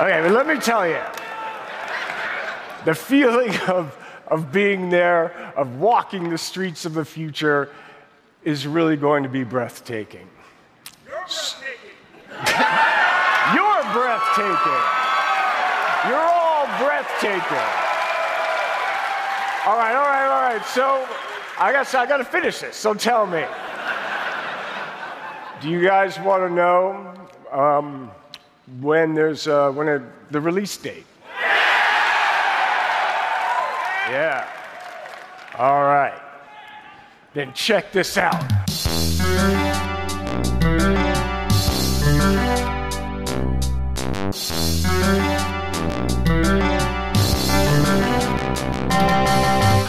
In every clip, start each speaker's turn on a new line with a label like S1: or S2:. S1: Okay, but let me tell you the feeling of, of being there, of walking the streets of the future, is really going to be breathtaking. You're breathtaking. You're all breathtaking. All right, all right, all right. So I guess I got to finish this. So tell me. Do you guys want to know um, when there's uh, when a, the release date? Yeah. All right. Then check this out.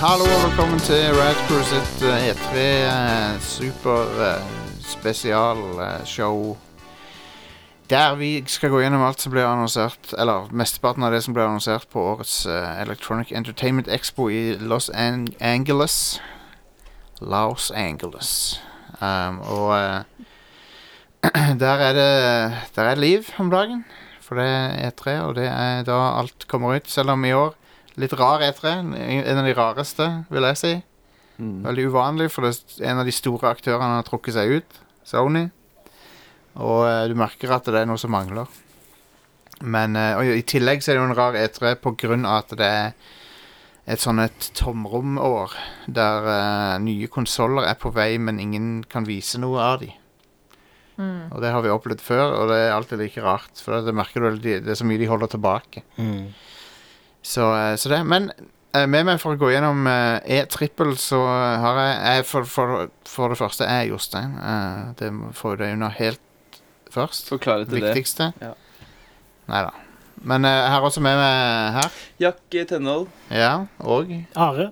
S2: Hallo og velkommen til Rad Crew sitt eh, E3 eh, super eh, spesial eh, show. Der vi skal gå gjennom alt som ble annonsert, eller mesteparten av det som ble annonsert på årets eh, Electronic Entertainment Expo i Los An Angeles. Los Angeles. Um, og eh, der er det Der er det liv om dagen, for det er E3, og det er da alt kommer ut, selv om i år Litt rar E3. En av de rareste, vil jeg si.
S1: Mm.
S2: Veldig uvanlig, for det er en av de store aktørene har trukket seg ut. Sony. Og eh, du merker at det er noe som mangler. Men eh, og i tillegg så er det jo en rar E3 på grunn av at det er et sånn et tomromår der eh, nye konsoller er på vei, men ingen kan vise noe av de. Og det har vi opplevd før, og det er alltid like rart. For det merker du, det det er så mye de holder tilbake.
S3: Mm.
S2: Så, eh, så det, men eh, med meg for å gå gjennom eh, E-trippel, så eh, har jeg, jeg for, for, for det første er Jostein. Eh, Det må- får du deg unna helt først.
S3: Forklare til det.
S2: Viktigste.
S3: Ja.
S2: Nei da. Men eh, jeg har også med meg her.
S3: Jack eh, Tenhold.
S2: Ja, og
S4: Are.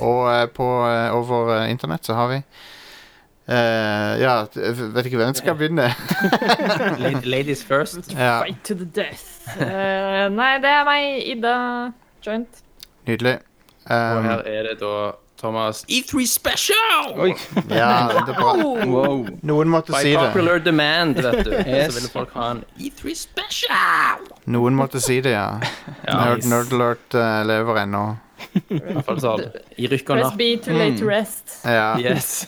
S2: Og eh, på, eh, over eh, internett så har vi eh, Ja, t- vet ikke hvem som skal begynne.
S5: La- Ladies first.
S2: ja,
S6: Fight to the death. Eh, nei, det er meg, Ida Joint.
S2: Nydelig.
S5: Og
S2: Um,
S5: her er det da Thomas E3 E Special!
S3: Oi.
S2: Eh, ja, det er bra.
S3: Wow.
S2: Noen måtte
S5: By
S2: si det.
S5: popular demand, vet du.
S3: Yes.
S5: Så ville folk ha en E3 Special!
S2: Noen måtte si det, ja. Nerd,
S5: nice.
S2: nerd alert eh, lever ennå.
S5: I hvert fall sånn. I rykk og
S6: Press
S5: napp.
S6: B to lay to rest.
S2: Ja.
S5: Yes.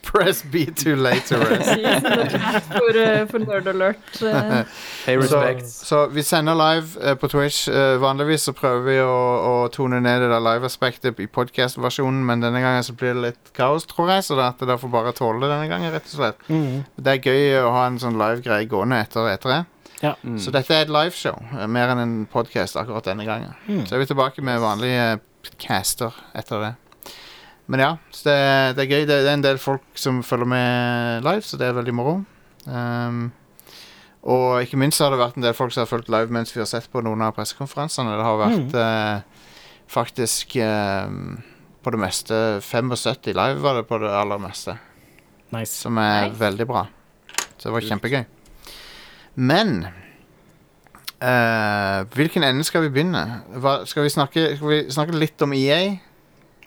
S2: Press B too late to rest.
S6: Precis, in the chat for, eh, for Nerd Alert. eh.
S5: Pay
S2: Så,
S5: respect.
S2: så vi sender live eh, på Twitch. Eh, vanligvis så prøver vi å, å tone ned det der live-aspektet i podcast-versjonen, men denne gangen så blir det litt kaos, tror jeg, så det at dere får bare tåle det denne gangen, rett og slett. Det er gøy å ha en sånn live-greie gående etter etter det.
S4: Ja.
S3: Mm.
S2: Så dette er et liveshow, eh, mer enn en podcast akkurat denne gangen. Så er vi tilbake med vanlige eh, caster etter det. Men ja, så det, det er gøy. Det, det er en del folk som følger med live, så det er veldig moro. Um, og ikke minst har det vært en del folk som har fulgt live mens vi har sett på noen av pressekonferansene. Det har vært eh, faktisk eh, på det meste 75 live var det på det aller meste.
S4: Nice.
S2: Som er
S6: Nice.
S2: veldig bra. Så det var kjempegøy. Men eh, Hvilken ende skal vi begynne? Hva, skal, vi snakke, skal vi snakke litt om E EA?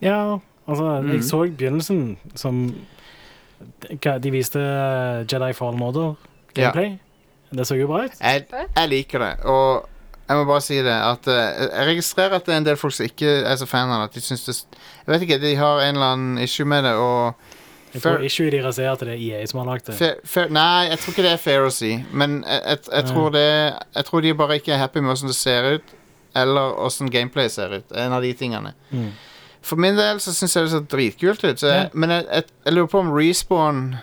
S4: Ja, altså,
S2: Mhm.
S4: jeg så begynnelsen som hva, De viste eh, Jedi Fallen Order
S2: Ja.
S4: gameplay. Det så jo bra ut.
S2: Jeg, jeg liker det, og jeg må bare si det at eh, Jeg registrerer at det er en del folk som ikke er så fan av det. At de syns det s- Jeg vet ikke, de har en eller annen issue med det, og
S4: Jeg
S2: Fair-
S4: tror ikke de raserer at det er EA som har lagd det.
S2: fair, fair, Nei, jeg tror ikke det er fair å si, men jeg, jeg, jeg,
S4: Nei.
S2: tror, det, jeg tror de bare ikke er happy med åssen det ser ut, eller åssen gameplay ser ut. En av de tingene.
S4: Mm.
S2: For min del så syns jeg det ser dritkult ut, så jeg,
S4: Ja.
S2: men jeg, jeg, jeg lurer på om respawn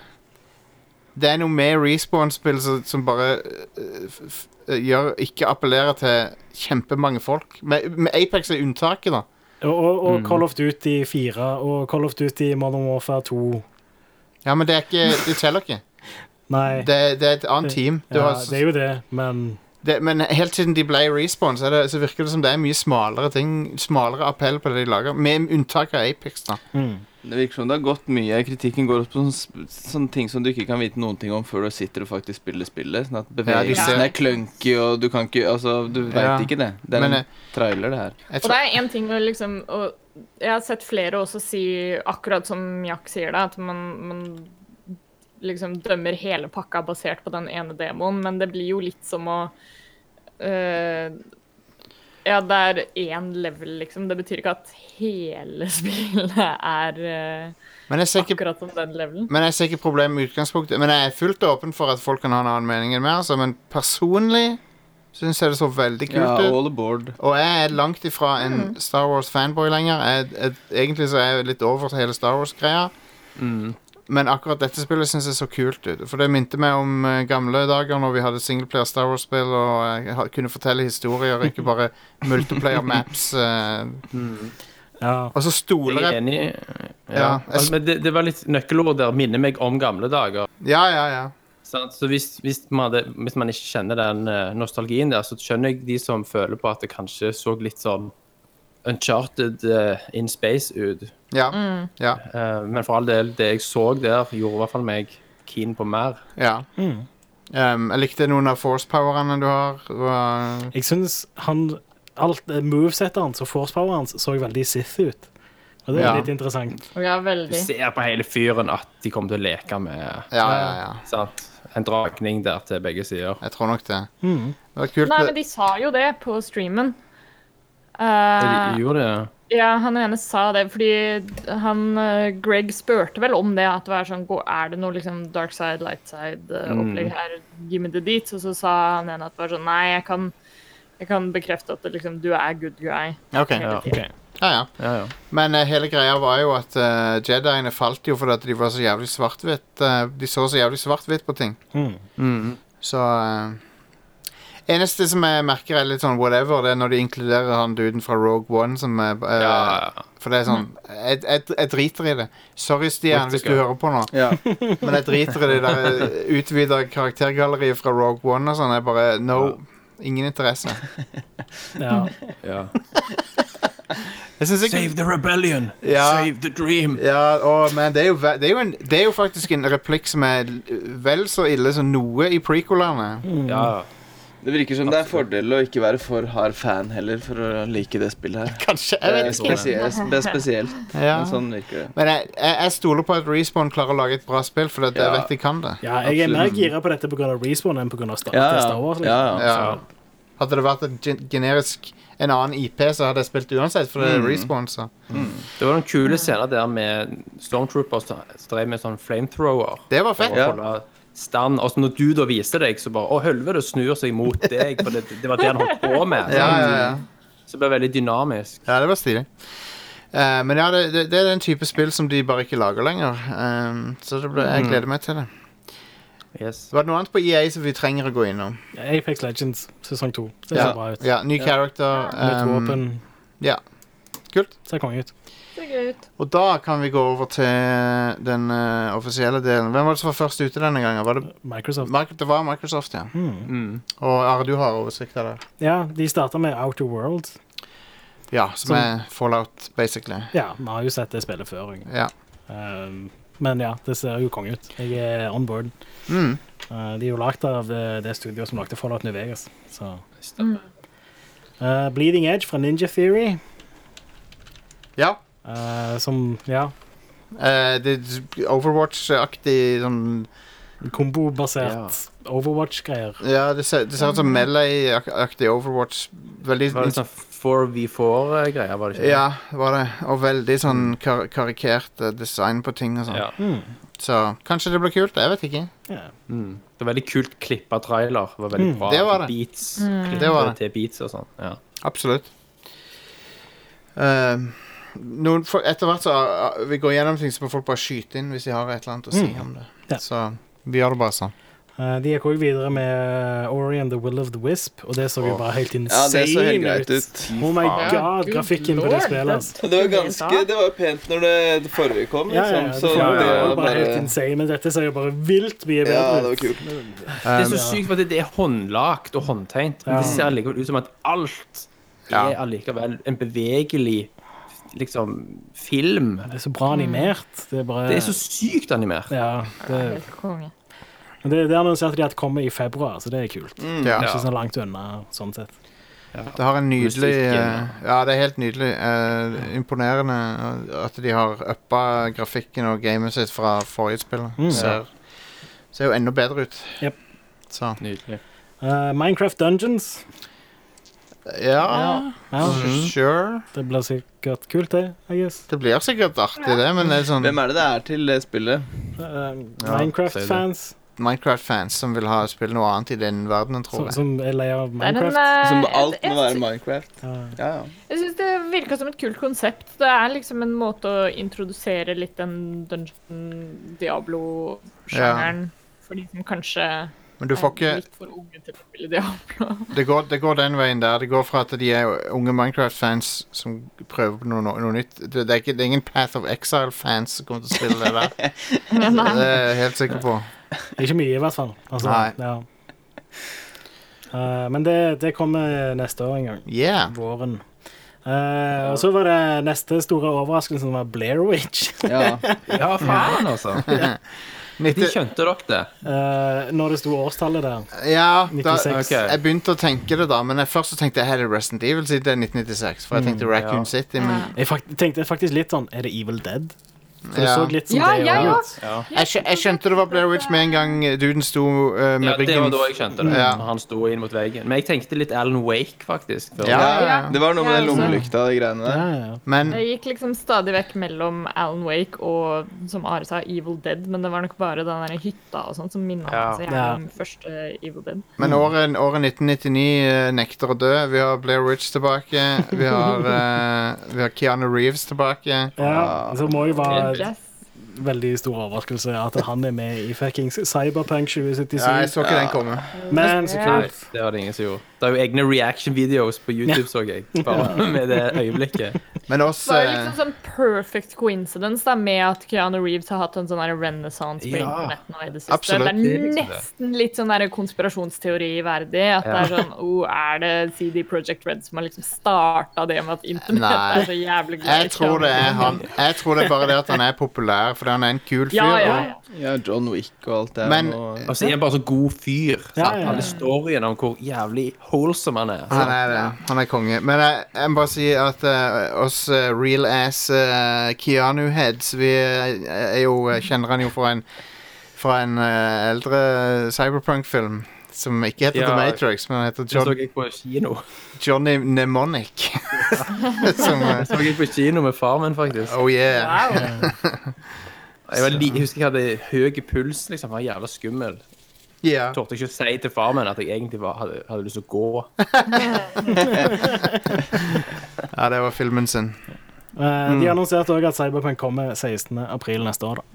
S2: Det er noe med respawn-spill som, som bare øh, f, f, gjør, ikke appellerer til kjempemange folk. Med, med Apex er unntaket, da.
S4: Og, og, og
S2: Mhm.
S4: Call of Duty 4 og Call of Duty Modern Warfare 2.
S2: Ja, men det er ikke Det teller ikke.
S4: Nei,
S2: Det, det er et annet team. Du
S4: ja,
S2: har,
S4: det er jo det, men
S2: det, men helt siden de ble respawn, så, er det, så virker det som det er mye smalere ting Smalere appell på det de lager, med unntak av Apex, da.
S3: Det virker som det har gått mye. Kritikken går på sånne, sånne ting som du ikke kan vite noen ting om før du sitter og faktisk spiller spillet. Sånn at bevegelsen
S2: ser-
S3: er clunky, og du kan ikke Altså, du veit
S2: Ja.
S3: ikke det. Det er
S2: Men, eh,
S3: en trailer, det her.
S2: Jeg
S6: Og det er en ting å liksom å, Jeg har sett flere også si, akkurat som Jack sier det, at man, man liksom dømmer hele pakka basert på den ene demoen, men det blir jo litt som å eh, Ja, det er én level, liksom. Det betyr ikke at hele spillet er eh,
S2: Men jeg ser ikke
S6: akkurat som den levelen.
S2: Men jeg ser ikke problemet med utgangspunktet. Men jeg er fullt åpen for at folk kan ha en annen mening enn meg, altså. Men personlig syns jeg det så veldig kult eh.
S3: Ja,
S2: ut.
S3: all aboard.
S2: Og jeg er langt ifra en
S6: Mm.
S2: Star Wars-fanboy lenger. Jeg, jeg, egentlig så er jeg litt over til hele Star Wars-greia. Men akkurat dette spillet syns jeg så kult ut. For det minte meg om eh, gamle dager når vi hadde singleplayer Star Wars-spill og jeg ha- kunne fortelle historier, ikke bare multiplayer maps. eh.
S4: Ja.
S2: Og så
S5: Jeg
S2: stoler
S5: er
S2: jeg
S5: enig. Ja. altså,
S2: Ja, jeg s-
S5: Men det, det var litt nøkkelord der. Minner meg om gamle dager.
S2: Ja, ja, ja.
S5: Sant? Så hvis, hvis, man hadde, hvis man ikke kjenner den eh, nostalgien der, så skjønner jeg de som føler på at det kanskje så litt sånn Uncharted eh, in space ut.
S2: Ja.
S6: Mm.
S2: ja,
S5: Eh, men for all del, det jeg så der, gjorde i hvert fall meg keen på mer.
S2: ja. Um, jeg likte noen av force-powerne du har. Det var-
S4: Jeg syns han Alt eh, movesettet hans og force-poweren hans så veldig Sith ut. Og det er
S2: Ja.
S4: litt interessant.
S6: Ja,
S5: Du
S6: veldig.
S5: ser på hele fyren at de kommer til å leke med eh,
S2: Ja, ja, ja.
S5: sant? en dragning der til begge sider.
S2: Jeg tror nok det. Det var kult.
S6: Nei,
S2: det-
S6: men de sa jo det på streamen.
S5: De
S6: Eh,
S5: gjorde det.
S6: ja, han ene sa det fordi han eh, Greg spurte vel om det. At det var sånn, gå- er det noe liksom dark side, light
S3: Mm.
S6: side-opplegg her? Gi meg det dit. Og så sa han ene at det var sånn Nei, jeg kan, jeg kan bekrefte at det, liksom, du er good guy.
S2: Ok,
S6: hele
S2: ja,
S6: tiden.
S2: ja.
S5: Ja, ja.
S2: Men eh, hele greia var jo at eh, Jediene falt jo fordi at de var så jævlig svart-hvitt. eh, de så så jævlig svart-hvitt på ting. Mhm. Så eh, Eneste som jeg merker er litt sånn whatever, det er når de inkluderer han duden fra Rogue One som er eh,
S5: Ja, ja, ja.
S2: For det er sånn jeg, jeg, jeg driter i det. Sorry, Stian, hvis du
S5: Praktiker.
S2: hører på nå.
S3: Ja.
S2: Men jeg driter i det der eh, utvida karaktergalleriet fra Rogue One og sånn. Jeg bare No. Ingen interesse.
S4: Ja.
S5: ja.
S2: Jeg synes ikke,
S5: Save the rebellion!
S2: Ja.
S5: Save the dream!
S2: Ja, å, men det er, jo, ve- det, er jo en, det er jo faktisk en replikk som er l- vel så ille som noe i prequelene.
S5: Ja.
S3: Det virker som det er fordel å ikke være for hard fan heller for å like det spillet her.
S2: Kanskje. Jeg
S3: Det er
S2: vet ikke.
S3: spesielt. Det er spesielt.
S2: Ja.
S3: Men sånn virker det.
S2: Men jeg, jeg, jeg stoler på at Respawn klarer å lage et bra spill, for at jeg
S3: Ja.
S2: vet de kan det.
S4: ja, jeg er mer
S3: Absolutt.
S4: gira på dette pga. Respawn enn pga. Star,
S3: Ja,
S4: til Star
S3: ja.
S4: Wars.
S3: ja,
S4: Liksom.
S3: ja.
S2: Ja. Hadde det vært en gen- generisk en annen IP, så hadde jeg spilt uansett, for det er Respawn, så.
S5: Det var noen kule scener der med stormtroopers som drev med sånn flamethrower.
S2: Det var fett.
S5: For å holde stand. Og så når du da viser deg, så bare Å, helvete, snur seg mot deg. For det, det var det han holdt på med.
S2: Ja, ja, ja.
S5: Så det ble veldig dynamisk.
S2: ja det var stilig. Eh, men ja, det, det, det er den type spill som de bare ikke lager lenger. Eh, så det ble, jeg gleder meg til det.
S5: Yes.
S2: Var det noe annet på EA som vi trenger å gå innom?
S4: Apex Legends sesong to ser
S2: Ja.
S4: så bra ut.
S2: Ja, ny character.
S4: Nytt
S2: ehm,
S4: våpen.
S2: ja. Kult.
S4: Ser konge ut.
S6: Ser gøy ut.
S2: Og da kan vi gå over til den eh, offisielle delen. Hvem var det som var først ute denne gangen? Var det,
S4: Microsoft.
S2: Mic- det var Microsoft, ja.
S4: Hmm.
S5: Mm.
S2: Og Are, du har oversikt av det?
S4: Ja, de starta med Outer World.
S2: Ja, som
S4: Som-
S2: er Fallout, basically.
S4: Ja, vi har jo sett det spillet før. egentlig.
S2: Ja.
S4: Um, men ja, det ser jo konge ut. Jeg er on board.
S2: Mm.
S4: Uh, de er jo lagd av eh, det studioet som lagde Fallout New Vegas. Så.
S5: Stemmer.
S4: Eh, Bleeding Edge fra Ninja Theory,
S2: ja.
S4: eh, som Ja,
S2: eh, det er Overwatch-aktig sånn
S4: kombobasert Overwatch-greier.
S2: Ja, det ser, det ser ut som Melee-aktig Overwatch. Veldig
S5: Det var litt sånn 4v4-greier, eh, var det ikke?
S2: Ja, var det. Og veldig sånn kar karikert eh, design på ting og sånn.
S5: Ja.
S4: Hmm.
S2: Så kanskje det blir kult. Jeg vet ikke.
S4: Ja.
S5: Mm. Det var veldig kult klippa trailer. Det var veldig
S4: Mm,
S5: bra.
S2: det var det.
S5: Beats.
S2: Det var det.
S5: Til beats og sånn. Ja.
S2: Absolutt. Eh, noen, for, etter hvert så eh, vi går gjennom ting, så må folk bare skyte inn hvis de har et eller annet å si
S4: Mm.
S2: om det.
S4: Ja.
S2: Så vi gjør det bare sånn.
S4: Eh, de gikk òg videre med eh, Ori and the Will of the Wisp, og det så jo
S2: Åh.
S4: bare helt
S3: ja,
S4: insane
S3: det så helt
S4: ut.
S3: greit ut.
S4: Oh my
S3: Faen.
S4: god, grafikken på det spillet. altså.
S3: Og Det var ganske, det var jo pent når det, det forrige kom,
S4: Ja, ja,
S3: liksom.
S4: ja, det
S3: Så det
S4: var- det var
S3: var
S4: bare helt
S3: bare
S4: insane, men dette ser jo bare vilt mye
S3: Ja, det
S4: bedre
S3: var
S4: ut.
S3: kult.
S5: Det er så sykt for at det er håndlagt og håndtegnet, men
S4: Ja.
S5: det ser likevel ut som at alt er allikevel en bevegelig liksom film.
S4: Det er så bra animert. Det er bare
S5: Det er så sykt animert.
S4: Ja, det,
S6: Helt konge.
S4: men det, det annonserte de at kommer i februar, så det er kult.
S2: Ja.
S4: Ikke så langt unna, sånn sett.
S2: Det har en nydelig
S5: Musikken,
S2: eh, Ja, det er helt nydelig. eh, imponerende eh, at de har uppa grafikken og gamet sitt fra forrige spill. Ser, ser jo enda bedre ut.
S4: Mm, Jep.
S2: Så
S5: Nydelig.
S4: Eh, Minecraft Dungeons.
S2: Ja,
S4: Ja,
S3: Mm.
S2: sure.
S4: det blir sikkert kult, det. I guess.
S2: Det blir sikkert artig, det, men det er sånn
S3: Hvem er det det er til det spillet?
S4: Eh,
S2: Ja,
S4: Minecraft-fans
S2: Minecraft-fans som vil ha spille noe annet i den verdenen,
S4: som,
S2: tror jeg.
S4: som er lei av
S6: Det er en,
S4: Minecraft.
S6: eh,
S3: Som alt
S6: jeg-
S3: må være Minecraft.
S4: Ja.
S3: Ja, ja.
S6: Jeg syns det virka som et kult konsept. Det er liksom en måte å introdusere litt den Dungeon Diablo-sjangeren for de som kanskje
S2: Men du får ikke
S6: er litt for unge til å spille Diablo.
S2: det går, det går den veien der. Det går fra at de er unge Minecraft-fans som prøver på noe, noe, noe nytt. Det, det, er ikke, det er ingen Path of Exile-fans som kommer til å spille det der. Det
S6: Nei.
S2: er jeg helt sikker på.
S4: Ikke mye, i hvert fall. Altså,
S2: Nei.
S4: Ja. Eh, men det, det kommer neste år en gang.
S2: Yeah.
S4: Våren. Eh, Og så var det neste store overraskelse, som var Blair Witch.
S3: ja.
S5: Ja, faen, altså. De
S2: 90,
S5: skjønte dere det.
S4: Eh, når det sto årstallet der.
S2: ja, da,
S4: 96.
S5: Ok.
S2: jeg begynte å tenke det, da. Men jeg først så tenkte jeg er det Resident Evil siden det er 1996. For jeg tenkte Raccoon
S5: Mm, ja.
S2: City, men
S4: Jeg fakt tenkte faktisk litt sånn Er det Evil Dead? For det
S2: Ja.
S4: så litt som
S6: Ja,
S4: det
S6: ja, ja.
S4: ut.
S2: jeg, skjø- jeg skjønte det var Blair Witch med en gang duden sto eh, med
S5: Ja, det var
S2: ryggen
S5: da jeg skjønte det.
S2: Ja.
S5: Når han sto inn mot veggen. Men jeg tenkte litt Alan Wake, faktisk. før.
S2: Ja, ja, ja.
S3: Det var noe med den
S6: Ja, altså.
S3: lommelykta og de greiene
S4: Ja,
S3: der.
S4: ja, ja.
S2: Men
S6: Jeg gikk liksom stadig vekk mellom Alan Wake og, som Are sa, Evil Dead, men det var nok bare den der hytta og sånn som minnet
S5: Ja.
S6: meg så jævlig
S4: Ja.
S6: om første Evil Dead.
S2: Men året, året 1999 eh, nekter å dø. Vi har Blair Witch tilbake. Vi har, eh, vi har Keanu Reeves tilbake.
S4: ja, så må jo være
S6: Yes.
S4: veldig stor overraskelse at han er med i fuckings Cyberpunk
S2: Ja, jeg
S4: 2077.
S2: så ikke den komme.
S4: Men så
S6: Ja.
S5: Nei,
S4: kult.
S5: det var det ingen som gjorde. Det er jo egne reaction-videoer på YouTube, så jeg. Bare med det øyeblikket.
S2: Men oss
S6: Det var jo
S2: eh,
S6: liksom sånn perfect coincidence da, med at Keanu Reeves har hatt en sånn her renaissance på
S5: Ja.
S6: internett nå i det siste.
S2: Absolutt.
S5: Det
S6: Det er
S5: er liksom det.
S6: nesten litt sånn der konspirasjonsteori verdig. At det er sånn oh, Er det CD Projekt Red som har liksom starta det med at internett
S2: Nei.
S6: er så jævlig glad i
S2: eh, jeg tror det er
S6: Keanu
S2: han. Jeg tror det er bare det at han er populær, fordi han er en kul fyr.
S6: Ja, ja, ja.
S3: Ja, John Wick og alt det.
S2: Men-
S3: og,
S5: Og så er han bare så god fyr.
S4: Ja,
S5: sant?
S4: ja, ja.
S5: Alle storyene om hvor jævlig holsom han er.
S2: og Han
S5: sant?
S2: er det. Han er konge. Men jeg, jeg må bare si at eh, oss eh, real ass eh, Keanu heads Vi eh, er jo, eh, kjenner han jo fra en, fra en eh, eldre cyberpunk-film som ikke heter
S5: Ja.
S2: The Matrix, men heter
S5: Det
S2: John
S5: så jeg på kino.
S2: Johnny Mnemonic. som, eh,
S5: Så jeg på kino med far min, faktisk.
S2: oh yeah.
S6: Wow.
S5: Jeg, var li jeg husker jeg hadde høy puls. liksom. Han var jævla skummel.
S2: Ja.
S5: Torde ikke å si til far min at jeg egentlig var, hadde, hadde lyst til å gå.
S2: ja, det var filmen sin.
S4: Eh, De annonserte òg at Cyberpunk kommer 16. april neste år. Da.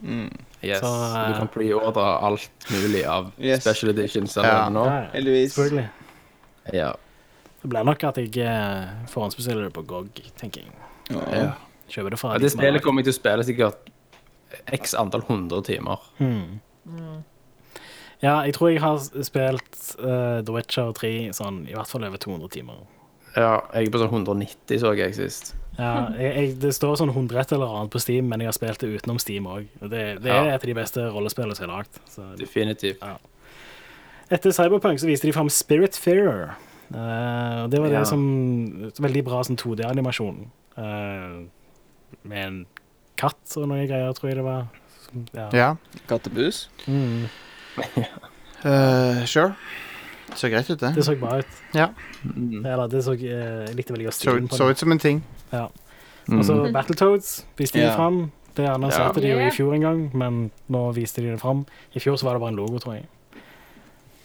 S5: Yes.
S4: Så, eh,
S5: Du kan preordre alt mulig av
S3: Yes.
S5: special editions.
S2: Ja.
S5: Ja. Nå.
S4: Ja, ja,
S3: Heldigvis.
S4: Selvfølgelig.
S5: Ja.
S4: Det blir nok at jeg eh, forhåndsbestiller det på GOG, tenker jeg.
S3: Ja.
S4: Kjøper det fra
S5: Ja,
S4: de
S5: det
S4: som har
S5: spillet kommer jeg til å spille sikkert x antall hundre timer.
S4: Ja, jeg tror jeg har spilt eh, The Witcher 3 sånn i hvert fall over 200 timer.
S5: Ja, jeg er på sånn 190, så jeg sist.
S4: Ja, jeg, jeg, det står sånn 100 et eller annet på Steam, men jeg har spilt det utenom Steam òg. Det, det er
S5: Ja.
S4: et av de beste rollespillene som er lagd. så-
S5: Definitivt.
S4: Etter Cyberpunk så viste de fram Spirit Fearer. Eh, og det var
S5: Ja.
S4: det som Veldig bra sånn 2D-animasjon. eh, med en katt og noen greier, tror jeg det var. Som- Ja.
S2: Ja.
S3: Kattepus.
S2: Eh, sure. Det så greit ut,
S4: Det
S2: det.
S4: så bra ut.
S2: Ja.
S3: Mm.
S4: Eller det så eh, Jeg likte veldig godt
S2: Så,
S4: stilen på
S2: så
S4: det.
S2: ut som en ting.
S4: Og
S5: Altså,
S4: så Battletoads viste de
S3: Mm. Ja.
S4: fram. Det annonserte
S6: Ja.
S4: de jo i fjor en gang, men nå viste de det fram. I fjor så var det bare en logo, tror jeg.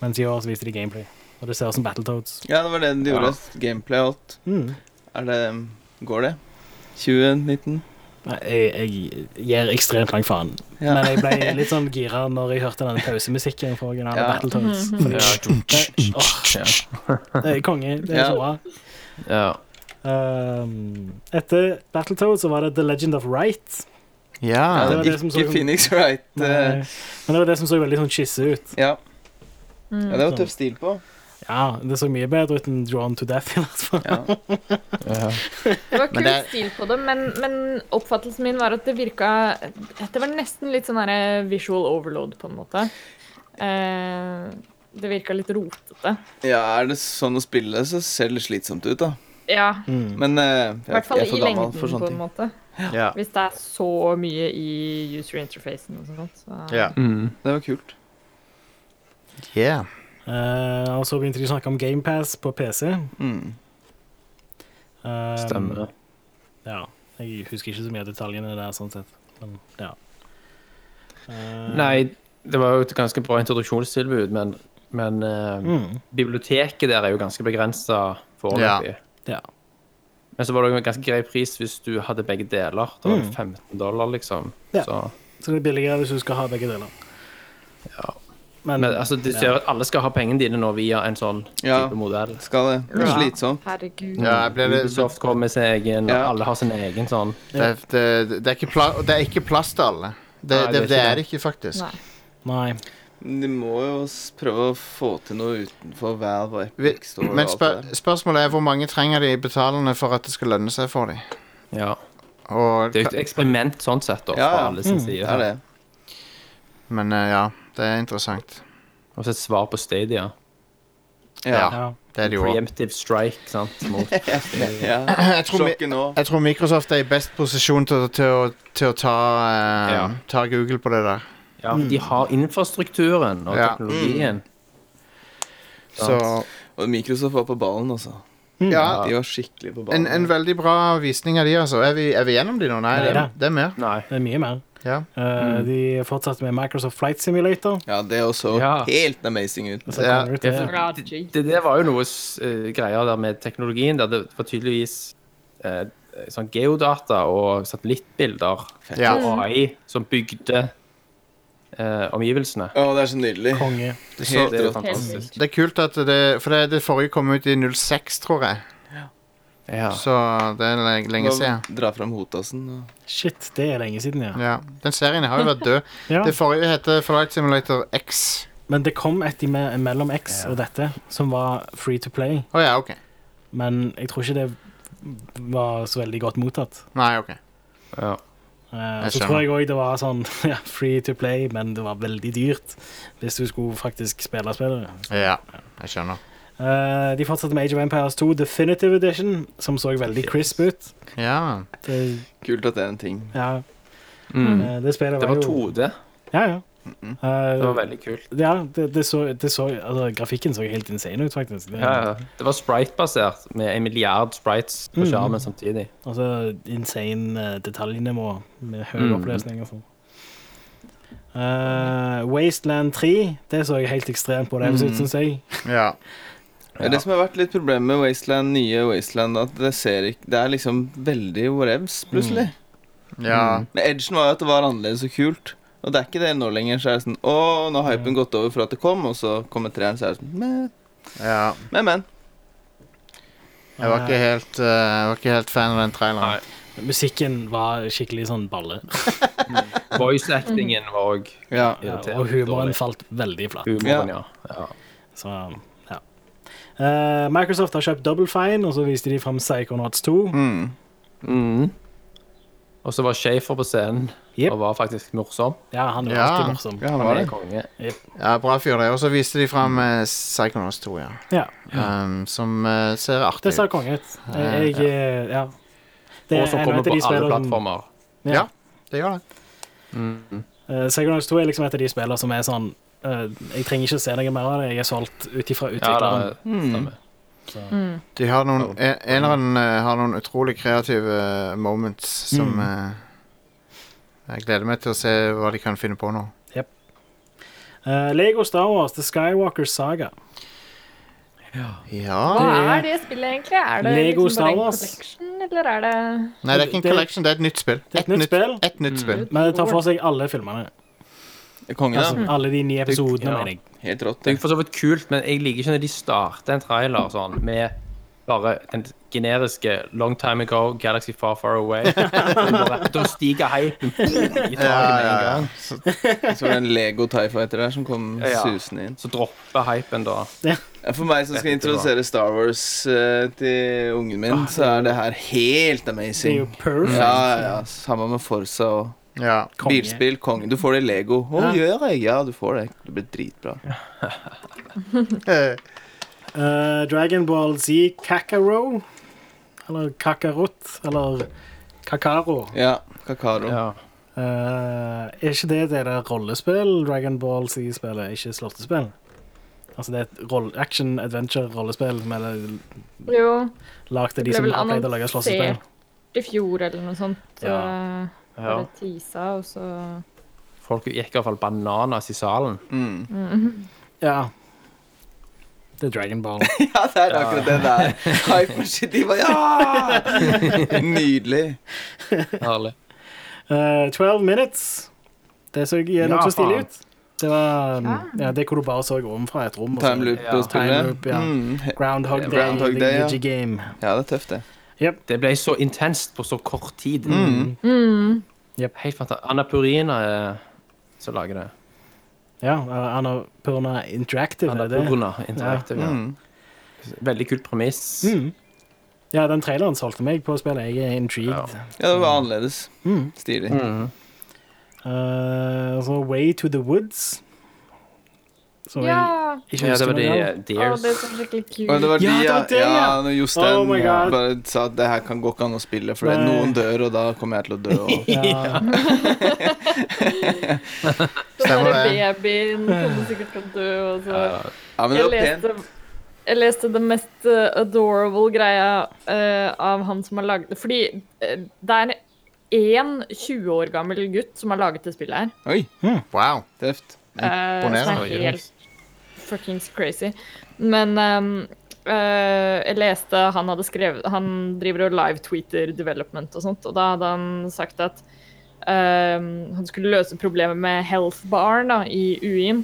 S4: Mens i år så viste de gameplay. Og det ser ut som Battletoads.
S3: Ja, det var det de gjorde. Gameplay og alt.
S4: Mm.
S3: Er det Går det? 2019?
S4: Nei, Jeg, jeg gir ekstremt lang faen.
S3: Ja.
S4: Men jeg ble litt sån gira når jeg hørte den pausemusikken fra originale
S3: Ja.
S4: Battletoads. Fordi, det, åh,
S5: Ja.
S4: det er konge. Det er
S3: Ja.
S4: så bra.
S5: Ja.
S4: Um, etter Battletoads så var det The Legend of Right.
S3: Ja,
S4: det
S2: Ja.
S4: var det som så-
S3: ikke Phoenix Wright. eh,
S4: Men det var det som så veldig sånn skisse ut.
S3: ja. ja, det var
S4: Mm.
S3: tøff stil på.
S4: Ja, Det så mye bedre ut enn Drawn to Death, i hvert fall.
S3: Ja.
S6: Det var
S2: Men
S6: kul
S2: det-
S6: stil på det, men, men oppfattelsen min var at det virka Det var nesten litt sånn her visual overload, på en måte. Eh, det virka litt rotete.
S3: ja, er det sånn å spille, så ser det litt slitsomt ut, da.
S6: Ja,
S3: Men eh,
S6: i
S3: jeg,
S6: hvert fall
S3: jeg er for
S6: i
S3: gammel
S6: lengden,
S3: for
S6: på
S3: sånne
S6: en
S3: ting.
S6: måte.
S2: Ja.
S6: Hvis det er så mye i user interfacen og sånt. Så.
S2: Ja.
S3: Det var kult.
S2: Yeah.
S4: Eh, og så begynte de å snakke om GamePass på PC.
S3: Mm.
S4: Um,
S5: Stemmer.
S4: Ja. Jeg husker ikke så mye av detaljene der, sånn sett. Men, ja. Eh,
S5: Nei, det var jo et ganske bra introduksjonstilbud, men, men eh,
S4: Mm.
S5: biblioteket der er jo ganske begrensa foreløpig.
S4: Ja.
S5: Men så var det jo en ganske grei pris hvis du hadde begge deler. Det var 15 dollar, liksom.
S4: Mm. Ja.
S5: Så,
S4: Så det er billigere hvis du skal ha begge deler.
S5: Ja.
S4: Men,
S5: men altså, de ser at alle skal ha pengene dine nå via en sånn
S3: Ja.
S5: type modell.
S3: Skal det. Det er
S6: Ja.
S3: slitsomt.
S6: Herregud.
S2: Ja, jeg ble litt
S5: Ubisoft kommer med sin egen,
S3: Ja.
S5: alle har sin egen sånn.
S2: det, det, det, er ikke pla, det er ikke plass til alle. Det,
S5: Nei,
S2: det,
S5: det er
S2: det
S5: ikke
S2: er det ikke, faktisk.
S6: Nei.
S4: nei.
S3: De må jo s- prøve å få til noe utenfor Valve og
S2: Vi,
S3: Epic Store. og
S2: men
S3: alt
S2: spør,
S3: det der.
S2: spørsmålet er hvor mange trenger de betalende for at det skal lønne seg for dem?
S5: Ja.
S2: Og,
S5: Det er jo et eksperiment sånn sett, da,
S3: Ja,
S5: fra
S3: ja.
S5: alle
S4: Mm.
S5: sin
S3: Det
S5: side.
S3: er det.
S2: men eh, ja, det er interessant.
S5: Og så et svar på Stadia.
S2: Ja,
S3: Ja.
S4: Ja.
S2: det er det jo også.
S5: Preemptive strike, sant. Mot
S3: ja.
S2: Jeg tror, mi-
S3: Sjokket nå.
S2: jeg tror Microsoft er i best posisjon til, å- til, å, til å ta, eh,
S5: Ja.
S2: ta Google på det der.
S5: Ja, for de har infrastrukturen og
S2: Ja. Mm.
S5: teknologien.
S2: Så
S3: Og Microsoft var på ballen, altså.
S4: Mm.
S2: ja,
S3: De var skikkelig på
S2: en,
S3: ballen.
S2: en veldig bra visning av de, altså. Er vi, er vi gjennom de nå? Nei,
S4: Nei
S2: det,
S4: da.
S2: det er mer.
S5: Nei.
S4: Det er mye mer.
S2: Ja.
S4: Eh,
S5: Mm.
S4: De fortsatte med Microsoft Flight Simulator.
S3: Ja, det er jo så
S5: Ja.
S3: helt amazing ut.
S4: Så
S2: Ja.
S4: kommer det ut,
S5: Ja,
S4: det.
S5: for-
S6: Ja,
S5: det,
S6: gee.
S5: det der var jo noe s- eh, greier der med teknologien. Der det var tydeligvis eh, sånn geodata og satellittbilder
S2: Ja.
S5: og AI som bygde eh, omgivelsene.
S3: Å, det er så nydelig.
S4: konge.
S3: Helt
S5: det er jo
S3: rått.
S5: fantastisk.
S2: Det er kult at det For det, det forrige kom ut i 06, tror jeg.
S5: Ja.
S2: Så det er le- lenge siden.
S3: Nå Dra fram Hotasen. og-
S4: Shit, det er lenge siden, ja.
S2: Ja. Den serien har jo vært død.
S4: ja.
S2: Det forrige heter Flight Simulator X.
S4: Men det kom et i me mellom X og dette, som var free to play.
S2: Å ja, OK.
S4: Men jeg tror ikke det var så veldig godt mottatt.
S2: Nei, OK.
S5: Ja.
S4: Eh,
S2: Jeg
S4: så
S2: skjønner.
S4: tror jeg òg det var sånn ja, free to play, men det var veldig dyrt hvis du skulle faktisk spille spillet.
S2: Ja, jeg skjønner.
S4: Eh, de fortsatte med Age of Empires 2 Definitive Edition, som så veldig crisp ut.
S2: Ja.
S4: Det,
S3: Kult at det er en ting.
S4: ja,
S5: Mm.
S4: eh, det spillet
S5: Det var
S4: var jo
S5: 2D.
S4: Ja, ja. Eh,
S5: Det var veldig kult.
S4: ja, det, det så, det så altså, Grafikken så helt insane ut, faktisk. Det,
S5: Ja, ja. Det var sprite-basert, med en milliard sprites
S2: Mm.
S5: på skjermen samtidig.
S4: Altså insane eh, detaljnivå med høy
S5: Mm.
S4: oppløsning og sånn. Eh, Wasteland 3, det så jeg helt ekstremt på det, mm. syns jeg.
S2: ja.
S3: Det er det som har vært litt problemet med Wasteland, nye Wasteland, at det ser ikke Det er liksom veldig whatevs, plutselig.
S2: Ja.
S4: Mm.
S3: Men edgen var jo at det var annerledes og kult. Og det er ikke det nå lenger. Så er det sånn Å, nå har hypen gått over for at det kom, og så kommer treeren, så er det sånn meh,
S2: ja.
S3: Men, men.
S2: Jeg var ikke helt, eh, jeg var ikke helt fan av den traileren.
S5: Nei.
S4: Musikken var skikkelig sånn balle.
S5: Voice-actingen var òg
S3: Ja.
S4: Ja,
S5: irriterende.
S4: og humoren
S5: dårlig.
S4: falt veldig flat.
S5: Humoren, ja. ja.
S4: Så, ja. Eh, Microsoft har kjøpt Double Fine, og så viste de fram Psychonauts 2.
S3: Mm.
S5: Mm. Og så var Schaefer på scenen
S4: Yep.
S5: og var faktisk morsom.
S4: Ja, han er jo
S2: Ja.
S4: alltid morsom.
S3: Ja, han
S5: Han
S3: var
S5: er
S3: det.
S5: konge.
S2: Ja, Bra fyr, det. Og så viste de fram uh, Psychonauts 2, ja.
S4: Ja,
S2: Um, som eh, ser artig
S4: det ser
S2: ut.
S4: konge ut. Jeg, jeg, eh, ja. Det
S5: Og som
S4: en
S5: kommer
S4: av de
S5: på alle
S4: spillene som-
S5: plattformer.
S2: Ja, det gjør det.
S4: Uh, Psychonauts 2 er liksom et av de spillene som er sånn eh, Jeg trenger ikke å se noe mer av det. Jeg er solgt ut ifra
S5: Ja, det
S4: utvikleren.
S5: stemmer.
S2: De har noen, en, en av dem har noen utrolig kreative eh, moments som
S4: Mm.
S2: eh, Jeg gleder meg til å se hva de kan finne på nå.
S4: Eh, Lego Star Wars The Skywalker Saga.
S2: Ja
S6: Hva
S4: Det-
S6: er det spillet, egentlig? Er det liksom
S4: Lego
S6: bare
S4: Star
S6: en
S4: Wars.
S6: collection, eller er det
S2: Nei, det er ikke en
S4: Det-
S2: collection, det er et nytt spill.
S4: er et nytt spill.
S2: Et
S5: Mm.
S2: nytt spill.
S4: Men det tar for seg alle filmene.
S3: Kongen,
S4: Altså,
S6: Mm.
S3: da.
S4: alle de ni episodene,
S5: ja.
S4: mener jeg.
S3: Helt rått.
S5: Det er
S3: det.
S5: jo for så vidt kult, men jeg liker ikke når de starter en trailer sånn med bare den generiske 'Long Time Ago', 'Galaxy Far Far Away'. Og bare- Da stiger hypen i taket med en gang.
S2: Så,
S3: Så var det en Lego Tie Fighter der som kom
S5: Ja.
S3: susende inn.
S5: Så dropper hypen da.
S3: Ja, For meg som skal introdusere Star Wars eh, til ungen min, så er det her helt
S4: Det er jo
S3: amazing.
S4: perfect.
S3: Ja, ja, ja. Sammen med Forsa og
S2: ja.
S4: Konge.
S3: bilspill. Konge. Du får det i Lego. Å, gjør jeg? Ja, du får det. Det blir dritbra.
S2: Eh,
S4: Eh, Dragon Ball Z Kakaro. Eller Kakarot. Eller Kakaro.
S3: Ja, Kakaro.
S5: Ja.
S4: Eh, er ikke det det der rollespill Dragon Ball Z-spillet, ikke slåttespill? Altså, det er et roll- action-adventure-rollespill som er
S6: Jo,
S4: lagd
S6: det
S4: av de
S6: ble
S4: som
S6: vel
S4: har pleid å lage slåssespill.
S6: annonsert i fjor eller noe sånt.
S4: Ja.
S6: eh,
S5: Ja.
S6: Bare teasa, og så
S5: Folk gikk i hvert fall bananas i salen.
S3: Mm.
S4: Ja. Det er Dragon Ball.
S3: Ja, det er akkurat det der. Hyperskitiva, ja! Nydelig.
S5: Herlig.
S4: Eh, 12 minutes. Det så
S5: Ja,
S4: eh, nokså stilig
S5: faen.
S4: ut. Det var um, ja, det hvor du bare så ovenfra et rom. og så-
S3: Time loop
S5: Ja.
S3: og spille.
S4: Time loop, ja.
S3: Mm. he-
S4: Groundhog Day.
S3: Groundhog
S4: the
S3: Day, ja.
S4: Digi Game.
S3: ja, det er tøft, det.
S5: Det ble så intenst på så kort tid.
S3: Mm.
S5: Helt fantastisk. Anna Purina er som lager det.
S4: Ja, eh, Annapurna Interactive. er
S5: Anna
S4: det?
S5: Purna Interactive. Ja.
S3: Mm.
S5: Veldig kult premiss.
S4: Mm. Ja, den traileren solgte meg på spillet. Jeg er intrigued.
S3: Ja, det var annerledes.
S4: Mm.
S3: Stilig.
S5: Mm.
S4: Eh, så Way to the Woods. Som jeg
S6: Ja!
S4: ikke
S5: Ja, det
S4: husker
S5: var de
S4: noe av.
S5: eh,
S6: Å, det er
S5: Dears.
S6: så skikkelig kult.
S3: Og det var de,
S4: Ja, det var det,
S3: ja,
S4: ja.
S3: når Jostein
S4: Oh my God.
S3: bare sa at det her kan gå ikke an å spille, for
S4: Nei.
S3: noen dør, og da kommer jeg til å dø. Og...
S6: Den
S4: Ja.
S2: Stemmer
S6: der
S2: det.
S6: babyen kommer sikkert til å dø. Og så.
S3: Ja, men det
S6: jeg,
S3: var pent.
S6: leste, jeg leste den mest eh, adorable greia eh, av han som har laget det. Fordi eh, det er én 20 år gammel gutt som har laget det spillet her.
S3: Oi,
S2: Wow.
S3: tøft.
S6: Eh, som
S2: Imponerende.
S6: er helt fuckings crazy. Men ehm, eh, jeg leste han hadde skrevet Han driver og live-tweeter development og sånt, og da hadde han sagt at ehm, han skulle løse problemet med health bar da, i UI-en.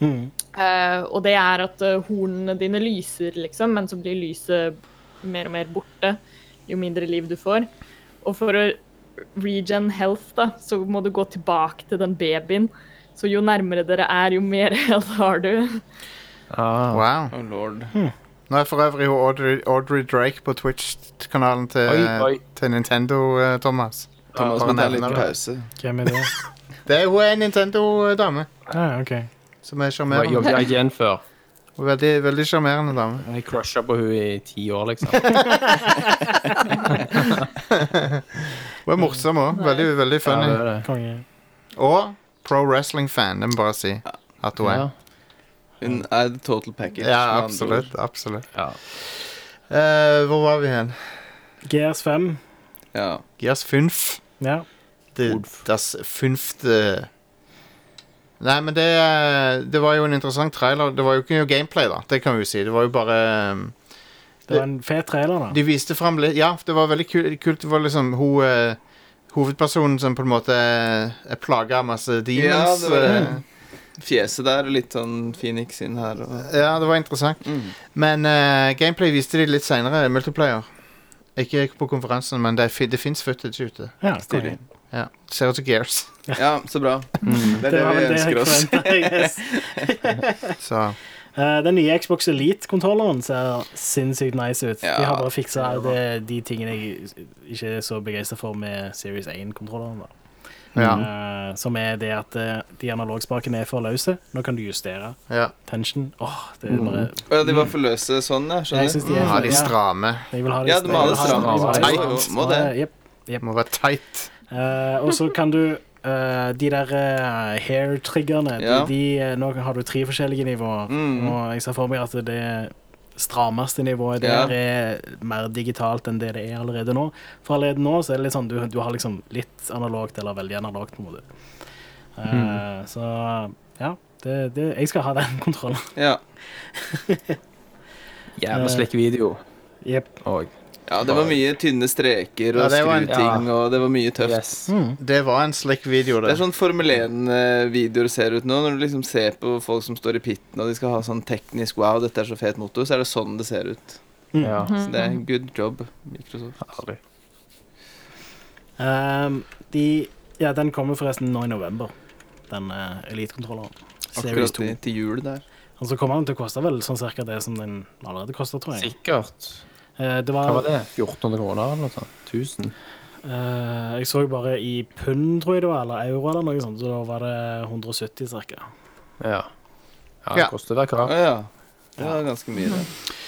S4: Mm.
S6: Eh, og det er at eh, hornene dine lyser, liksom, men så blir lyset mer og mer borte jo mindre liv du får. Og for å regen health, da, så må du gå tilbake til den babyen. Så jo nærmere dere er, jo mer health har du.
S5: Ah.
S2: Wow.
S3: Oh lord.
S4: Mm.
S2: Nå er for øvrig hun Audrey, Audrey Drake på Twitch-kanalen til,
S5: Oi, oi.
S2: til Nintendo, eh, Thomas.
S3: Thomas
S2: Ja,
S3: må ta en
S2: nevner
S3: liten
S2: det.
S3: pause.
S4: Hvem er det?
S2: Det er, hun er en Nintendo-dame
S4: Ah, ok.
S2: som er
S5: Hva jobbet
S2: sjarmerende.
S5: jeg igjen før?
S2: Hun er Veldig, veldig sjarmerende dame.
S5: Jeg crusha på hun i ti år, liksom.
S2: Hun er morsom òg. Veldig, veldig
S5: Ja,
S2: funny.
S5: det er det.
S4: Konge.
S2: Og pro wrestling-fan, det må bare si at hun er.
S5: Ja.
S4: Mm.
S3: Hun er the total package.
S2: Ja,
S3: med andre
S2: absolutt. absolutt.
S5: Ja.
S2: Eh, hvor var vi hen?
S4: Gears 5.
S3: ord. Ja.
S2: Gears Funf.
S4: Ja.
S2: Det, das Funfte Nei, men det, eh, det var jo en interessant trailer. Det var jo ikke noe gameplay, da. Det kan vi jo si. Det var jo bare eh,
S4: Det var en fet trailer, da.
S2: De viste fram litt Ja, det var veldig kul- kult. Det var liksom hun eh, Hovedpersonen som på en måte er er plaga av masse demons.
S3: Ja, det var det.
S2: eh,
S3: Fjeset der og litt sånn Phoenix inn her og
S2: ja, det var interessant.
S3: Mm.
S2: Men eh, gameplay viste de litt seinere. Multiplayer. Ikke på konferansen, men det, fi- det fins footage ute.
S4: Ja,
S3: Stilig.
S4: konge.
S2: Ja. Ser ut som Gears.
S3: Ja, så bra. Det er Mm.
S4: Det
S3: det
S4: var
S3: vi
S4: vel det
S3: ønsker
S4: jeg
S3: oss.
S4: forventet, I guess.
S2: Så
S4: Eh, Den nye Xbox Elite-kontrolleren ser sinnssykt nice ut.
S3: Ja.
S4: De har bare fiksa det- de tingene jeg ikke er så begeistra for med Series 1-kontrolleren. Mm.
S2: ja.
S4: Som er det at eh, de analogspakene er for løse. Nå kan du justere
S2: ja.
S4: tension. Åh, det er
S3: Mm.
S4: bare
S3: Å ja, de var for løse sånn, ja.
S4: Jeg
S3: Skjønner.
S4: synes de er
S2: Ha de
S4: ja,
S2: stramme.
S4: jeg vil ha de
S3: Ja, du må ha det
S4: jeg vil ha de-
S5: stramt.
S4: jeg vil ha de
S3: Tight.
S4: stramt.
S3: Må det.
S4: Eh, Jep.
S2: Det må være tight.
S4: Eh, og så kan du eh, De der eh, hair-triggerne de,
S3: Ja.
S4: de, eh, Nå har du tre forskjellige nivåer.
S3: Mm.
S4: Og jeg ser for meg at det strammeste nivået
S3: Ja.
S4: der er mer digitalt enn det det er allerede nå. For allerede nå så er det litt sånn du, du har liksom litt analogt eller veldig analogt. på en måte. Eh,
S3: Mhm.
S4: Så ja. Det, det, jeg skal ha den kontrollen.
S3: Ja.
S5: Jævla slik video.
S4: Jepp.
S5: Og
S3: ja, det var mye tynne streker og
S2: Ja, det var en-
S3: skruting, og det var mye tøft.
S5: yes.
S4: Mm.
S2: Det var en slik video,
S3: Det
S2: det.
S3: er sånn Formel 1-videoer ser ut nå. Når du liksom ser på folk som står i pitten og de skal ha sånn teknisk Wow, dette er så fet motor, så er det sånn det ser ut.
S5: Ja.
S3: Så det er good job, Microsoft.
S5: Herlig.
S4: Ehm, de, ja, den kommer forresten nå i november, den uh, elitekontrolleren. Series
S3: Akkurat
S4: 2.
S3: i- til jul der.
S4: Og så kommer den til å koste vel sånn cirka det som den allerede koster, tror jeg.
S5: Sikkert.
S4: Eh, det
S5: Hva var
S4: var,
S5: det? 1400 kroner eller noe sånt? 1000?
S4: eh, jeg så bare i pund, tror jeg det var, eller euro eller noe sånt, så da var det 170 cirka.
S5: Ja. Ja,
S2: Ja.
S5: det koster hver
S3: Å
S5: kar.
S3: sånn- ja. Det var ganske mye, det.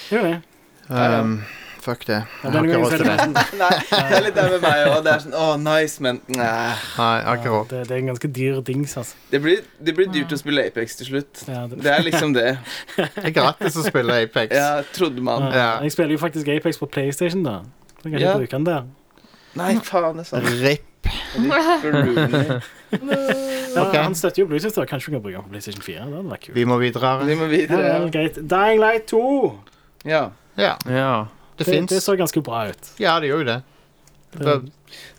S4: Det er jo det.
S2: Um, Fuck det.
S4: Ja,
S2: Jeg har ikke råd til det.
S3: Nei, det er litt det med meg òg. Det er sånn Å, nice, men nei.
S2: Nei, jeg har ikke råd.
S4: det, det er en ganske dyr dings, altså.
S3: Det blir, det blir dyrt å spille Apex til slutt.
S4: Ja, det-
S3: Det er liksom det.
S2: Det er gratis å spille Apex.
S3: Ja, trodde man.
S2: Ja.
S4: Jeg spiller jo faktisk Apex på PlayStation, da. Så Jeg kan ikke
S3: Ja.
S4: bruke den der.
S3: Nei, faen, det er sant.
S2: Rip.
S3: Ripper
S4: Ja,
S2: Ok.
S4: Han støtter jo Bluetooth, da. Kanskje du kan bruke den på PlayStation 4? Det hadde vært kult.
S2: Vi må videre.
S3: Vi må
S4: Ja, vel,
S3: videre.
S4: greit. Dying Light 2!
S3: Ja.
S2: Ja,
S5: Ja.
S2: det
S4: Det, det
S2: fins.
S4: så ganske bra ut.
S3: sånn-
S2: Ja, det gjør jo det.
S4: Det,
S2: Det-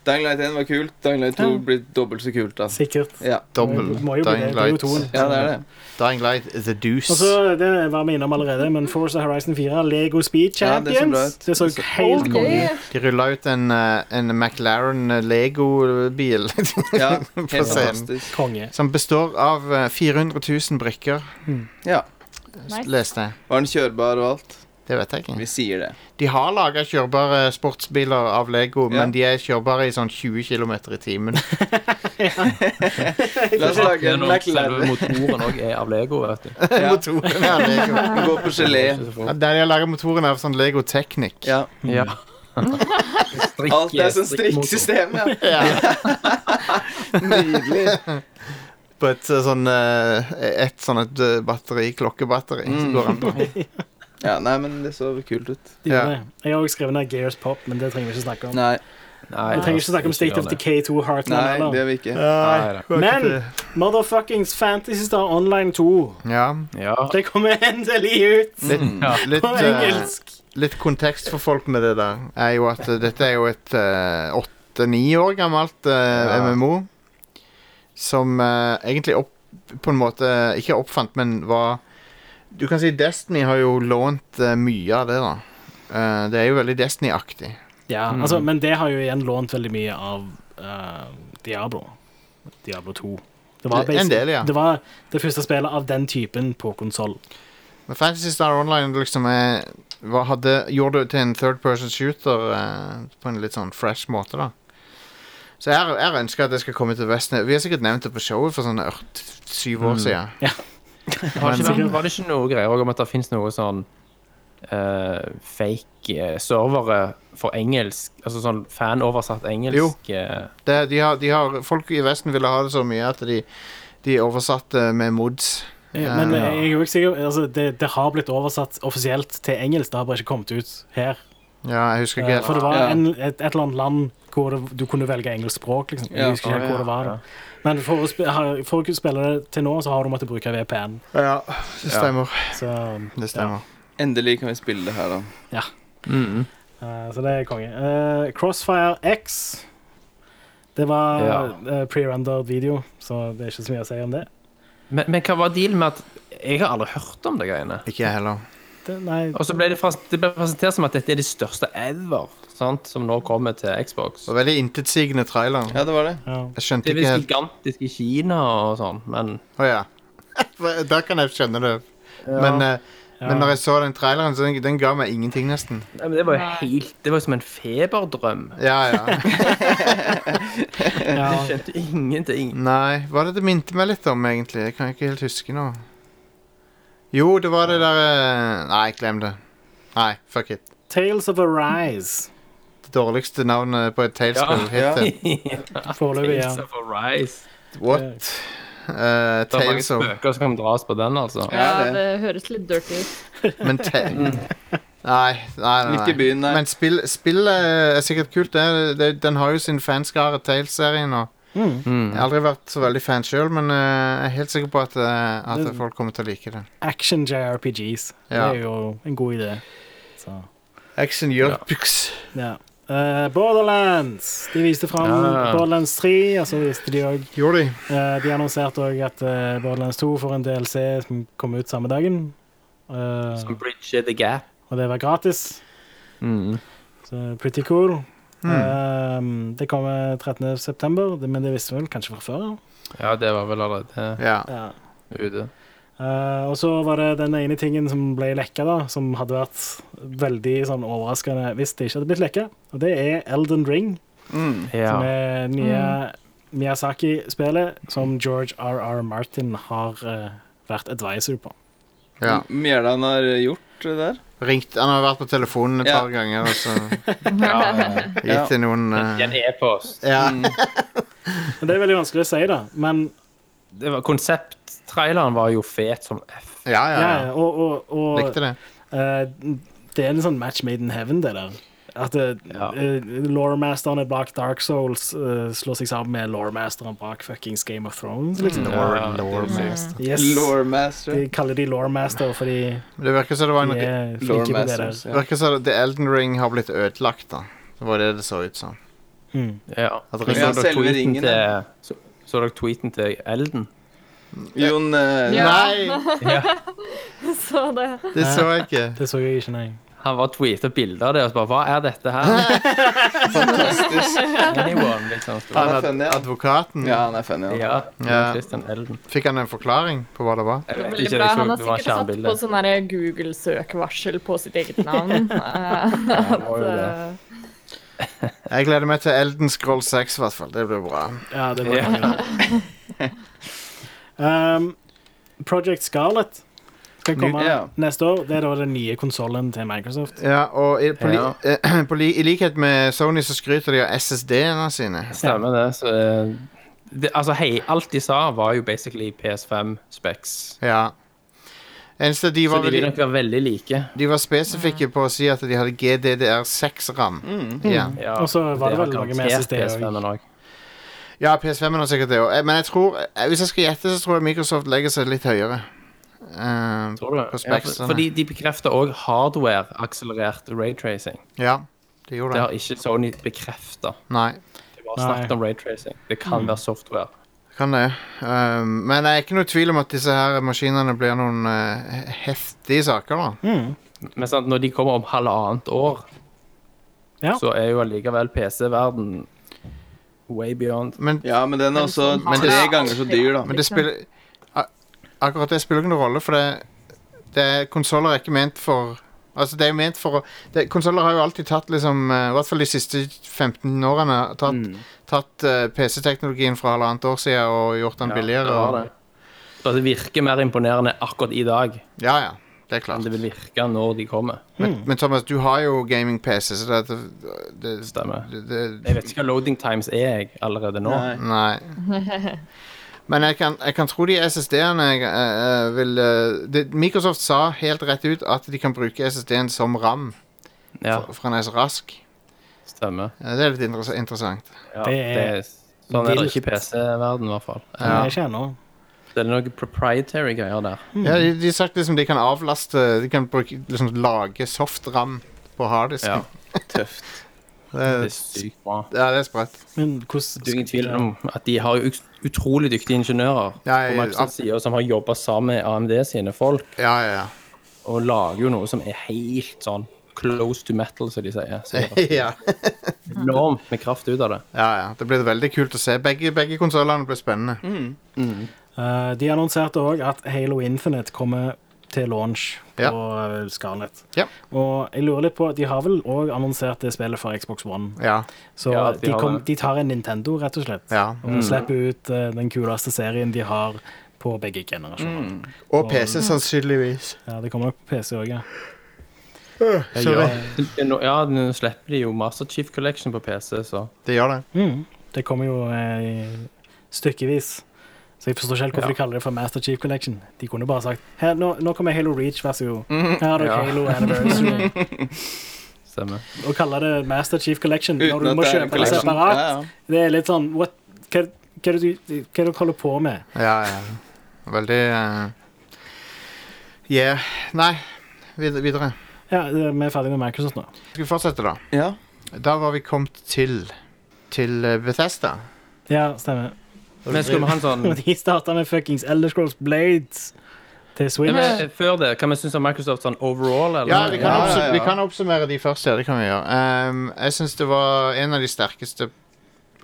S3: Dying Light 1 var kult. Dying Light 2 blir dobbelt så kult, altså.
S4: sikkert.
S3: Ja.
S2: Dobbel
S4: Det må jo bli
S2: Dying
S4: det. Det er jo
S2: Light.
S4: toen.
S3: ja, det er det.
S2: Dying Light The Deuce.
S4: Og så, det var vi innom allerede, men Forza Horizon 4, Lego Speed
S3: Ja, det så
S4: Champions
S3: bra ut.
S4: Det så
S3: Det så-
S4: helt konge ut.
S2: De rulla ut en, eh, en McLaren Lego-bil
S3: Ja,
S2: På
S3: helt
S2: scenen.
S3: fantastisk.
S4: Konge.
S2: som består av eh, 400 000 brikker,
S3: Ja.
S6: Nice.
S2: leste jeg.
S3: Var den kjørbar og alt?
S2: Det vet jeg ikke.
S3: Vi sier det.
S2: De har laga kjørbare sportsbiler av Lego,
S3: Ja.
S2: men de er kjørbare i sånn 20 km i timen.
S3: La oss lage en
S5: Men om Selve
S3: McLaren.
S5: motoren òg er av Lego, vet du.
S3: Ja.
S2: Motoren er Lego.
S3: Gå på gelé.
S2: Ja, Der de har laga motoren av sånn Lego Technic.
S3: Ja.
S5: Ja.
S3: Alt er sånn
S5: strikkmotor.
S3: strikksystem, ja.
S2: Nydelig. På et eh, sånn eh, Et sånn et eh, batteri, klokkebatteri,
S3: Mm.
S2: som går an på.
S3: Ja, Nei, men det så kult ut.
S4: De gjør
S2: Ja.
S4: det. Jeg har også skrevet ned Gears Pop, men det trenger vi ikke snakke om.
S3: Nei,
S5: Nei, altså,
S4: Vi trenger ikke snakke om State of Decay 2 Heartland
S3: nei, det
S4: heller.
S3: gjør vi ikke.
S5: Nei,
S4: Men motherfuckings Fantasy Star Online 2,
S2: Ja.
S5: Ja.
S4: det kommer endelig ut!
S2: Litt,
S3: Mm.
S2: litt,
S4: På
S2: eh,
S4: engelsk.
S2: litt kontekst for folk med det der er jo at eh, dette er jo et eh, åtte-ni år gammelt eh,
S5: Ja.
S2: MMO. Som eh, egentlig opp, på en måte ikke oppfant, men var Du kan si Destiny har jo lånt eh, mye av det, da. Eh, det er jo veldig Destiny-aktig.
S4: Ja,
S3: Mm.
S4: altså, men det har jo igjen lånt veldig mye av eh, Diablo. Diablo 2. Det var,
S2: En del, ja.
S4: det var det første spillet av den typen på konsoll.
S2: Men Fantasy Star Online liksom er, hva hadde, gjorde det til en third person shooter eh, på en litt sånn fresh måte, da. Så jeg, jeg ønsker at det skal komme til Vesten. Vi har sikkert nevnt det på showet for sånn ørt, syv år siden.
S5: Har ikke vært, var det ikke noe greier også om at det finnes noe sånn eh, fake eh, servere for engelsk Altså sånn fanoversatt engelsk
S2: Jo.
S5: eh,
S2: Det, de har, de har, folk i Vesten ville ha det så mye at de, de oversatte med mods. Ja.
S4: Men eh, jeg er jo ikke sikker altså, det, det har blitt oversatt offisielt til engelsk, det har bare ikke kommet ut her.
S2: Ja, jeg husker ikke
S4: Eh, For
S2: helt.
S4: det var
S3: Ja.
S4: en, et, et eller annet land hvor det, du kunne velge engelsk språk. Liksom.
S3: Ja.
S4: Jeg husker ikke helt hvor det var.
S5: Ja.
S4: Men for å, sp ha- for å kunne spille det til nå, så har du måttet bruke VPN.
S2: Ja, det stemmer.
S4: Så,
S2: Det stemmer.
S3: Endelig kan vi spille det her, da.
S4: eh, så det er konge. Eh, Crossfire X. Det var
S5: Ja.
S4: eh, pre-rendered video, så det er ikke så mye å si om det.
S5: Men, men hva var dealen med at Jeg har aldri hørt om det greiene.
S2: Ikke jeg heller.
S4: det nei,
S5: Og så ble det, fras- det ble presentert som at dette er det største ever, sant, som nå kommer til Xbox.
S2: Det var veldig intetsigende trailer.
S3: Ja, det var det.
S4: ja.
S2: Jeg skjønte
S5: Det er
S2: ikke
S5: visst
S2: helt
S5: gigantisk i Kina og sånn, men
S2: Å ja. Der kan jeg skjønne det. Men, eh, men når jeg så den traileren, så den, den ga meg ingenting, nesten.
S5: Nei, men det var jo helt Det var jo som en feberdrøm.
S2: Ja, ja.
S5: Jeg skjønte ingenting.
S2: Nei, hva er det det minte meg litt om, egentlig? Jeg kan ikke helt huske nå. Jo, det var det der eh, Nei, glem det. Nei, fuck it.
S4: Tales of Arise.
S2: Det dårligste navnet på et Tales-spill
S3: Ja, ja.
S2: hittil.
S4: Foreløpig, ja.
S5: Tales of Arise.
S2: What? Eh,
S5: Det er mange
S2: Tales of
S5: spøker som kan dras på den, altså.
S3: Ja,
S6: Ja,
S3: det.
S6: det høres litt dirty ut.
S2: Men te... Nei, nei, nei.
S3: Ikke byen, nei.
S2: Men spill, spillet er sikkert kult. Det, det, den har jo sin fanskare, Tales-serien. og Jeg har aldri vært så veldig fan sjøl, men eh, jeg er helt sikker på at, eh, at
S4: Det-
S2: folk kommer til å like det.
S4: Action JRPGs.
S2: Ja.
S4: Det er jo en god idé. Så,
S2: Action Jørpix.
S4: ja. Eh, Borderlands. De viste fram
S5: Ja.
S4: Borderlands 3, og så viste de òg
S2: Gjorde de?
S4: De annonserte òg at eh, Borderlands 2 får en DLC som kommer ut samme dagen. Eh,
S5: Som Bridge the Gap.
S4: og det var gratis.
S5: Mm.
S4: Så pretty cool. Eh, det kommer 13.9., men det visste vi vel kanskje fra før.
S5: Ja, det var vel allerede
S2: Ja.
S4: Ja.
S5: ute.
S4: Eh, og så var det den ene tingen som ble lekka, da, som hadde vært veldig sånn overraskende hvis det ikke hadde blitt lekka, og det er Elden Ring, som
S5: Ja.
S4: er nye Miyazaki-spelet som George R.R. Martin har eh, vært advisor på.
S2: ja.
S3: Mjælan har eh, gjort vært eh, der?
S2: Ringt, han har vært på telefonen et
S3: Ja.
S2: par ganger og så
S3: Ja.
S2: gitt til noen eh,
S5: I en e-post.
S2: ja.
S4: Men Det er veldig vanskelig å si, da. Men
S5: Det var- Konsepttraileren var jo fet som F.
S2: Ja, ja,
S4: ja,
S2: ja.
S4: ja, og, og, og
S2: Likte det.
S4: Eh, det er en sånn match made in heaven, det der. At uh,
S5: Ja.
S4: lawmasterne bak Dark Souls eh, slår seg sammen med lawmasteren bak fuckings Game of Thrones. Liksom.
S5: Ja, det er
S2: Loremaster.
S4: Yes.
S3: Loremaster.
S4: De kaller de lawmaster fordi
S2: Det virker som det var
S4: de
S2: en
S4: er flinke på det der.
S3: Loremasters.
S2: det
S3: Ja.
S2: virker som The Elden Ring har blitt ødelagt, da. Det var det det så ut som.
S4: Mm.
S5: Ja.
S2: At
S5: Men
S2: ringen-
S5: så
S3: Ja,
S5: dere
S3: selve
S5: tweeten
S3: ringen,
S5: Altså, til så- så dere tweeten til Elden?
S3: Jon eh,
S6: Ja.
S2: Nei!
S6: Så det
S2: Det så jeg ikke.
S4: Det så jeg ikke, nei.
S5: Han bare tweeta bilder av det og så bare Hva er dette her?
S3: Fantastisk.
S5: Anyone, liksom. Så bare,
S2: Han ad
S3: Han er funny, han.
S2: advokaten.
S3: Ja, han er funny, han.
S5: Ja,
S2: Ja.
S5: Christian Elden.
S2: Fikk han en forklaring på hva det var?
S5: Jeg
S6: Det er
S5: vet
S6: veldig
S5: ikke,
S6: bra.
S5: jeg så
S6: Han har
S5: det var
S6: sikkert satt på
S5: skjermbilde.
S6: sånn der Google-søkvarsel på sitt eget navn. Eh, at, eh,
S2: Jeg gleder meg til Elden Scroll 6, i hvert fall. Det blir bra.
S4: Ja, det var
S5: Ja.
S4: Um, Project Scarlet skal komme
S3: Ja.
S4: neste år. Det er da den nye konsollen til Microsoft.
S2: Ja, og i, på li,
S5: Ja.
S2: eh, på li, i likhet med Sony så skryter de av SSD-ene sine.
S5: Stemmer det. Så, eh, det altså, hei, alt de sa, var jo basically PS5-specs.
S2: Ja. Eneste de
S5: Så
S2: var,
S5: de
S2: veldig,
S5: vil nok være veldig like.
S2: de var spesifikke på å si at de hadde GDDR6-ram.
S5: Mm.
S2: Ja.
S5: Ja,
S4: Mm. Og så var det vel noe med
S5: garantert
S4: SSD
S5: PS5
S4: òg.
S5: -en også.
S2: ja, PS5 er sikkert det òg. Men jeg tror, eh, hvis jeg skal gjette, så tror jeg Microsoft legger seg litt høyere. Eh,
S5: Tror du det?
S2: På
S5: Ja,
S2: specsene.
S5: for, fordi de bekrefter òg hardware-akselerert raytracing.
S2: ja, de gjorde
S5: Det
S2: det.
S5: har ikke Sony bekrefta.
S2: Nei.
S5: De har
S4: Nei. Mm.
S5: snakket om raytracing. Det kan være software.
S2: Kan det. Um, men det er ikke noe tvil om at disse her maskinene blir noen eh, heftige saker,
S5: Mm.
S2: da.
S5: Men sant, når de kommer om halvannet år,
S4: Ja.
S5: så er jo allikevel PC-verden way beyond.
S2: Men,
S3: Ja, men den er også
S6: Men
S2: det-
S3: tre ganger så dyr, da.
S2: men det spiller a- Akkurat det spiller ikke noen rolle, for det, det konsoller er ikke ment for Altså, det er jo ment for å det- Konsoller har jo alltid tatt liksom eh, I hvert fall de siste 15 årene har tatt,
S5: Mm.
S2: tatt eh, PC-teknologien fra halvannet år siden og gjort den billigere.
S5: det var
S2: og-
S5: det. Så det virker mer imponerende akkurat i dag
S2: Ja, ja. Det er
S5: enn
S2: klart.
S5: det vil virke når de kommer.
S2: Men, men Thomas, du har jo gaming-PC, så det, det, det,
S5: Stemmer.
S2: det, det
S5: Jeg vet ikke hva loading times er jeg allerede nå.
S3: Nei.
S2: Nei. Men jeg kan, jeg kan tro de SSD-ene jeg, eh, eh, vil eh, det, Microsoft sa helt rett ut at de kan bruke SSD-en som RAM
S5: Ja,
S2: for, for en S-rask.
S5: stemmer.
S2: Eh, Det er litt interess interessant.
S5: Ja,
S4: Det
S5: det
S4: er
S5: er, sånn er det ikke i
S4: vilt.
S5: PC-verden, i hvert fall.
S4: Ja. Ikke ennå.
S5: Det er noen proprietary greier der.
S2: Ja, de, de har sagt liksom de kan avlaste De kan bruke, liksom, lage soft-ram på harddisken.
S5: Ja.
S3: Tøft.
S2: Det,
S5: Det
S2: er-
S5: er sykt bra.
S2: ja, det er sprøtt.
S4: Men hvordan
S5: Det er ingen tvil om at de har jo ut- utrolig dyktige ingeniører
S2: Ja, jeg-
S5: på Microsofts side, som har jobba sammen med AMD sine folk,
S2: Ja, ja, ja.
S5: og lager jo noe som er helt sånn close to metal, som de sier. Så det
S2: ja.
S5: er enormt med kraft ut av det.
S2: Ja, ja. Det blir veldig kult å se. Begge, begge konsollene blir spennende.
S4: Eh, de annonserte òg at Halo Infinite kommer til launch på
S2: Ja.
S4: eh, Scarlett.
S2: Ja.
S4: Og jeg lurer litt på De har vel òg annonsert det spillet for Xbox One.
S2: Ja.
S4: Så
S5: Ja, de
S4: de,
S5: har
S4: kom,
S5: det.
S4: de tar en Nintendo, rett og slett.
S2: Ja.
S3: Mm.
S4: Og slipper ut eh, den kuleste serien de har på
S3: Mm.
S4: begge generasjoner.
S2: Og PC, sannsynligvis.
S4: Ja, Det kommer nok på PC òg, ja.
S2: Sorry.
S5: Nå- Ja, nå slipper de jo Master Chief Collection på PC, så
S2: Det gjør det.
S4: Mm. Det kommer jo eh, stykkevis. Så jeg forstår ikke helt hvorfor
S5: Ja.
S4: de kaller det for Master Chief Collection. De kunne bare sagt her, nå, nå kommer Halo Reach, vær så god.
S3: Mm.
S4: Her har du
S5: Ja.
S4: Halo Anniversary.
S5: stemmer.
S4: Å kalle det Master Chief Collection når
S3: Uten
S4: du
S3: at
S4: må
S3: det er en
S4: kjøpe det
S3: collection.
S4: separat,
S3: Ja, ja.
S4: det er litt sånn what, hva, hva, er det du, hva er det du holder på med?
S2: Ja, ja. Veldig eh, Yeah. Nei, vid videre.
S4: Ja, eh, Vi er ferdig med Microsoft nå.
S2: Skal vi fortsette, da?
S3: Ja.
S2: Da var vi kommet til Til eh, Bethesda.
S4: Ja, stemmer.
S5: Men skal vi ha en sånn
S3: Mm.
S4: Og de starta med fuckings Elder Scrolls Blades til
S5: Ja,
S4: Switch.
S5: men eh, Før det, hva vi syns om Microsoft sånn overall, eller?
S2: Ja, vi kan,
S3: Ja,
S2: oppsum
S3: ja, ja.
S2: vi kan oppsummere de først, ja. Det kan vi gjøre. Ehm, jeg syns det var en av de sterkeste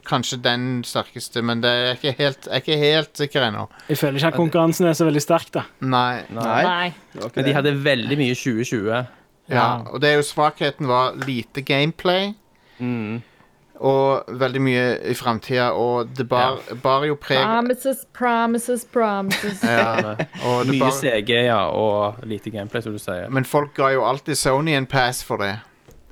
S2: Kanskje den sterkeste, men det er ikke helt, jeg er ikke helt sikker ennå.
S4: Jeg føler ikke at konkurransen er så veldig sterk, da.
S2: Nei.
S5: Nei.
S3: Nei.
S6: nei.
S3: det var ikke
S5: Men de
S3: det.
S5: hadde veldig mye 2020.
S3: Mm.
S2: Ja, og det er jo svakheten var lite gameplay. og veldig mye i framtida, og det bar, bar jo preg
S6: Promises, promises, promises. Oh,
S2: ja, og det
S5: Mye
S2: bar,
S5: CG ja, og lite gameplay, som du sier.
S2: Men folk ga jo alltid Sony en pass for det.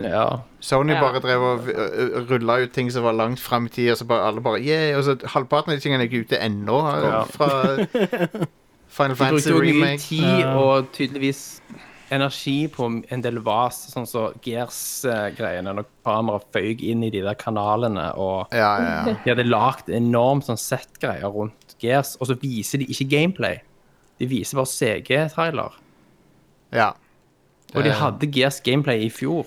S5: Ja.
S2: Sony
S6: Ja.
S2: bare drev og øh, rulla ut ting som var langt fram i tid, og så bare alle bare yeah, og så Halvparten av de tingene er ikke ute ennå eh,
S5: Ja.
S2: fra Final
S5: De
S2: Fantasy
S5: brukte jo mye
S2: Remake.
S5: tid og tydeligvis energi på en del vas, sånn som Gears-greiene, når kameraet føyk inn i de der kanalene og
S2: Ja, ja, ja.
S5: De hadde lagd enormt sånn sett-greier rundt Gears, og så viser de ikke gameplay. De viser bare CG-trailer.
S2: ja.
S5: Og de
S2: Eh.
S5: hadde Gears gameplay i fjor.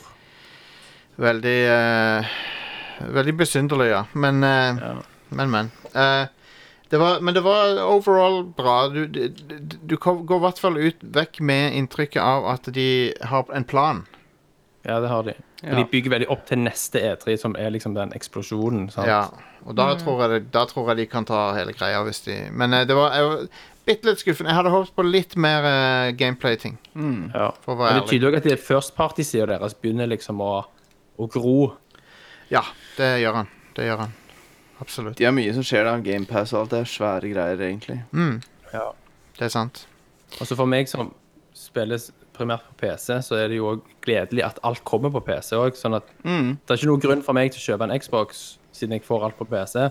S2: Veldig eh, Veldig besynderlig, ja. Men, eh,
S5: Ja.
S2: men, men. Eh, det var, men det var overall bra. Du, du, du- du kom- går i hvert fall ut vekk med inntrykket av at de har en plan.
S5: Ja, det har de. Og de bygger veldig opp til neste E3, som er liksom den eksplosjonen. Sant?
S2: Ja, og da tror, jeg, det- da tror jeg de kan ta hele greia. Hvis de, men eh, det var, jeg var bitte litt skuffende. Jeg hadde håpet på litt mer eh, gameplay-ting.
S5: Ja.
S2: For å
S5: Men
S2: være
S5: det
S2: ærlig.
S5: tyder òg at det er first party-sida deres begynner liksom å, å gro.
S2: Ja, det gjør han. Det gjør han. Absolutt.
S3: De har mye som skjer da. GamePass og alt. Det er svære greier, egentlig.
S2: Det er sant.
S5: Og så Altså, for meg som spilles primært på PC, så er det jo òg gledelig at alt kommer på PC òg. Sånn at det er ikke noen grunn for meg til å kjøpe en Xbox siden jeg får alt på PC.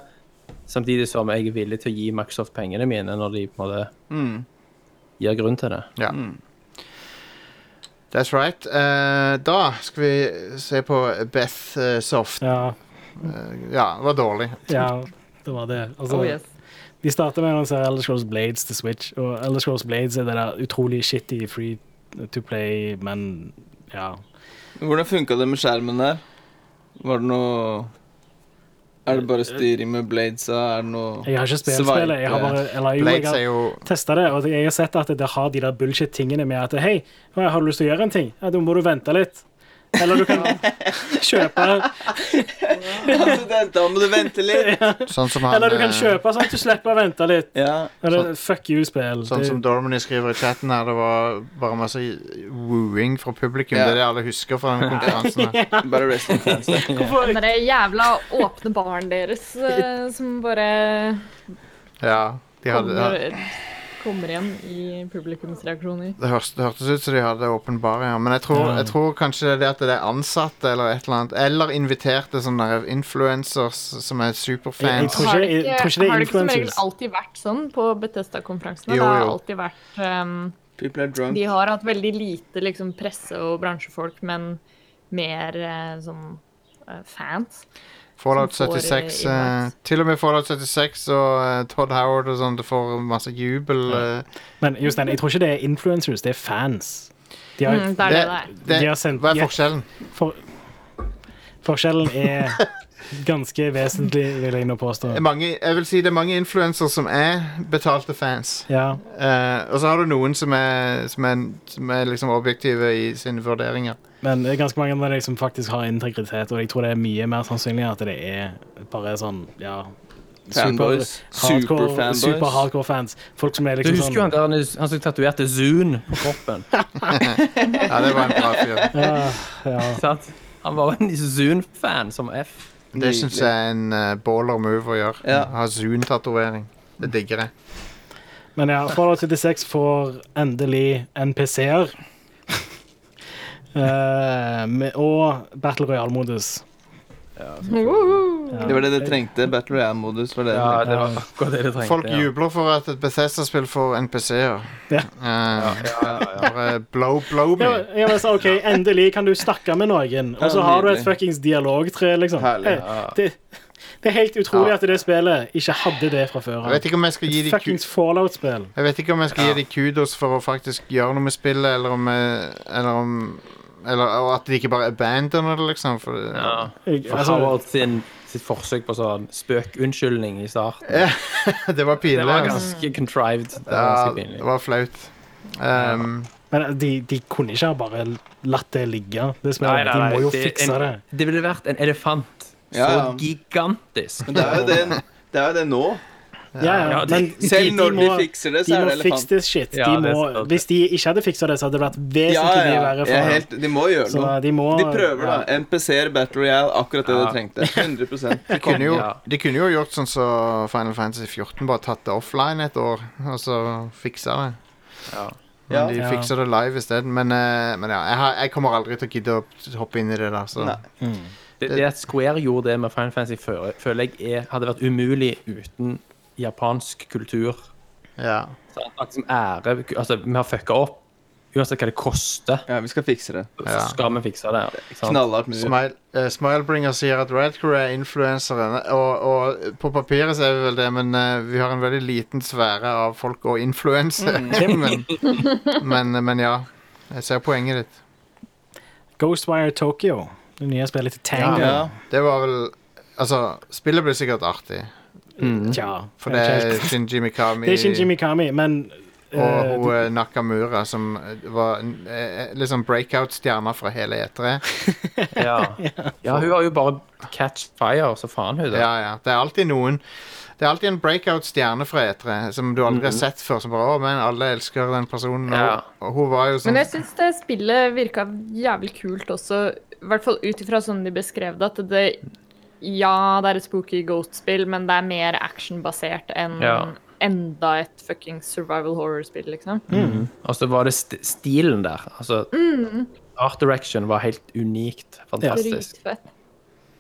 S5: Samtidig som jeg er villig til å gi Microsoft pengene mine når de på en måte gir grunn til det.
S2: Ja.
S4: Mm.
S2: That's right. Eh, da skal vi se på Beth eh, Soft.
S4: Ja,
S2: Ja, det var dårlig.
S4: ja, det var det. Altså,
S6: Oh yes.
S4: De starter med å annonsere Elder Scrolls Blades til Switch, og Elder Scrolls Blades er det der utrolig shitty free to play, men ja.
S3: Hvordan funka det med skjermen der? Var det noe Er det bare styring med bladesa? Er det noe
S4: Jeg har ikke spilt
S3: Swipe.
S4: spillet. Jeg har bare, eller, jo, jeg
S2: Blades
S4: har,
S2: er jo
S4: testa det, og jeg har sett at det har de der bullshit-tingene med at hei, har du lyst til å gjøre en ting? Ja, da må du vente litt. Eller du kan kjøpe
S3: Altså, det- Da må du vente litt!
S2: sånn som han
S4: Eller du kan
S2: eh,
S4: kjøpe sånn at du slipper å vente litt.
S3: Ja.
S4: Eller fuck you-spill.
S2: Sånn som Dormany skriver i chatten her, det var bare masse wooing fra publikum.
S3: Ja.
S2: Det er det alle husker fra den konkurransen. her.
S3: Bare rest in peace.
S4: Hvorfor
S6: Den derre jævla åpne baren deres eh, som bare
S2: Ja, de hadde,
S6: kommer, kommer igjen i publikumsreaksjoner.
S2: det, hørtes, det hørtes ut som de hadde åpenbare, ja. Men jeg tror,
S4: Ja.
S2: jeg tror kanskje det er det at det er ansatte eller et eller annet, eller inviterte sånne der influencers som er
S4: Jeg- jeg
S2: superfans.
S4: tror ikke-
S6: Har det
S4: jeg tror ikke det er
S6: har det ikke som regel
S4: influencers.
S6: alltid vært sånn på Bethesda-konferansene?
S2: Jo,
S6: Det har
S2: jo.
S6: alltid vært ehm,
S3: People are drunk.
S6: De har hatt veldig lite liksom, presse og bransjefolk, men mer eh, sånn eh, fans.
S2: Fallout
S6: som får, eh,
S2: 76 eh,
S6: innmaks.
S2: Til og med Fallout 76 og eh, Todd Howard og sånn, det får masse jubel. eh.
S4: Men Jostein, jeg tror ikke det er influencers, det er fans. De har,
S6: Mm, det er det det er.
S2: det,
S4: De har sendt-
S2: hva
S4: de
S2: er
S4: har-
S2: forskjellen?
S4: for, forskjellen er ganske vesentlig, vil jeg nå påstå.
S2: Det er Mange, jeg vil si det er mange influenser som er betalte fans.
S4: Ja,
S2: Eh, og så har du noen som er, som er, som er liksom objektive i sine vurderinger.
S4: men det er ganske mange av de som faktisk har integritet, og jeg tror det er mye mer sannsynlig at det er bare sånn, ja
S3: Fanboys.
S4: Hardcore,
S3: Superfanboys.
S4: Super hardcore fans. Folk som er
S5: Du
S4: liksom
S5: husker jo
S4: sånn
S5: han, der, han som tatoverte Zoon på kroppen.
S2: Ja, det var en bra fyr.
S4: ja, ja.
S5: sant? Han var jo en Zoon-fan som F.
S2: Det syns jeg er en eh, baller move å gjøre.
S3: Ja.
S2: Ha Zoon-tatovering. Det digger jeg.
S4: Men ja, Fallout 76 får endelig NPC-er. Eh, med- og Battle Royale-modus.
S6: Woohoo!
S4: Ja.
S3: Det var det det trengte. Battle Royale-modus var det.
S5: Ja, det var akkurat det de trengte.
S2: Folk
S5: ja.
S2: jubler for at et Bethesda-spill får NPC-er.
S4: Ja.
S2: Eh, bare blow, blow me.
S4: Ja, ja, men så, ok, Endelig kan du snakke med noen, og så har du et fuckings dialogtre. liksom.
S3: Herlig,
S4: Eh, Det, det er helt utrolig at det spillet ikke hadde det fra før.
S2: Jeg vet ikke om jeg skal gi
S4: Et
S2: de ku
S4: fuckings Fallout-spill.
S2: Jeg vet ikke om jeg skal gi dem kudos for å faktisk gjøre noe med spillet, eller om, jeg- eller om eller, og at de ikke bare abandoner det, liksom. For,
S5: Ja.
S4: Jeg-
S5: For
S4: altså,
S5: Howard sin, sitt forsøk på sånn spøkunnskyldning i starten.
S2: Det var pinlig.
S5: Det var
S2: altså.
S5: ganske contrived. Det var
S2: Ja,
S5: ganske
S2: det
S5: pinlig.
S2: var flaut. Um,
S4: Men de, de kunne ikke ha bare latt det ligge. det
S5: Nei,
S4: spillet.
S5: nei,
S4: De
S5: nei,
S4: må jo
S5: det-
S4: fikse
S5: en-
S4: det.
S5: Det ville vært en elefant.
S3: Ja, ja.
S5: Så gigantisk.
S3: Men det er jo det, det, er jo det nå.
S4: Ja, ja,
S5: Ja, de-
S4: men de,
S3: Selv
S4: de
S3: når
S4: må,
S3: de fikser det,
S4: de
S3: så er
S4: må
S3: det sånn-
S4: fix
S3: elefant.
S4: this shit.
S5: Ja,
S4: de
S5: det er
S4: må,
S5: sant.
S4: hvis de ikke hadde fiksa det, så hadde det vært
S3: Ja,
S4: vesentlig mye
S3: ja.
S4: verre
S3: Jeg er
S4: for
S3: helt, de må gjøre
S4: Så
S3: noe.
S4: de må
S3: De prøver, da.
S4: ja.
S3: NPC-er, Battle Royale, akkurat det
S5: Ja.
S3: de trengte. 100
S5: Kom,
S2: Kunne jo,
S5: ja.
S2: de kunne jo gjort sånn som Final Fantasy 14, bare tatt det offline et år, og så fiksa det.
S5: Ja.
S2: Men
S3: Ja.
S2: de
S4: Ja.
S2: fikser det live isteden. Men, eh, men ja, jeg, har, jeg kommer aldri til å gidde å hoppe inn i det der, så
S3: Nei.
S5: Det, det at Square gjorde det med Final Fantasy før, føler jeg er, hadde vært umulig uten japansk kultur.
S2: ja.
S5: Så at liksom ære, altså, Vi har fucka opp. Uansett hva det koster,
S3: Ja, vi skal fikse det.
S5: så
S2: Ja.
S5: skal vi fikse det. ikke sant?
S3: Knallhardt mye.
S2: Smile, eh, Smilebringer sier at Radcrew er influenseren, og, og på papiret så er vi vel det, men eh, vi har en veldig liten sfære av folk å influense.
S4: Mm.
S2: men, men, men ja, jeg ser poenget ditt.
S4: Ghostwire Tokyo. Det nye spillet til Tango.
S3: Ja.
S2: Det var vel Altså, spillet blir sikkert artig,
S4: Tja.
S2: Mm. for
S4: jeg
S2: det
S4: vet ikke
S2: er
S4: helt.
S2: Shinji Mikami,
S4: det er Shinji Mikami, men
S2: og
S4: eh,
S2: hun eh, Nakamura, som eh, var eh, liksom breakout-stjerna fra hele E E3.
S5: Ja. ja, hun har jo bare catch fire, så faen hun det.
S2: Ja, ja. Det er alltid noen Det er alltid en breakout-stjerne fra E3 som du aldri har sett før. Som bare, å, men alle elsker den personen. Og,
S5: Mm. Ja.
S2: og hun var jo sånn
S6: Men jeg syns det spillet virka jævlig kult også, i hvert fall ut ifra sånn de beskrev det, at det Ja, det er et spooky ghost-spill, men det er mer actionbasert enn
S5: Ja.
S6: enda et fucking survival horror-spill, liksom.
S5: Og så var det st stilen der. Altså, Art direction var helt unikt. Fantastisk.
S6: Dritfett.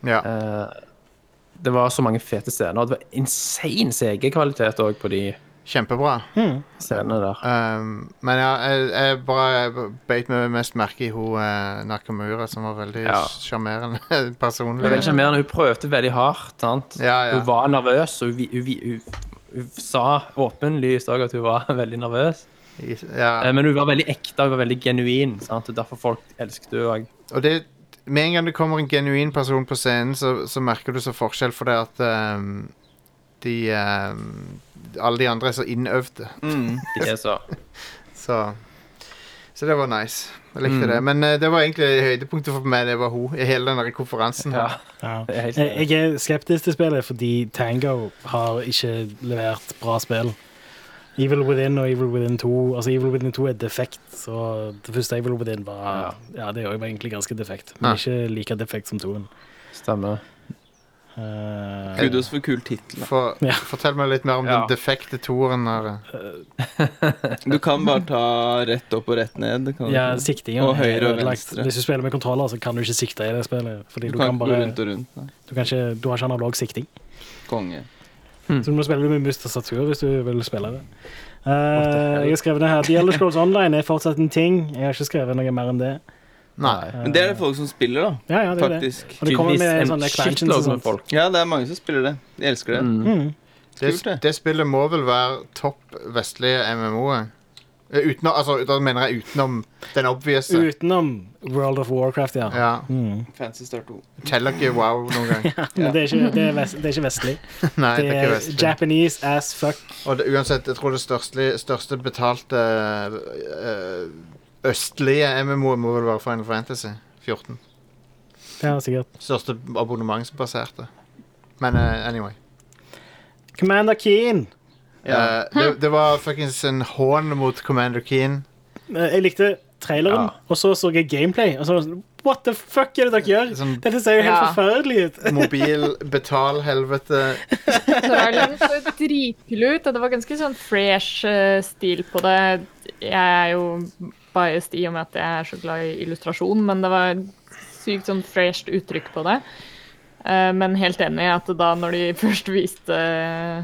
S2: ja.
S5: Eh, det var så mange fete scener. og Det var insane CG-kvalitet òg på de
S2: Kjempebra.
S6: Mm.
S5: scenene der.
S2: Um, men ja, jeg, jeg bare beit meg mest merke i hun eh, Nakamura, som var veldig
S5: Ja.
S2: sjarmerende
S5: Det var
S2: personlig.
S5: veldig sjarmerende. Hun prøvde veldig hardt. sant?
S2: Ja, ja.
S5: Hun var nervøs, og hun, vi- hun, vi- hun, hun sa åpenlyst òg at hun var veldig nervøs. Eh,
S2: Ja.
S5: Men hun var veldig ekte hun var veldig genuin. sant? Og Derfor folk elsket henne òg.
S2: Og det med en gang det kommer en genuin person på scenen, så, så merker du så forskjell, for det at um, de um, Alle de andre er så innøvde.
S5: De er så
S2: Så, så det var nice. Jeg likte det. Men eh, det var egentlig høydepunktet for meg. Det var hun i hele den der konferansen.
S5: Ja,
S4: ja.
S5: det er helt
S4: Jeg jeg er skeptisk til spillet fordi Tango har ikke levert bra spill. Evil Within og Evil Within 2 Altså Evil Within 2 er defekt, så det første Evil Within var Ja, det er jo egentlig ganske defekt, men
S2: Ja.
S4: ikke like defekt som 2-en.
S5: Stemmer.
S4: Eh,
S3: Gud, oss for kul tittel.
S2: For,
S4: Ja.
S2: Fortell meg litt mer om
S5: Ja.
S2: den defekte toeren her.
S3: Du kan bare ta rett opp og rett ned. Kan du
S4: ja,
S3: ikke?
S4: siktingen
S3: Og høyre og
S4: ødelagt.
S3: venstre.
S4: Hvis du spiller med kontroller, så kan du ikke sikte i det spillet. Fordi
S3: du
S4: du,
S3: kan
S4: kan
S3: ikke gå
S4: bare
S3: rundt og rundt. Nei.
S4: du, kan ikke, du har ikke analog sikting.
S3: Konge.
S4: Så du må spille med mus og statur hvis du vil spille det. Eh, jeg har skrevet det her. The Elder Scrolls Online er fortsatt en ting. Jeg har ikke skrevet noe mer enn det.
S2: Nei.
S3: Men det er det folk som spiller, da.
S4: Ja, ja, det er det.
S3: Faktisk.
S4: Og det kommer med
S5: Tydeligvis en
S4: sånne expansions og sånn.
S5: shitload med
S4: sånt.
S5: folk.
S3: Ja, det er mange som spiller det. De elsker det.
S2: Det,
S3: Kult, det.
S2: det spillet må vel være topp vestlige MMO-et? Eh, Utenom, altså, da mener jeg utenom den obvious.
S4: Utenom World of Warcraft, ja. Mm.
S2: Ja.
S3: Fancy Star 2.
S2: Teller ikke wow noen gang.
S4: Men det er ikke, det er vest, det er ikke vestlig.
S2: Nei,
S4: Det er
S2: vestlig.
S4: Japanese as fuck.
S2: Og det, uansett, jeg tror det største, største betalte eh, østlige MMO-et må vel være Final Fantasy 14.
S4: Ja, sikkert.
S2: Største abonnementsbaserte. Men eh, anyway.
S4: Commander Keen.
S2: Eh, det, det var fuckings en hån mot Commander Keen.
S4: Eh, Jeg likte traileren,
S5: Ja.
S4: og så så jeg gameplay. Og så var jeg sånn, What the fuck er det dere gjør?
S2: Sånn-
S4: Dette ser jo helt
S6: Ja.
S4: forferdelig ut.
S2: Mobil, betal, helvete.
S6: Traileren så dritkul ut, og det var ganske sånn fresh eh, stil på det. Jeg er jo biased i og med at jeg er så glad i illustrasjon, men det var sykt sånn fresht uttrykk på det. Eh, Men helt enig i at da når de først viste eh,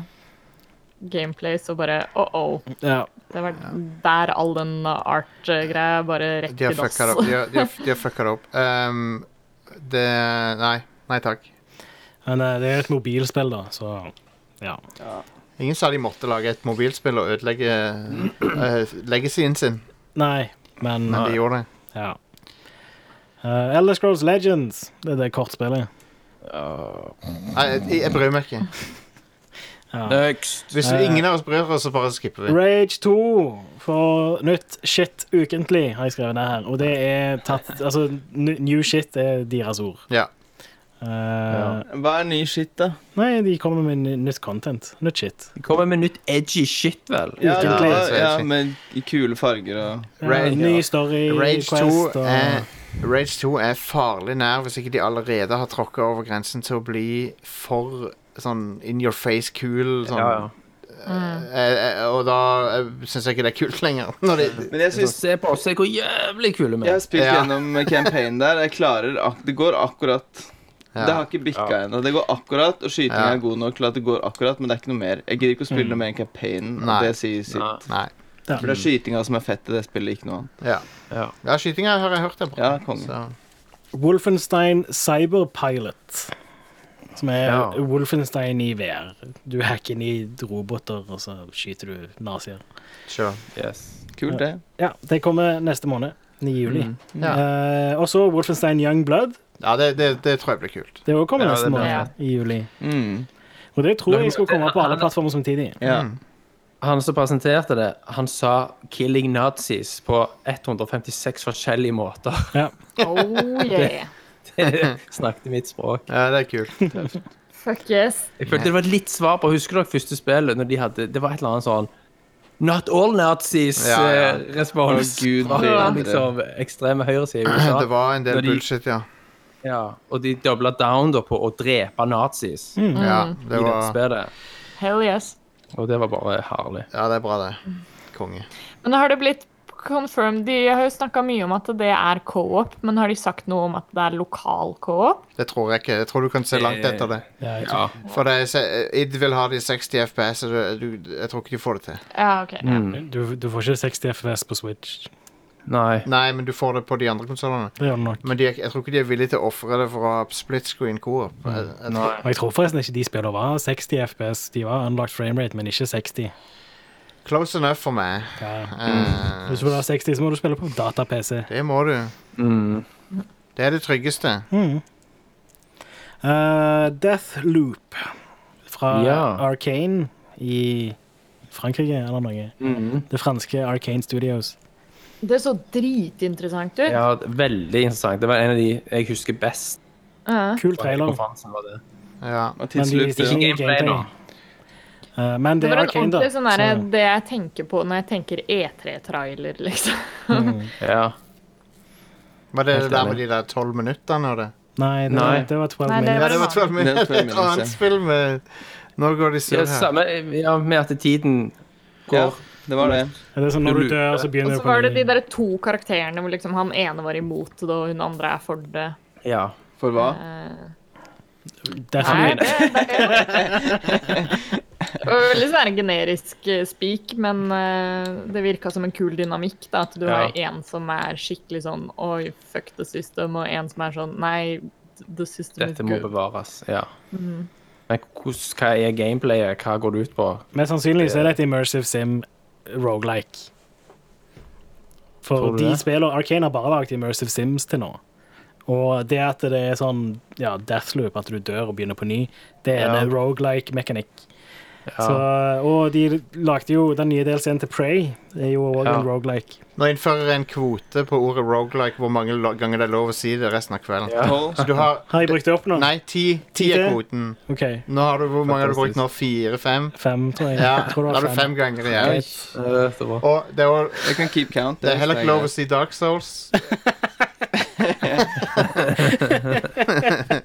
S6: gameplay, så bare oh-oh.
S4: Ja.
S6: Det var der all den eh, art-greia bare
S2: De har
S6: rekker
S2: fucka det
S6: oss.
S2: opp. De har, de har, de har fucka det opp. Ehm, det Nei. Nei takk.
S4: Men eh, det er et mobilspill, da, så ja.
S2: Ingen sa de måtte lage et mobilspill og ødelegge eh, legacyen sin,
S4: Nei, men
S2: men de gjorde det.
S4: ja. Eh, Elder Scrolls Legends. Det er det kortspillet.
S2: Nei, jeg, jeg bryr meg ikke.
S5: Next!
S2: Hvis
S4: Eh.
S2: ingen av oss bryr oss, så bare skipper vi.
S4: Rage 2 for nytt shit ukentlig, har jeg skrevet ned her. Og det er tatt Altså, n- new shit er deres ord.
S2: Ja.
S4: Eh,
S3: Hva er ny shit, da?
S4: Nei, de kommer med ny- nytt content. Nytt shit.
S5: De kommer med nytt edgy shit, vel?
S3: Ja,
S4: Ukentlig.
S3: ja,
S2: Så er det
S3: ja,
S2: shit.
S3: med kule farger og
S4: Ja,
S5: Rage,
S4: ny story,
S2: Rage
S4: Quest
S2: 2
S4: og
S2: er, Rage 2 er farlig nær hvis ikke de allerede har tråkka over grensen til å bli for sånn in your face cool. Sånn.
S5: Ja, ja.
S6: Mm.
S2: Eh, eh, og da syns jeg ikke det er kult lenger. Når de,
S3: Men jeg
S5: Så
S3: syns
S5: se på oss, se hvor jævlig kule vi
S3: Jeg
S5: er.
S3: har spilt
S2: Ja.
S3: gjennom campaignen der. Jeg klarer ak Det går akkurat.
S2: Ja.
S3: Det har ikke bikka ennå. Det går akkurat, og skytinga
S2: Ja.
S3: er god nok til at det går akkurat, men det er ikke noe mer. Jeg gidder ikke å spille noe mer enn campaignen.
S2: Nei.
S3: og Det sier sitt.
S5: Nei.
S2: nei.
S3: For det er skytinga som er fett i det spillet, ikke noe annet.
S2: Ja,
S5: Ja.
S2: ja skytinga har jeg hørt er bra.
S3: Ja, konge.
S2: Så,
S4: Wolfenstein Cyberpilot. Som er
S5: Ja.
S4: Wolfenstein i VR. Du hacker inn i roboter, og så skyter du nazier.
S2: sure.
S5: Yes.
S3: Kult, det.
S4: Ja, det kommer neste måned. 9. juli.
S2: ja.
S4: Eh, og så Wolfenstein Young Blood.
S2: ja det, det, det tror jeg blir kult.
S4: Det også kommer
S5: Ja,
S4: neste
S5: det blir
S4: måned.
S6: fett.
S4: I juli.
S3: Mm.
S4: Og det tror jeg skal komme på alle
S5: Det-
S4: plattformer samtidig.
S3: Ja.
S2: Mm.
S5: Han som presenterte det, han sa 'killing nazis' på 156 forskjellige måter.
S4: Ja.
S6: Oh yeah.
S5: Det snakket mitt språk.
S2: Ja, det er kult.
S6: Fuck yes.
S5: Jeg følte det var et litt svar på Husker dere første spillet, når de hadde Det var et eller annet sånn Not all
S2: Ja, ja.
S5: Nazis-respons.
S3: Å, Gud,
S5: fra
S3: bedre.
S5: liksom ekstreme høyresiden i USA.
S2: Det var en del
S5: Når de-
S2: bullshit, ja.
S5: Ja, og de dobla down da på å drepe nazis
S2: ja
S5: i
S2: Mm. det,
S5: det
S2: var,
S5: spillet.
S6: Hell yes.
S5: Og det var bare herlig.
S2: ja, det er bra, det. Konge.
S6: Men har det blitt confirmed De har jo snakka mye om at det er co-op, men har de sagt noe om at det er lokal co-op?
S2: Det tror jeg ikke. Jeg tror du kan se langt etter det.
S5: Ja.
S2: For det er, se- id vil ha de 60 FPS, så du, du, jeg tror ikke de får det til.
S6: Ja, OK.
S4: Mm.
S6: Ja.
S5: Mm.
S4: Du, du får ikke 60 FS på Switch.
S5: Nei.
S2: Nei, men du får det på de andre konsollene.
S4: Det gjør du nok.
S2: Men de, er ikke- jeg tror ikke de er villige til å ofre det for å ha split screen co-op. Jeg- jeg tror-
S4: Og jeg tror forresten ikke de spillene var 60 FPS. De var unlocked framerate, men ikke 60.
S2: Close enough for meg.
S4: Ja.
S2: Eh,
S4: Hvis du vil ha 60, så må du spille på data-PC.
S2: det må du.
S5: Mm.
S2: Det er det tryggeste.
S4: Uh, Deathloop fra
S5: Ja.
S4: Arcane i Frankrike eller noe.
S5: Mm.
S4: Det franske Arcane Studios.
S6: Det så dritinteressant ut.
S5: Ja, det er veldig interessant. Det var en av de jeg husker best.
S6: Ja.
S5: fra
S4: Kul
S5: hele
S4: trailer,
S5: konferansen, var det.
S2: Ja.
S3: Og
S4: men de
S3: tidslukt.
S4: viste ikke
S5: ja.
S4: noe
S5: Gameplay,
S4: gameplay. Uh, men
S6: Det
S4: det
S6: var
S4: er
S6: en
S4: Arcane, da.
S6: ordentlig sånn derre
S4: så-
S6: Det jeg tenker på når jeg tenker E3-trailer, liksom.
S5: Ja.
S2: Var det det
S5: Helt
S2: der
S5: enig.
S2: med de der tolv minuttene og det?
S4: Nei, det,
S5: Nei.
S4: Var, det var 12
S6: Nei, det
S2: Ja,
S4: minutes.
S2: det var
S6: det
S2: tolv
S3: Det er
S2: minutter.
S3: 12
S2: Et
S3: minutter.
S2: annet spill med Nå går de
S5: ja,
S2: sur her.
S5: samme ja, med at tiden går
S3: Ja, det var det.
S4: Det er sånn når du dør, så
S6: Og
S4: begynner
S6: så
S4: du på
S6: var det
S4: ny.
S6: de der to karakterene hvor liksom han ene var imot det, og hun andre er for det.
S5: Ja.
S3: For hva?
S6: Eh, Nei, det,
S4: Deathloop.
S6: det, det var veldig sånn her generisk eh, speak, men eh, det virka som en kul dynamikk. da, At du har en som er skikkelig sånn Oi, fuck the system, og en som er sånn Nei, the system
S5: Dette
S6: is
S5: må
S6: good.
S5: bevares. Ja.
S4: Mm.
S5: Men hvordan, hva er gameplayet? Hva går det ut på?
S4: Mest sannsynlig så er det et immersive sim roguelike.
S5: Tror
S4: For
S5: du
S4: de
S5: det?
S4: spiller Arcane har bare laget immersive sims til nå. Og det at det er sånn ja, deathloop, at du dør og begynner på ny, det er
S5: Ja.
S4: en roguelike mekanikk.
S5: Ja.
S4: Så, og de lagde jo den nye delscenen til Prey. Det er jo òg
S5: Ja.
S4: en roguelike.
S2: Nå innfører jeg en kvote på ordet roguelike hvor mange lo- ganger det er lov å si det resten av kvelden.
S3: Tolv?
S2: Så du har
S4: Har jeg brukt det opp nå?
S2: Nei, ti. Ti er kvoten.
S4: OK.
S2: Nå har du, Hvor mange har du brukt nå? Fire-fem?
S4: Fem, tror jeg.
S2: Ja,
S4: jeg tror
S2: da
S4: det
S2: har
S4: var
S2: du fem ganger igjen.
S5: Eh, det var-
S2: Og det er, jo-
S3: Jeg kan keep count.
S2: det er heller ikke lov å
S3: greit.
S2: si Dark Souls.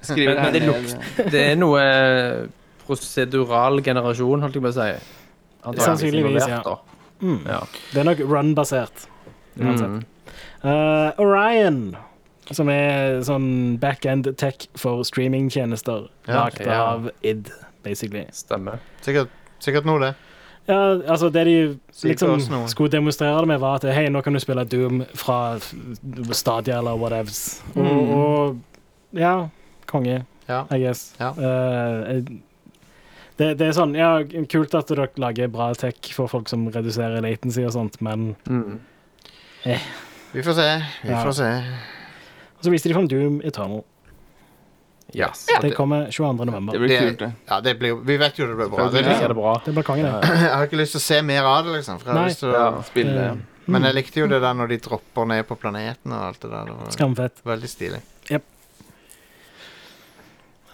S3: Skriv det
S5: Men
S3: her
S5: det
S3: ned.
S5: Det er noe eh, prosedural generasjon, holdt jeg på å si. Antageligvis
S4: Sannsynligvis, ja.
S5: involvert, da.
S4: Mm.
S5: Ja. Mm.
S4: Det er nok run-basert. uansett. Eh, Orion, som er sånn backend tech for streamingtjenester,
S2: Ja.
S4: lagt
S5: Ja.
S4: av id, basically.
S5: Stemmer.
S2: Sikkert, sikkert noe, det.
S4: Ja, altså Det de
S2: Si til oss
S4: liksom
S2: nå.
S4: skulle demonstrere det med, var at hei, nå kan du spille Doom fra Stadia eller whatevs. Og,
S2: Mm.
S4: og ja, konge,
S2: Ja.
S4: I guess.
S2: Ja.
S4: Eh, det, det er sånn, ja, Kult at dere lager bra tech for folk som reduserer latency og sånt, men
S2: Vi får se. Vi
S4: Ja.
S2: får se.
S4: Og så viste de fram Doom Eternal.
S5: Yes.
S2: Ja,
S4: Det
S2: det,
S4: kommer 22. november.
S3: Det blir
S2: Det-
S3: kult, det.
S2: ja, det blir, vi vet jo det blir bra.
S5: Ja,
S2: Det, liksom-
S5: det er det bra.
S4: Det blir konge, det.
S2: jeg har ikke lyst til å se mer av det, liksom. For jeg har
S4: Nei. Mm.
S2: lyst til
S3: Ja,
S2: å,
S3: spille
S4: Eh,
S3: det.
S2: men jeg likte jo det der når de dropper ned på planeten og alt det der. Det var
S4: Skamfett.
S2: veldig stilig.
S4: Jep.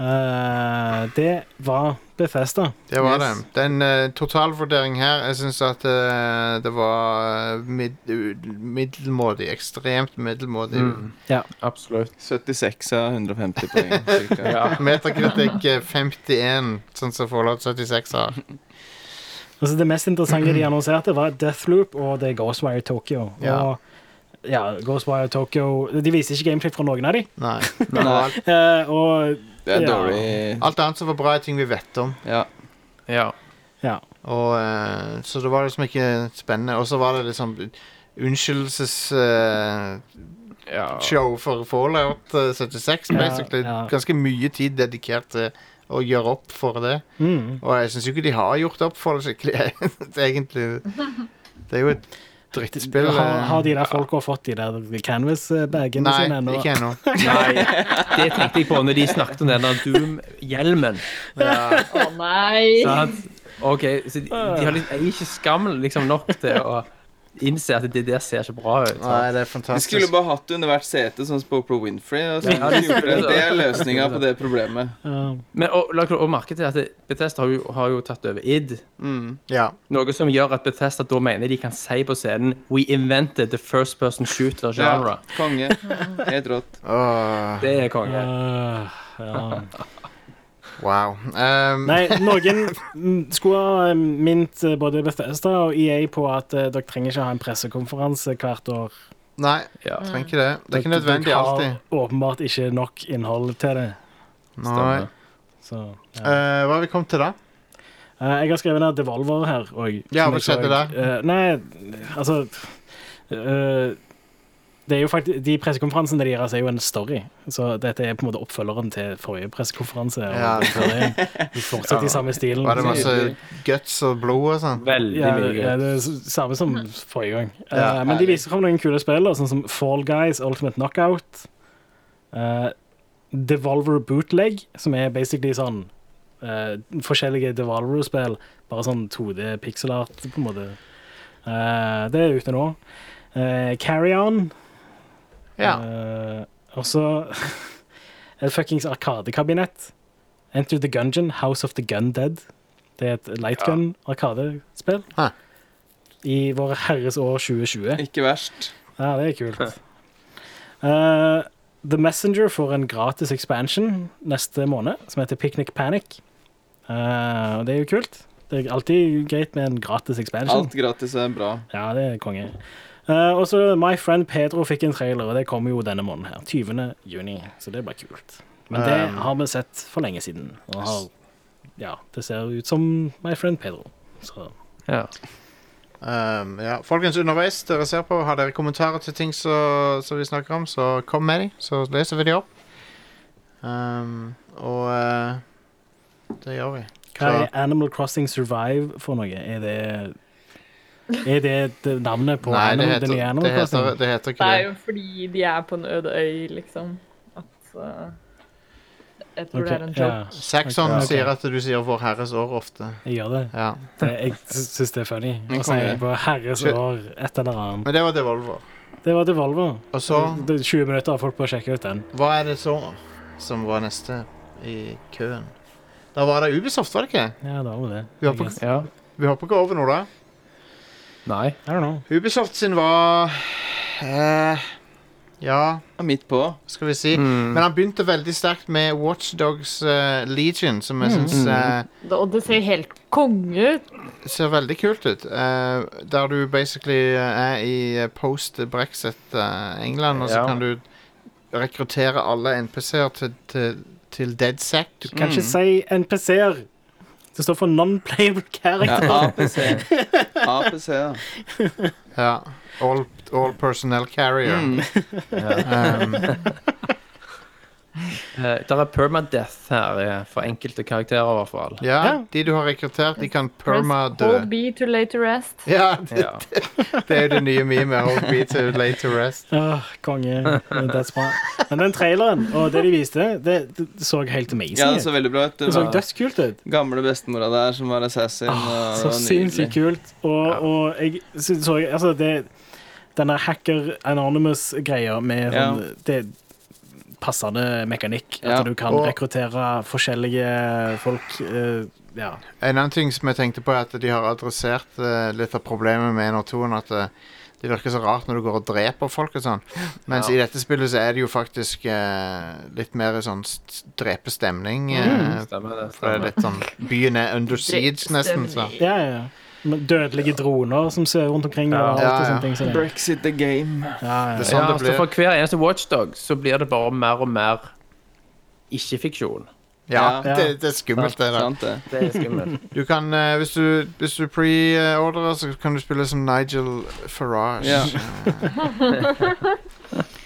S4: Eh, det var befesta.
S2: Det var
S3: Yes.
S2: det. Den uh, totalvurdering her Jeg syns at eh, det var eh, mid middelmådig. Ekstremt middelmådig.
S5: Mm. Absolutt.
S3: 76 av 150 poeng. cirka.
S5: Ja.
S2: Metakritikk eh, 51, sånn som Fallout 76 har.
S4: Altså, det mest interessante de annonserte, var Deathloop og det er Ghostwire Tokyo.
S2: Ja.
S4: Og ja, Ghostwire Tokyo De viser ikke gameplay fra noen av de.
S2: Nei.
S3: Nei.
S2: alt,
S4: Eh, og
S3: Det er
S4: Ja.
S3: dårlig
S2: alt annet som var bra, er ting vi vet om.
S3: Ja.
S5: Ja.
S4: ja.
S2: Og, eh, så det var liksom ikke spennende. Og så var det liksom unnskyldelsesshow
S5: ja.
S2: for Fallout eh, 76,
S4: Ja,
S2: basically.
S4: ja.
S2: Ganske mye tid dedikert til å gjøre opp for det.
S4: Mm.
S2: Og jeg syns jo ikke de har gjort opp for det skikkelig, egentlig. Det er jo et drittspill.
S4: Har,
S2: eh.
S4: har de der folka fått de der canvas-bagene
S2: Nei,
S4: sine ennå?
S2: ikke ennå.
S5: Nei, det tenkte jeg på når de snakket om denne Doom-hjelmen.
S2: Ja.
S6: Å nei!
S5: sant? Ok, så de, de
S4: Ah.
S5: har liksom, er ikke skam liksom nok til å innse at det der ser ikke bra ut.
S2: Nei, det
S5: sant?
S2: er
S3: De skulle
S2: fantastisk.
S3: bare hatt det under hvert sete, sånn som på Oprah Winfrey. Og sånn.
S5: Ja, de skulle
S3: det,
S5: det.
S3: det er løsninga på det problemet.
S4: Ja.
S5: Men og, la dere også merke til at Bethesda har jo, har jo tatt over id.
S2: Ja.
S5: Noe som gjør at Bethesda da mener de kan si på scenen We invented the first person shooter genre.
S3: Ja, konge. Helt rått.
S2: Åh,
S5: Det er konge.
S4: Eh, ja.
S2: wow. Um,
S4: Nei, noen mm, skulle ha mint eh, både Bethesda og EA på at eh, dere trenger ikke ha en pressekonferanse hvert år.
S2: nei,
S5: Ja.
S2: trenger ikke det. Det er ikke
S4: Dere-
S2: nødvendig
S4: dere har
S2: alltid.
S4: Åpenbart ikke nok innhold til det.
S2: Nei.
S4: Så, ja.
S2: Eh, hva har vi kommet til, da?
S4: Eh, jeg har skrevet ned Devolver her òg.
S2: Ja, hva skjedde
S4: Eh, nei, altså eh, Det er jo faktisk De pressekonferansene deres er jo en story. Så dette er på en måte oppfølgeren til forrige pressekonferanse. og
S2: Ja.
S4: forrige. Vi fortsetter i samme stilen.
S2: Var det
S4: så-
S2: masse guts og blod og sånn?
S5: Veldig
S4: Ja,
S5: mye.
S4: ja, det er s- samme som forrige gang. Eh,
S2: Ja,
S4: men de
S3: herlig.
S4: viser fram noen kule spill, da, sånn som Fall Guys, Ultimate Knockout. eh, Devolver Bootleg, som er basically sånn eh, forskjellige Devolver-spill. Bare sånn 2D pixelart, på en måte. Eh, det er ute nå. Eh, Carry On.
S2: Ja.
S4: eh, Og så et fuckings arkadekabinett. Enter the Gungeon, House of the Gun Dead. Det er et lightgun arkadespill.
S2: Hæ.
S4: I Vår Herres år 2020.
S3: Ikke verst.
S4: Ja, det er kult. Eh, The Messenger får en gratis expansion neste måned, som heter Picnic Panic. Eh, og det er jo kult. Det er alltid greit med en gratis expansion.
S3: Alt gratis er bra.
S4: Ja, det er konge. Eh, og så My Friend Pedro fikk en trailer, og det kommer jo denne måneden her. 20. juni. Så det er bare kult. Men det
S2: Um,
S4: har vi sett for lenge siden. Og har, ja, det ser ut som My Friend Pedro. Så
S5: Ja.
S2: Um, ja. Folkens, underveis dere ser på, har dere kommentarer til ting så- som vi snakker om, så kom med dem, så leser vi dem opp. Um, og eh, det gjør vi.
S4: hva
S2: Så-
S4: er Animal Crossing Survive for noe? Er det Er det det navnet på
S2: Nei, det
S4: Animal,
S2: heter,
S4: det nye Animal
S2: det, heter,
S4: Crossing?
S2: det heter
S6: Det
S2: ikke
S6: er
S2: det.
S6: jo fordi de er på en øde øy, liksom. At eh, Jeg tror
S4: Ok,
S6: det er en
S4: ja,
S6: joke.
S2: Saxon
S4: Ok.
S2: sier at du sier Vår Herres år ofte.
S4: jeg gjør det.
S2: Ja.
S4: det jeg syns det er funny.
S3: Men
S4: Å si
S3: konge.
S4: på herres år et eller annet.
S2: Men det var Devolver.
S4: Det var Devolver.
S2: Og så,
S4: Det er 20 minutter har folk på å sjekke ut den.
S2: hva er det så som var neste i køen? Da var det Ubisoft, var det ikke?
S4: Ja, det var jo det.
S2: Vi hopper,
S5: ja.
S2: vi hopper ikke over noe, da.
S5: Nei.
S4: I don't know.
S2: Ubisoft sin var eh, Ja,
S3: Ja, Midt på.
S2: hva skal vi si? Men han begynte veldig sterkt med Watchdogs uh, Legion, som
S4: Hmm.
S2: jeg eh, syns
S6: Det- Og det ser helt konge ut.
S2: ser veldig kult ut. eh, der du basically er i post-brexit-England, og så
S5: Ja.
S2: kan du rekruttere alle NPC-er til, til, til DedSec.
S4: Du kan
S3: Mm.
S4: ikke si NPC-er. Det står for
S3: Ja,
S4: non-playable character.
S3: APC. APC, ja.
S2: Ja. All, all personnel carrier.
S3: Mm.
S2: Um,
S5: Eh, der er permadeath her eh, for enkelte karakterer, i hvert fall.
S2: ja,
S4: Ja.
S2: de du har rekruttert, de kan
S6: Rest,
S2: perma-dø.
S6: hold be to lay to rest.
S2: Ja, det,
S5: Ja.
S2: det er jo det nye memet. Hold be to lay to rest.
S4: Åh, konge. That's bra. Men den traileren og det de viste, det, det så helt amazing
S3: ja, det
S4: ut.
S3: så veldig bra ut.
S4: Det
S3: Det
S4: så
S3: var
S4: dødskult ut.
S3: gamle bestemora der som var assassin. og det
S4: Ah, Så
S3: var
S4: sinnssykt
S3: nydelig.
S4: kult. Og, og jeg sy- så Altså, det Denne Hacker Anonymous-greia med sånn det, passende mekanikk. At
S3: Ja.
S4: du kan
S2: Og-
S4: rekruttere forskjellige folk. eh, ja.
S2: En annen ting som jeg tenkte på, er at de har adressert eh, litt av problemet med NR2-en. At eh, det virker så rart når du går og dreper folk og sånn. Mens i dette spillet så er det jo faktisk eh, litt mer sånn st-
S3: Mm.
S2: drepestemning. eh,
S5: Stemmer det.
S2: for det er
S5: Stemmer.
S2: litt sånn Byen er under siege, nesten. Så.
S4: Ja, ja, ja. Med Dødelige droner som svever rundt omkring.
S5: Ja.
S4: Og alt
S2: Ja,
S4: og
S2: ja.
S4: sånne ting. som det.
S3: Brexit the game.
S4: Ja, ja.
S2: Det er
S5: Ja,
S2: sånn det
S5: altså
S2: blir.
S5: For hver eneste watchdog så blir det bare mer og mer ikke-fiksjon.
S2: Ja,
S4: Ja.
S2: det, det er skummelt, det der.
S3: Sant, det.
S5: Det er skummelt.
S2: Du kan, eh, hvis du, hvis du pre-orderer, så kan du spille som Nigel Farage. Eh,
S3: Ja.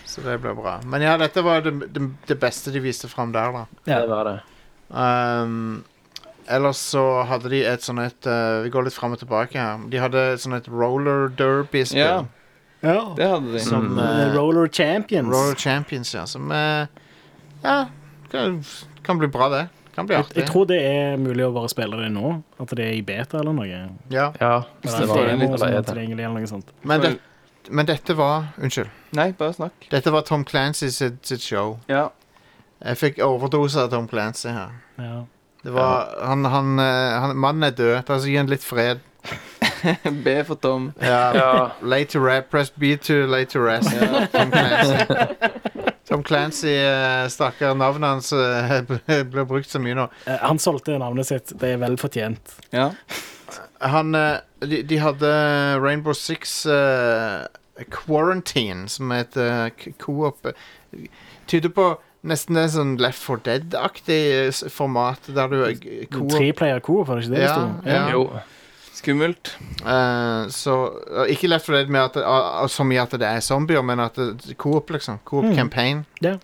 S2: så det blir bra. Men ja, dette var det, det, det beste de viste fram der, da.
S4: Ja.
S5: Det var det.
S2: Ehm, ellers så hadde de et sånn et eh, Vi går litt fram og tilbake her. De hadde et sånn et roller derby-spill.
S3: Ja,
S4: Ja.
S3: det hadde de.
S2: Som
S4: Eh,
S2: eh,
S4: Roller Champions.
S2: sånn, Roller Champions, ja. Som eh, Ja, kan, kan bli bra, det. Kan bli
S4: jeg,
S2: artig.
S4: jeg tror det er mulig å bare spille det nå. At det er i beta eller noe.
S2: Ja.
S5: Ja,
S3: det
S4: Eller en
S3: var en
S4: demo
S5: liten-
S4: som
S5: eller er
S4: er
S5: det?
S4: tilgjengelig eller noe sånt.
S2: Men, det, men dette var Unnskyld.
S3: Nei, bare snakk.
S2: Dette var Tom Clancy sitt, sitt show.
S3: Ja.
S2: Jeg fikk overdose av Tom Clancy her.
S4: Ja.
S2: Det var, han, han, eh, han, mannen er død. Altså, gi han litt fred.
S3: B for Tom.
S2: Ja.
S5: ja.
S2: Lay to rest. Press B to lay to rest.
S3: Ja.
S2: Tom Clancy. Tom Clancy eh, stakkar, navnet hans eh, ble- blir brukt så mye nå.
S4: Eh, Han solgte navnet sitt. Det er vel fortjent.
S3: Ja.
S2: Han eh, de, de hadde Rainbow Six eh, Quarantine, som het eh, k- co-op. Tyder på nesten det sånn Left 4 Dead-aktig eh, s- format, der du eh, g- co-op
S4: Treplayer Coop, var det ikke det det
S2: Ja,
S4: sto?
S2: ja.
S5: Jo.
S3: Skummelt.
S2: Eh, så eh, Ikke lett for det med at, ah, ah, så mye at det er zombier, men at det- Coop, liksom. Coop
S4: Mm.
S2: campaign.
S4: Ja.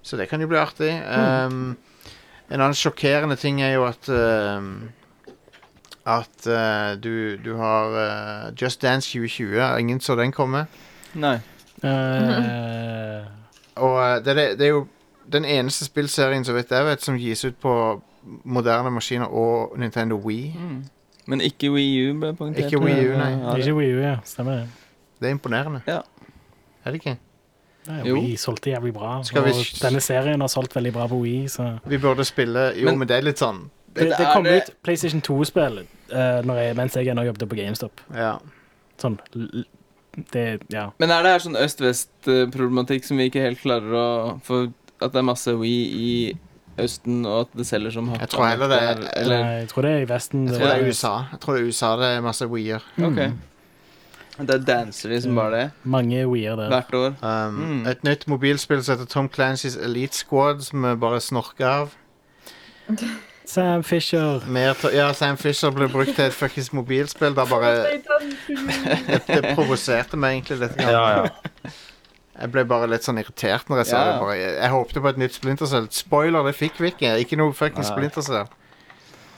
S2: Så det kan jo bli artig. Um, en annen sjokkerende ting er jo at um, At uh, du, du har uh, Just Dance 2020. Ingen så den komme.
S3: Nei.
S4: Eh,
S2: Og uh, det, er det, det er jo den eneste spillserien så vidt jeg vet, som gis ut på moderne maskiner og Nintendo Wii.
S3: Mm. Men ikke Wii U ble poengtert.
S2: Ikke Wii U, nei.
S3: Ja, det-
S4: Ikke Wii U, ja. Stemmer det.
S2: Det er imponerende.
S3: Ja.
S2: Er det ikke?
S4: Nei,
S3: Jo.
S4: Wii solgte jævlig bra.
S2: Skal vi-
S4: Og denne serien har solgt veldig bra på Wii. Så.
S2: Vi burde spille Jo, men,
S3: Men-
S2: det er litt sånn
S4: Det, det
S3: er
S4: kom ut PlayStation 2-spill eh, når jeg- mens jeg ennå jobbet på GameStop.
S2: Ja.
S4: Sånn l- l- Det Ja.
S3: Men er det her sånn øst-vest-problematikk som vi ikke helt klarer å få At det er masse We i Østen, og at det selger som hakka
S2: Jeg tror heller det er-
S3: møkk der, Eller
S4: Nei, jeg tror det er i Vesten.
S2: Jeg
S4: det
S2: tror det
S4: er-
S2: er USA. Jeg tror det er USA det er masse Wii-er.
S3: OK. Det er dansere som bare det.
S4: Mange Wii-er der.
S3: Hvert år.
S2: Um,
S3: Mm.
S2: Et nytt mobilspill som heter Tom Clancy's Elite Squad, som vi bare snorker av.
S4: Sam Fisher.
S2: Mer to ja, Sam Fisher ble brukt til et fuckings mobilspill. Da bare, det provoserte meg egentlig litt.
S5: Ja,
S2: Grann.
S5: ja.
S2: Jeg ble bare litt sånn irritert når jeg sa
S3: Ja,
S2: det.
S3: ja.
S2: Bare, jeg, jeg håpte på et nytt splintercell. Spoiler, det fikk vi ikke. Ikke noe fuckings
S5: Nei.
S2: splintercell.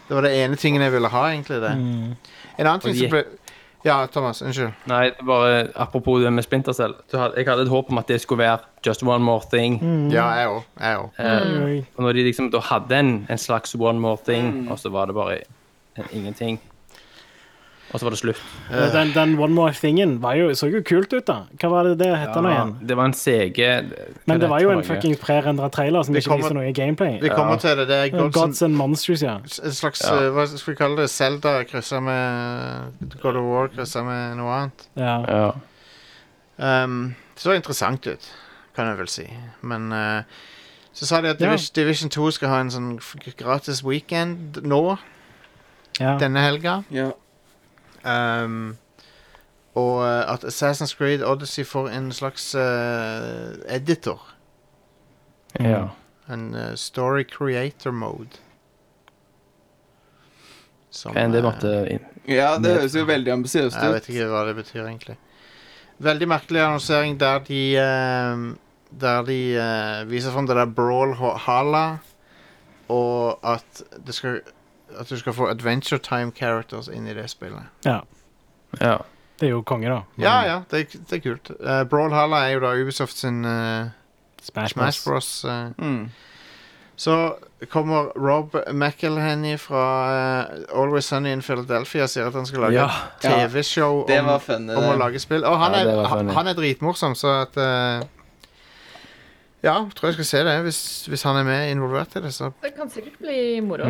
S2: Det var det ene tingen jeg ville ha, egentlig. det.
S4: Mm.
S2: En annen ting som
S5: Og de-
S2: ble Ja, Thomas. Unnskyld.
S5: Nei, det er bare apropos det med Splintercell. Jeg hadde et håp om at det skulle være just one more thing.
S4: Mm.
S2: Ja, jeg òg. Jeg òg.
S5: Eh,
S4: Oi.
S5: og når de liksom da hadde en, en slags one more thing, og så var det bare en- ingenting. Og så var det slutt.
S4: Eh, Den, den One More Thingen var jo, så jo kult ut, da. Hva var det det het nå igjen?
S5: det var en CG
S4: Men det var jo en fucking prerendra trailer som
S2: Vi
S4: ikke
S2: kommer-
S4: viser noe gameplay.
S2: Vi kommer til det. Det er
S4: Gods,
S2: Gods and
S4: and Monsters, ja.
S2: en slags
S5: Ja.
S2: eh, Hva skal vi kalle det? Zelda kryssa med God of War kryssa med noe annet.
S4: ja.
S5: ja.
S2: Um, det så interessant ut, kan jeg vel si. Men eh, så sa de at
S4: Ja.
S2: Divis- Division 2 skal ha en sånn f- gratis weekend nå,
S4: ja.
S2: denne helga.
S3: Ja.
S2: Um, og eh, at Assassin's Creed Odyssey får en slags eh, editor.
S5: ja.
S2: En eh, story creator mode. Som,
S5: Enn det
S2: eh,
S5: måtte inn.
S3: ja, det høres jo veldig ambisiøst ut.
S2: Jeg vet ikke hva det betyr, egentlig. Veldig merkelig annonsering der de eh, Der de eh, viser fram det der Brawl Ho- Hala, og at det skal at du skal få Adventure Time Characters inn i det spillet.
S4: ja.
S5: Ja.
S4: Det er jo konge, da.
S2: Ja, ja, det, er- det er kult. Eh, Brawl Hala er jo da Ubisoft sin eh,
S4: Smash,
S2: Smash
S4: Bros.
S2: Bros. eh.
S3: Mm.
S2: Så kommer Rob McElhenny fra eh, Always Sunny in Philadelphia og sier at han skal lage
S5: Ja.
S2: et TV-show
S3: Det
S2: om
S3: var funny.
S2: om å
S3: Eh, det.
S2: lage spill. Og han,
S5: Ja, det
S2: er,
S5: var
S2: han,
S5: funny.
S2: han er dritmorsom, så at eh, Ja, tror jeg skal se det hvis, hvis han er med involvert i det. Så.
S6: Det kan sikkert bli moro.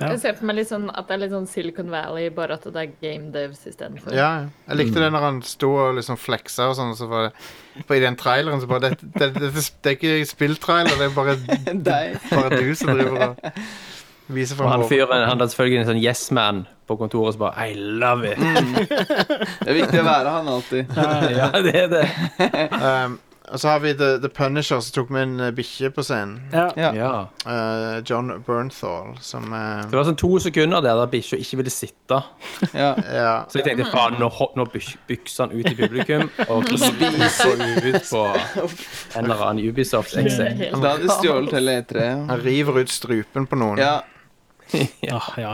S4: Ja.
S6: Jeg ser for meg litt sånn at det er litt sånn Silicon Valley, bare at det er game devs istedenfor.
S2: Ja, ja. jeg likte
S3: Mm.
S2: det når han sto og liksom fleksa og sånn, og så var det for I den traileren så bare Dette det, det, det er ikke spilltrailer, det er bare,
S3: Deg.
S2: bare du som driver og viser
S5: Og
S2: fram
S5: han fyren han hadde selvfølgelig en sånn yes man på kontoret som bare I love it.
S3: Det er viktig å være han alltid.
S5: Ja, det er det.
S2: Um, og så har vi The, The Punisher, som tok med en eh, bikkje på scenen.
S4: Ja.
S3: Ja.
S5: Ja.
S2: Eh, John Bernthal, som eh,
S5: Det var sånn to sekunder der der bikkja ikke ville sitte.
S3: Ja.
S2: Ja.
S5: Så jeg tenkte faen, nå, ho- nå byks- bykser han ut i publikum og spiser hun ut på en eller annen Ubisoft exec.
S6: Helt-
S3: Da hadde de stjålet hele E3. ja.
S2: Han river ut strupen på noen.
S3: Ja.
S4: Ah, ja.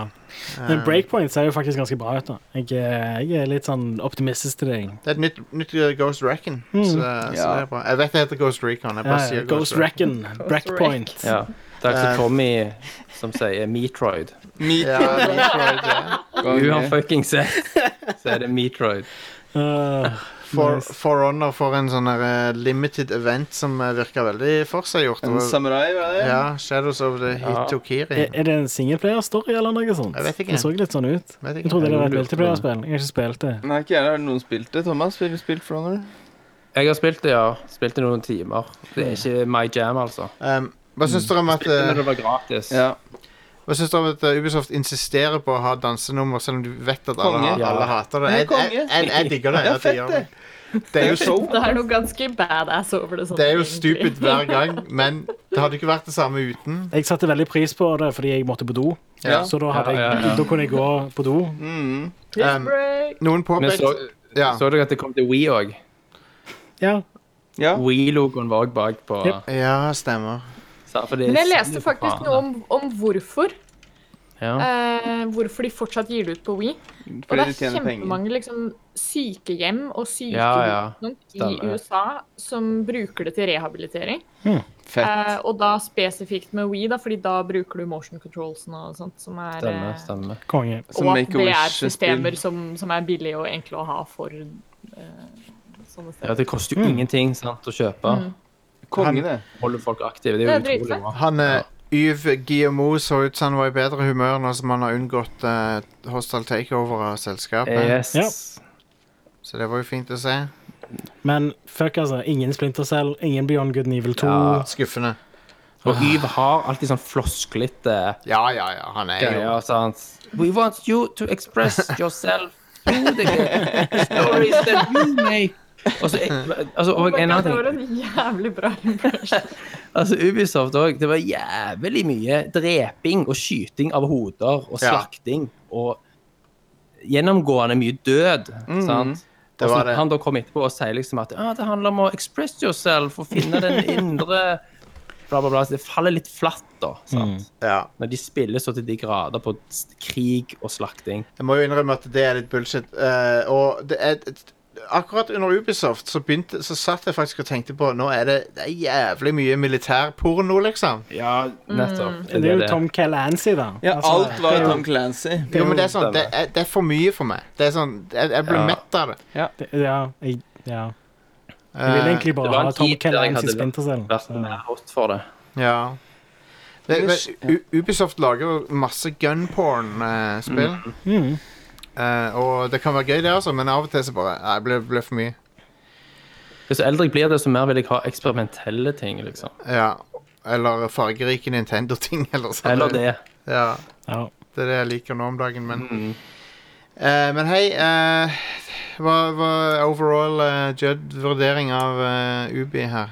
S4: Men breakpoint ser jo faktisk ganske bra ut. da Jeg, er- jeg er litt sånn optimistisk til deg.
S2: Det er et nytt, nytt eh, Ghost Recon. Så, så
S3: Ja.
S2: det er bra. Jeg vet det heter Ghost Recon. Jeg
S4: Ja,
S2: bare
S4: ja.
S2: sier
S4: Eh, Ghost Reckon, breakpoint.
S5: Ja. Det er
S6: Eh.
S5: altså Tommy som sier Meatroid.
S2: Ja, Metroid, ja.
S5: Hun har
S3: Konge.
S5: fucking sett, så er det Meatroid.
S4: Uh,
S2: For, for Honor får en sånn der, eh, limited event som eh, virker veldig forseggjort.
S3: En
S2: Og-
S3: samurai, var det?
S2: Ja, Shadows of the
S5: Ja.
S2: Hitokiri.
S4: er, er det en singleplayer-story eller noe sånt?
S2: Jeg vet ikke.
S4: Det så litt sånn ut.
S2: Vet ikke.
S4: Jeg trodde det var et
S5: Jeg lurer på det.
S4: multiplayer-spill. Jeg har ikke spilt det.
S3: Nei, ikke jeg. Har noen spilt det? Thomas, har du spilt For Honor?
S5: Jeg har spilt det, ja. Spilt det noen timer. Det er ikke my jam, altså.
S2: Um, hva
S3: hmm.
S2: syns dere om at
S5: Spilte
S2: eh,
S5: når det var gratis.
S3: Ja.
S2: Hva syns dere om at uh, Ubisoft insisterer på å ha dansenummer, selv om du vet at alle,
S3: Konge.
S2: har- alle
S5: Ja.
S2: hater det?
S3: Det er
S2: Jeg, jeg,
S3: konge.
S2: jeg, jeg digger det.
S3: Ja,
S2: at de
S3: fett
S2: gjør
S3: det.
S2: Det er jo så
S6: Det er noe ganske badass over det. sånn,
S2: det er jo
S6: egentlig.
S2: stupid hver gang, men det hadde ikke vært det samme uten.
S4: Jeg satte veldig pris på det fordi jeg måtte på do.
S2: Ja.
S4: Så da, hadde jeg,
S5: Ja, ja, ja.
S4: da kunne jeg gå på do.
S3: Mm.
S6: Piss
S2: Um,
S6: break.
S2: Noen
S5: Men så,
S2: påpekte ja.
S5: så dere at det kom til We òg?
S4: Ja.
S3: Ja.
S5: We-logoen var òg bak på.
S4: Yep.
S2: ja, stemmer.
S5: Så- for det er
S6: Men jeg leste
S5: synd,
S6: faktisk
S5: faen.
S6: noe om, om hvorfor.
S5: ja.
S6: Eh, hvorfor de fortsatt gir det ut på We. Og det
S3: Fordi de
S6: er
S3: tjener penger.
S6: kjempemange liksom, sykehjem og sykehus
S5: Ja, ja.
S6: rundt
S5: Stemmer
S6: i
S5: det.
S6: USA som bruker det til rehabilitering. Eh,
S3: Fett.
S6: og da spesifikt med We, da, fordi da bruker du motion controlsen og sånt. Som er,
S5: Stemmer,
S6: eh,
S5: stemmer.
S4: Konge.
S3: Som
S6: og at det er
S3: Make-A-Wish-spill.
S6: systemer som, som er billige og enkle å ha for eh,
S5: Ja,
S6: sånne steder.
S5: det koster jo ingenting sant, å kjøpe.
S3: Konge, det.
S5: Holder folk aktive. Det er
S6: Mm. Det er
S5: jo utrolig
S6: dritfett.
S5: bra.
S2: Han eh, Yv Guillemot så ut som han var i bedre humør nå som han har unngått eh, hostile takeover av selskapet.
S5: Yes.
S4: Ja.
S2: Så det var jo fint å se.
S4: Men fuck, altså. Ingen Splinter Cell, ingen Beyond Good and Evil 2.
S5: Ja.
S2: Skuffende.
S5: Og Yv har alltid sånn flosklete
S2: Ja, ja, ja. Han er jo
S5: greier. sant? We want you to express yourself through the stories that you make. Og så, altså, og en annen
S6: det
S5: ting.
S6: var en jævlig bra impression.
S5: Altså, Ubisoft òg. Det var jævlig mye dreping og skyting av hoder og
S2: Ja.
S5: slakting. Og gjennomgående mye død. sant?
S2: Det
S5: Og så
S2: var det.
S5: han da kom etterpå og sier liksom at ah, det handler om å express yourself og finne den indre bla, bla, bla. Så det faller litt flatt, da. sant?
S2: ja.
S5: Når de spiller så til de grader på s- krig og slakting.
S2: Jeg må jo innrømme at det er litt bullshit. Eh, og det er Akkurat under Ubisoft så, begynte, så satt jeg faktisk og tenkte på Nå er det, det er jævlig mye militærporno, liksom.
S5: Ja,
S6: Mm.
S5: nettopp.
S4: Det er jo Tom Kellancy, da.
S3: Ja,
S4: Altså,
S3: alt var Tom Clancy.
S2: Jo, men det er sånn, det
S5: stemmer.
S2: er, det er for mye for meg. Det er sånn, Jeg, jeg blir
S5: Ja.
S2: mett av det.
S4: det- Ja, jeg, ja.
S2: Eh,
S4: Jeg ville egentlig
S5: det
S4: bare
S5: var en
S4: ha Tom
S5: tid der jeg
S4: Kellancy
S5: hadde
S4: Splinter Cell.
S5: Vært mer hot for det.
S2: ja. Det, men U- Ubisoft lager jo masse gunporn-spill.
S4: Mm.
S2: Eh, og det kan være gøy, det, altså, men av og til så bare Nei, det blir- blir for mye.
S5: Hvis eldre jeg blir det, så mer vil jeg ha eksperimentelle ting, liksom.
S2: Ja. Eller fargerike Nintendo-ting, eller sånn.
S5: Eller det.
S2: Ja.
S4: Ja. Mm.
S2: Det er det jeg liker nå om dagen, men Eh, Men hei, eh, hva var overall eh, Judd-vurdering av eh, Ubi her?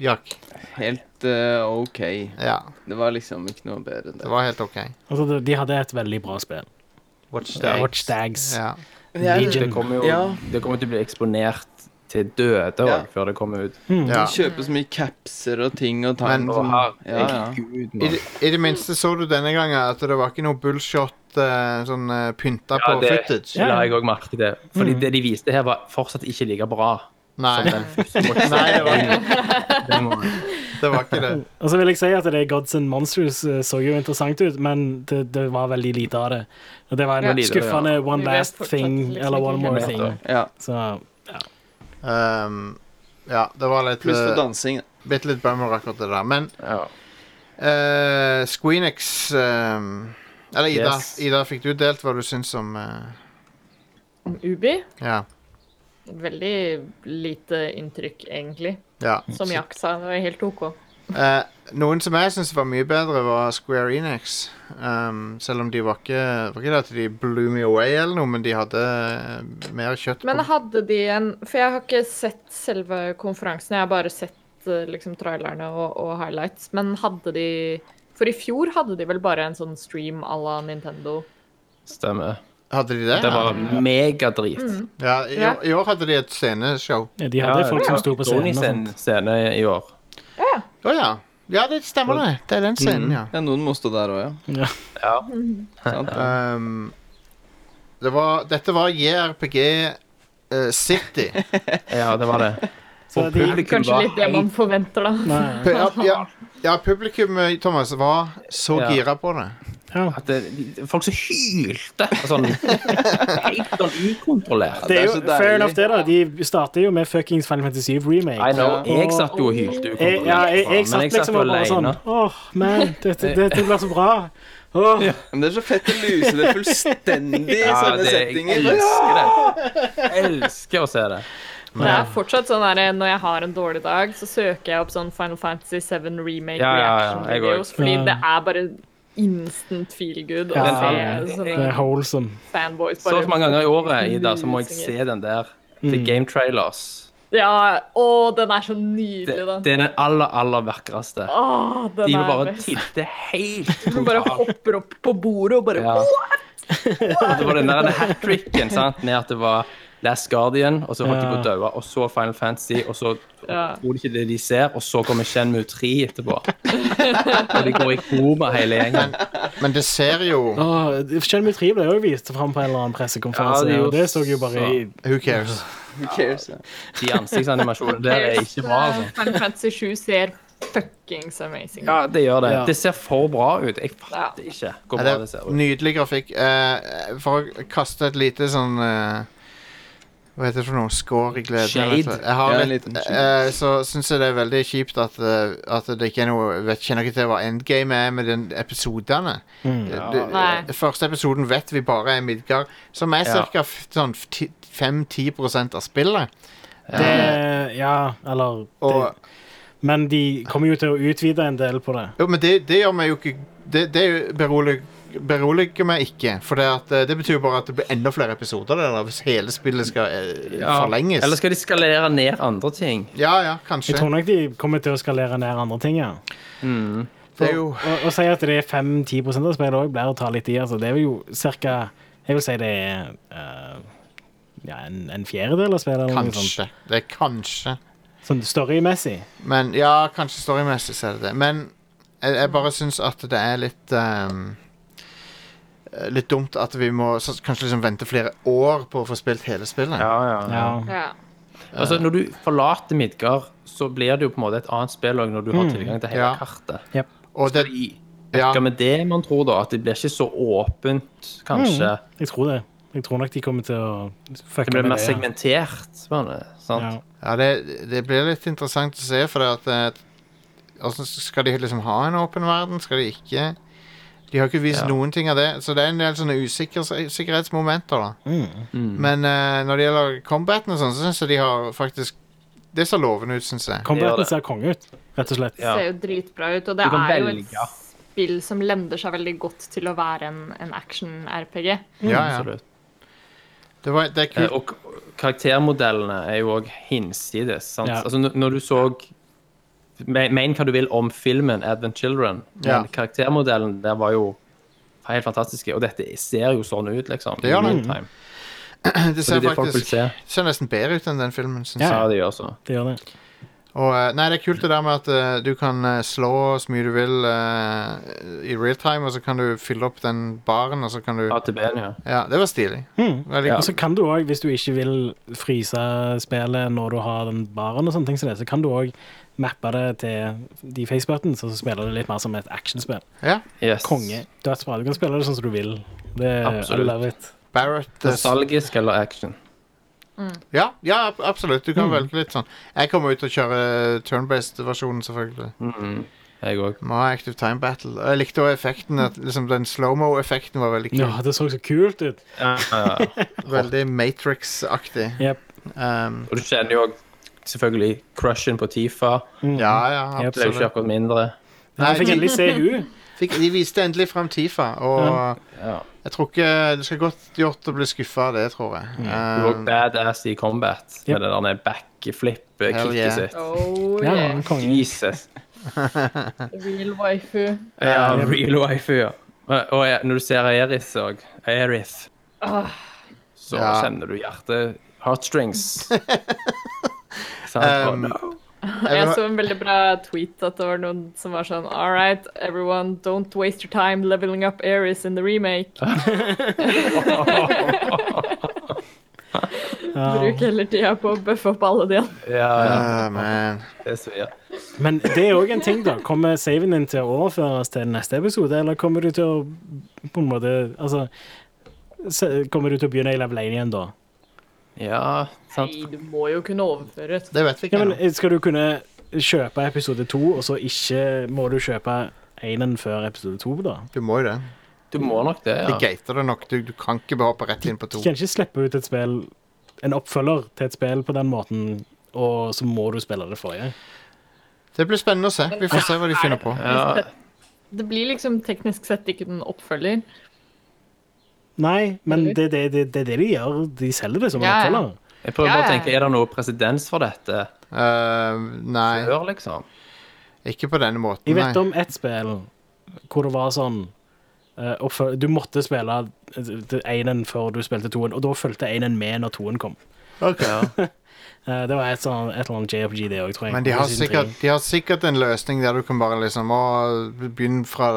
S2: Jack.
S3: Helt eh, OK.
S2: Ja,
S3: Det var liksom ikke noe bedre enn
S2: det
S3: det.
S2: var helt OK.
S4: Altså, de- de hadde et veldig bra spill.
S5: Watch
S4: Watch Dags.
S2: Ja.
S5: Det
S4: Legion.
S5: kommer jo
S3: Ja.
S5: det kommer til å bli eksponert til døde òg
S3: Ja.
S5: før det kommer ut.
S4: Mm.
S2: ja.
S3: Kjøpe så mye capser og ting og tang.
S2: Men-
S5: Og her,
S3: ja, ja.
S5: Gud,
S2: I,
S5: mann.
S2: det- I det minste så du denne gangen at det var ikke noe bullshot eh, sånn eh, pynta
S5: Ja,
S2: på
S5: det
S2: footage.
S5: la jeg òg merke til.
S4: Mm.
S5: Fordi det de viste her, var fortsatt ikke like bra.
S2: Nei,
S5: Som den første Watch
S2: Nei, det var
S5: Dogs.
S2: det var ikke det.
S4: Og så vil jeg si at det Gods and Monsters eh, så jo interessant ut, men det, det var veldig lite av det. Og det var en
S6: Ja.
S4: veldig skuffende one
S6: Vi vet
S4: last
S6: fortsatt
S4: thing,
S6: liksom
S4: eller
S6: ikke
S4: one more
S6: helt
S4: thing.
S5: hva det
S3: ja.
S4: Så
S2: Um, ja, det var litt
S3: Pluss for
S2: eh,
S3: dansing. da.
S2: Bitte litt bummer akkurat det der. Men
S3: Ja.
S2: eh, Squeenix eh, Eller Ida,
S5: Yes.
S2: Ida, fikk du delt hva du syns om eh,
S6: Ubi.
S2: Ja.
S6: Veldig lite inntrykk, egentlig.
S2: ja.
S6: Som Jack sa, det var helt OK.
S2: Eh, noen som jeg syns var mye bedre, var Square Enix. Um, selv om de var ikke, var ikke det at de blew me away eller noe, men de hadde eh, mer kjøtt
S6: Men
S2: på
S6: hadde de en For jeg har ikke sett selve konferansen, jeg har bare sett eh, liksom trailerne og, og highlights. Men hadde de For i fjor hadde de vel bare en sånn stream à la Nintendo.
S5: Stemmer.
S2: Hadde de det?
S5: Det var megadrit.
S2: Ja, i,
S6: Ja.
S2: I år hadde de et sceneshow.
S4: Ja, De hadde Mm. folk som sto på scenen. og sånn. sånt.
S5: Sony scene i år.
S2: Å ja. Ja, det stemmer det. Det
S5: Mm.
S2: er den scenen, ja.
S3: ja, noen må stå der òg, ja.
S4: Ja.
S5: Ja.
S3: Sant?
S2: Um, det var, dette var JRPG eh, City.
S5: ja, det var det.
S4: Så de,
S5: Publikum
S6: Kanskje
S5: var
S6: litt det man forventer, da.
S4: nei,
S2: ja, ja, ja, publikum, eh, Thomas, var så
S5: Ja.
S2: gira på det.
S4: ja.
S5: at det, de- folk som hylte og sånn Helt sånn ukontrollert.
S4: Det er jo
S3: Det er så
S4: fair
S3: deilig.
S4: enough, det, da. De starter jo med fuckings Final Fantasy 7 Remake.
S5: I know.
S4: Og-
S5: Jeg satt jo og hylte
S4: Jeg,
S5: ukontrollert.
S4: ja, jeg, jeg
S5: men
S4: satt liksom og bare sånn
S5: alene.
S4: Åh, man, dette, dette blir så bra. Åh,
S3: Men det er så fett å luse det fullstendig i
S5: Ja,
S3: sånne
S5: det, jeg
S3: settinger.
S5: elsker det. Jeg elsker å se det.
S6: Men det er fortsatt sånn der, Når jeg har en dårlig dag, så søker jeg opp sånn Final Fantasy 7 remake
S5: Ja, ja, ja,
S6: reaction
S5: jeg
S6: videos.
S5: går.
S6: Fordi
S4: Ja.
S6: det er bare instant feel good å
S4: Ja,
S6: se
S4: det er
S6: sånne
S4: wholesome.
S6: fanboys
S5: Så
S6: bare
S5: og så mange ganger i året Ida, så må jeg se den der. The Game Trailers.
S6: Ja, å, den er så
S5: Det,
S6: nydelig, da.
S5: det er den aller, aller vakreste.
S6: Åh, den
S5: De
S6: er
S5: bare
S6: best.
S5: tilte helt
S6: Hun bare
S5: totalt.
S6: hopper opp på bordet og bare
S5: Ja. Og det var den der hat tricken sant? med at det var Last Guardian, og så holdt de på å
S4: Ja.
S5: daue, og så Final Fantasy, og så
S6: Ja.
S5: tror de ikke det de ser, og så kommer Shenmue 3 etterpå. Og de går i koma hele gjengen.
S2: Men det ser jo
S4: Åh, Shenmue 3 ble jo vist fram på en eller annen pressekonferanse,
S5: Ja, det
S4: og det så
S5: gjorde-
S4: jo bare i
S2: Who cares?
S3: Who cares, ja.
S5: De ansiktsanimasjonene der er ikke bra, altså.
S6: Final Fantasy 7 ser fuckings amazing ut.
S5: Ja, det gjør det.
S4: Ja.
S5: Det ser for bra ut. Jeg fatter ikke hvor
S2: Ja,
S5: bra
S2: det
S5: det ser
S2: er
S5: ut.
S2: nydelig grafikk. Eh, for å kaste et lite sånn eh, Hva heter det for noe? Skår i glede?
S5: Shade.
S2: vet du. Jeg har
S3: Ja, en
S2: litt,
S3: liten
S2: eh, så syns jeg det er veldig kjipt at, eh, at det ikke er noe Jeg vet- kjenner ikke til hva endgame er med den episodene.
S3: Mm.
S2: Eh, det-
S6: Nei.
S2: eh, første episoden vet vi bare er Midgard, som er
S5: Ja.
S2: ca. sånn ti- 5-10 av spillet.
S4: det, Eh, Ja, eller
S2: Og,
S4: det, Men de kommer jo til å utvide en del på det.
S2: jo, men det, det gjør meg jo ikke Det, det beroliger beroliger meg ikke, for det, at, eh, det betyr jo bare at det blir enda flere episoder der, da, hvis hele spillet skal eh,
S5: Ja.
S2: forlenges.
S5: Eller skal de skalere ned andre ting?
S2: Ja, ja,
S4: Jeg tror
S2: kanskje.
S4: nok de kommer til å skalere ned andre ting, ja.
S2: Det er jo
S4: Og, og si at det er 5-10 av spillet òg, blir å ta litt i. Altså, det er jo ca. Jeg vil si det er eh, ja, en, en fjerdedel av spillet. Eller noe sånt.
S2: kanskje. Det er kanskje.
S4: Sånn storymessig.
S2: Men ja, kanskje storymessig så er det det. Men jeg, jeg bare syns at det er litt ehm, Litt dumt at vi må så, kanskje liksom vente flere år på å få spilt hele spillet.
S4: Ja.
S6: Ja.
S5: Altså, når du forlater Midgard, så blir det jo på en måte et annet spill også når du har tilgang til hele
S2: Ja.
S5: kartet.
S2: Og det,
S5: I-
S2: ja,
S5: Skal vi det man tror, da? At det blir ikke så åpent, kanskje?
S4: Jeg tror det. Jeg tror nok de kommer til å
S5: Det
S4: fucke
S5: blir
S4: med
S5: mer
S4: det. Mm. ja.
S5: segmentert. mener jeg,
S4: Ja.
S5: Sant?
S2: ja det, det blir litt interessant å se, for det at eh, Hvordan skal de liksom ha en åpen verden? Skal de ikke? De har ikke vist
S5: Ja.
S2: noen ting av det, så det er en del sånne usikker- usikkerhetsmomenter. da.
S5: Mm.
S2: Men eh, når det gjelder combaten og sånn, så syns jeg de har faktisk Det ser lovende ut, syns jeg.
S5: Det gjør
S4: Combaten
S5: det.
S4: ser konge ut, rett og slett.
S5: Ja.
S6: Ser jo dritbra ut. Og det
S5: Du kan
S6: er jo
S5: velge.
S6: et spill som lender seg veldig godt til å være en, en action-RPG.
S5: Mm.
S2: Ja, ja.
S5: Absolutt.
S2: Det, var, det er
S5: Eh,
S2: kult.
S5: Og k- karaktermodellene er jo òg hinsides. Sant?
S4: Ja.
S5: Altså, når- når du så men- Men hva du vil om filmen 'Advent Children', men
S2: Ja.
S5: karaktermodellen der var jo helt fantastiske. Og dette ser jo sånn ut, liksom.
S2: Det gjør
S5: i
S2: det.
S5: real time.
S2: Det
S5: Det er
S2: ser
S5: det folk vil
S2: faktisk
S5: se.
S2: ser nesten bedre ut enn den filmen, syns
S5: Ja,
S2: jeg.
S5: det gjør så.
S4: Det gjør det.
S2: Og, eh, nei, det er kult det der med at eh, du kan eh, slå så mye du vil eh, i real time, og så kan du fylle opp den baren, og så kan du
S5: ATB-en, ja.
S2: Ja, det var stilig.
S4: Hmm.
S2: Veldig
S4: Og så kan du òg, hvis du ikke vil fryse spillet når du har den baren, og sånne ting som det, så kan du òg mappe det til de facebuttons, og så spiller det litt mer som et actionspill.
S2: Ja.
S5: Yes.
S4: Konge. Dødsbra. Du kan spille det sånn som du vil. Det, I
S5: Absolutt.
S4: love it.
S2: Barrett eh,
S5: Nostalgisk eller action?
S2: Ja, ja, ab- absolutt. Du kan
S4: Hmm.
S2: velge litt sånn. Jeg kommer ut og kjører eh, turn-based-versjonen, selvfølgelig.
S5: Hmm. Jeg òg.
S2: Må ha Active Time Battle. Jeg likte også effekten. At, liksom, den slow-mo-effekten var veldig kul.
S4: Ja, det så så kult ut.
S5: Ja, ja, ja.
S2: Veldig Matrix-aktig.
S4: Jep.
S2: Um,
S5: Og du kjenner jo òg selvfølgelig crushen på Tifa.
S2: ja, ja,
S4: Hmm. Jep.
S5: Det er jo ikke
S2: absolutt.
S5: akkurat mindre.
S2: Nei,
S4: Jeg fikk endelig se hun.
S2: Fikk, de viste endelig frem Tifa, og
S5: Ja.
S2: jeg tror ikke Det skal godt gjort å bli skuffa av det, tror jeg.
S5: Du var
S2: Um,
S5: badass i combat
S4: Ja.
S5: med det der ned
S2: Hell
S5: backflip-kicket
S2: yeah.
S5: sitt.
S6: Oh,
S4: Ja,
S6: yeah.
S4: konge.
S5: Jesus.
S6: Real waifu.
S5: Ja, real wife, ja. Og jeg, når du ser Eris òg, Eris,
S6: Åh,
S5: så
S2: Ja.
S5: kjenner du hjertet Heartstrings. Sånn Sant? Å,
S2: Um,
S5: no.
S2: vil
S6: jeg
S2: ha-
S6: så en veldig bra tweet at det var noen som var sånn All right, everyone, don't waste your time leveling up Ares in the remake.
S4: Ja.
S6: Bruk heller tida på å bøffe opp alle de andre.
S5: Ja, ja.
S2: ah, man.
S5: Det er så, ja.
S4: Men det er òg en ting, da. Kommer saven din til å overføres til neste episode, eller kommer du til å på en måte Altså se- Kommer du til å begynne i level 1 igjen da?
S5: ja, sant.
S6: Nei, du må jo kunne overføre.
S2: Det vet vi
S4: Ja,
S2: ikke
S4: men
S2: ennå.
S4: Skal du kunne kjøpe episode 2, og så ikke må du kjøpe enen før episode 2, da?
S2: Du må jo det.
S5: Du må nok det,
S2: De
S5: ja.
S2: gater det nok. Du, du kan ikke bare hoppe rett inn på to.
S4: Du kan ikke slippe ut et spill, en oppfølger til et spill på den måten, og så må du spille det forrige.
S2: Det blir spennende å se. Vi får se hva de finner på.
S5: ja.
S6: Det blir liksom teknisk sett ikke den oppfølger.
S4: Nei, men det er det, det, det, er det de gjør. De selger det som en
S6: Ja, ja.
S4: oppfølger.
S5: Jeg prøver
S6: Ja,
S5: bare å
S6: ja.
S5: tenke, er det noe presedens for dette
S2: Uh, nei,
S5: før, liksom?
S2: ikke på denne måten.
S4: Jeg vet
S2: Nei.
S4: om ett spill hvor det var sånn eh, oppføl- Du måtte spille eh, enen før du spilte toen, og da fulgte enen med når toen kom.
S5: Ja.
S4: Eh, det var et, sånn, et eller annet JFG, det òg, tror jeg.
S2: Men de har,
S4: Siden
S2: sikkert,
S4: tre.
S2: de har sikkert en løsning der du kan bare liksom å, begynne fra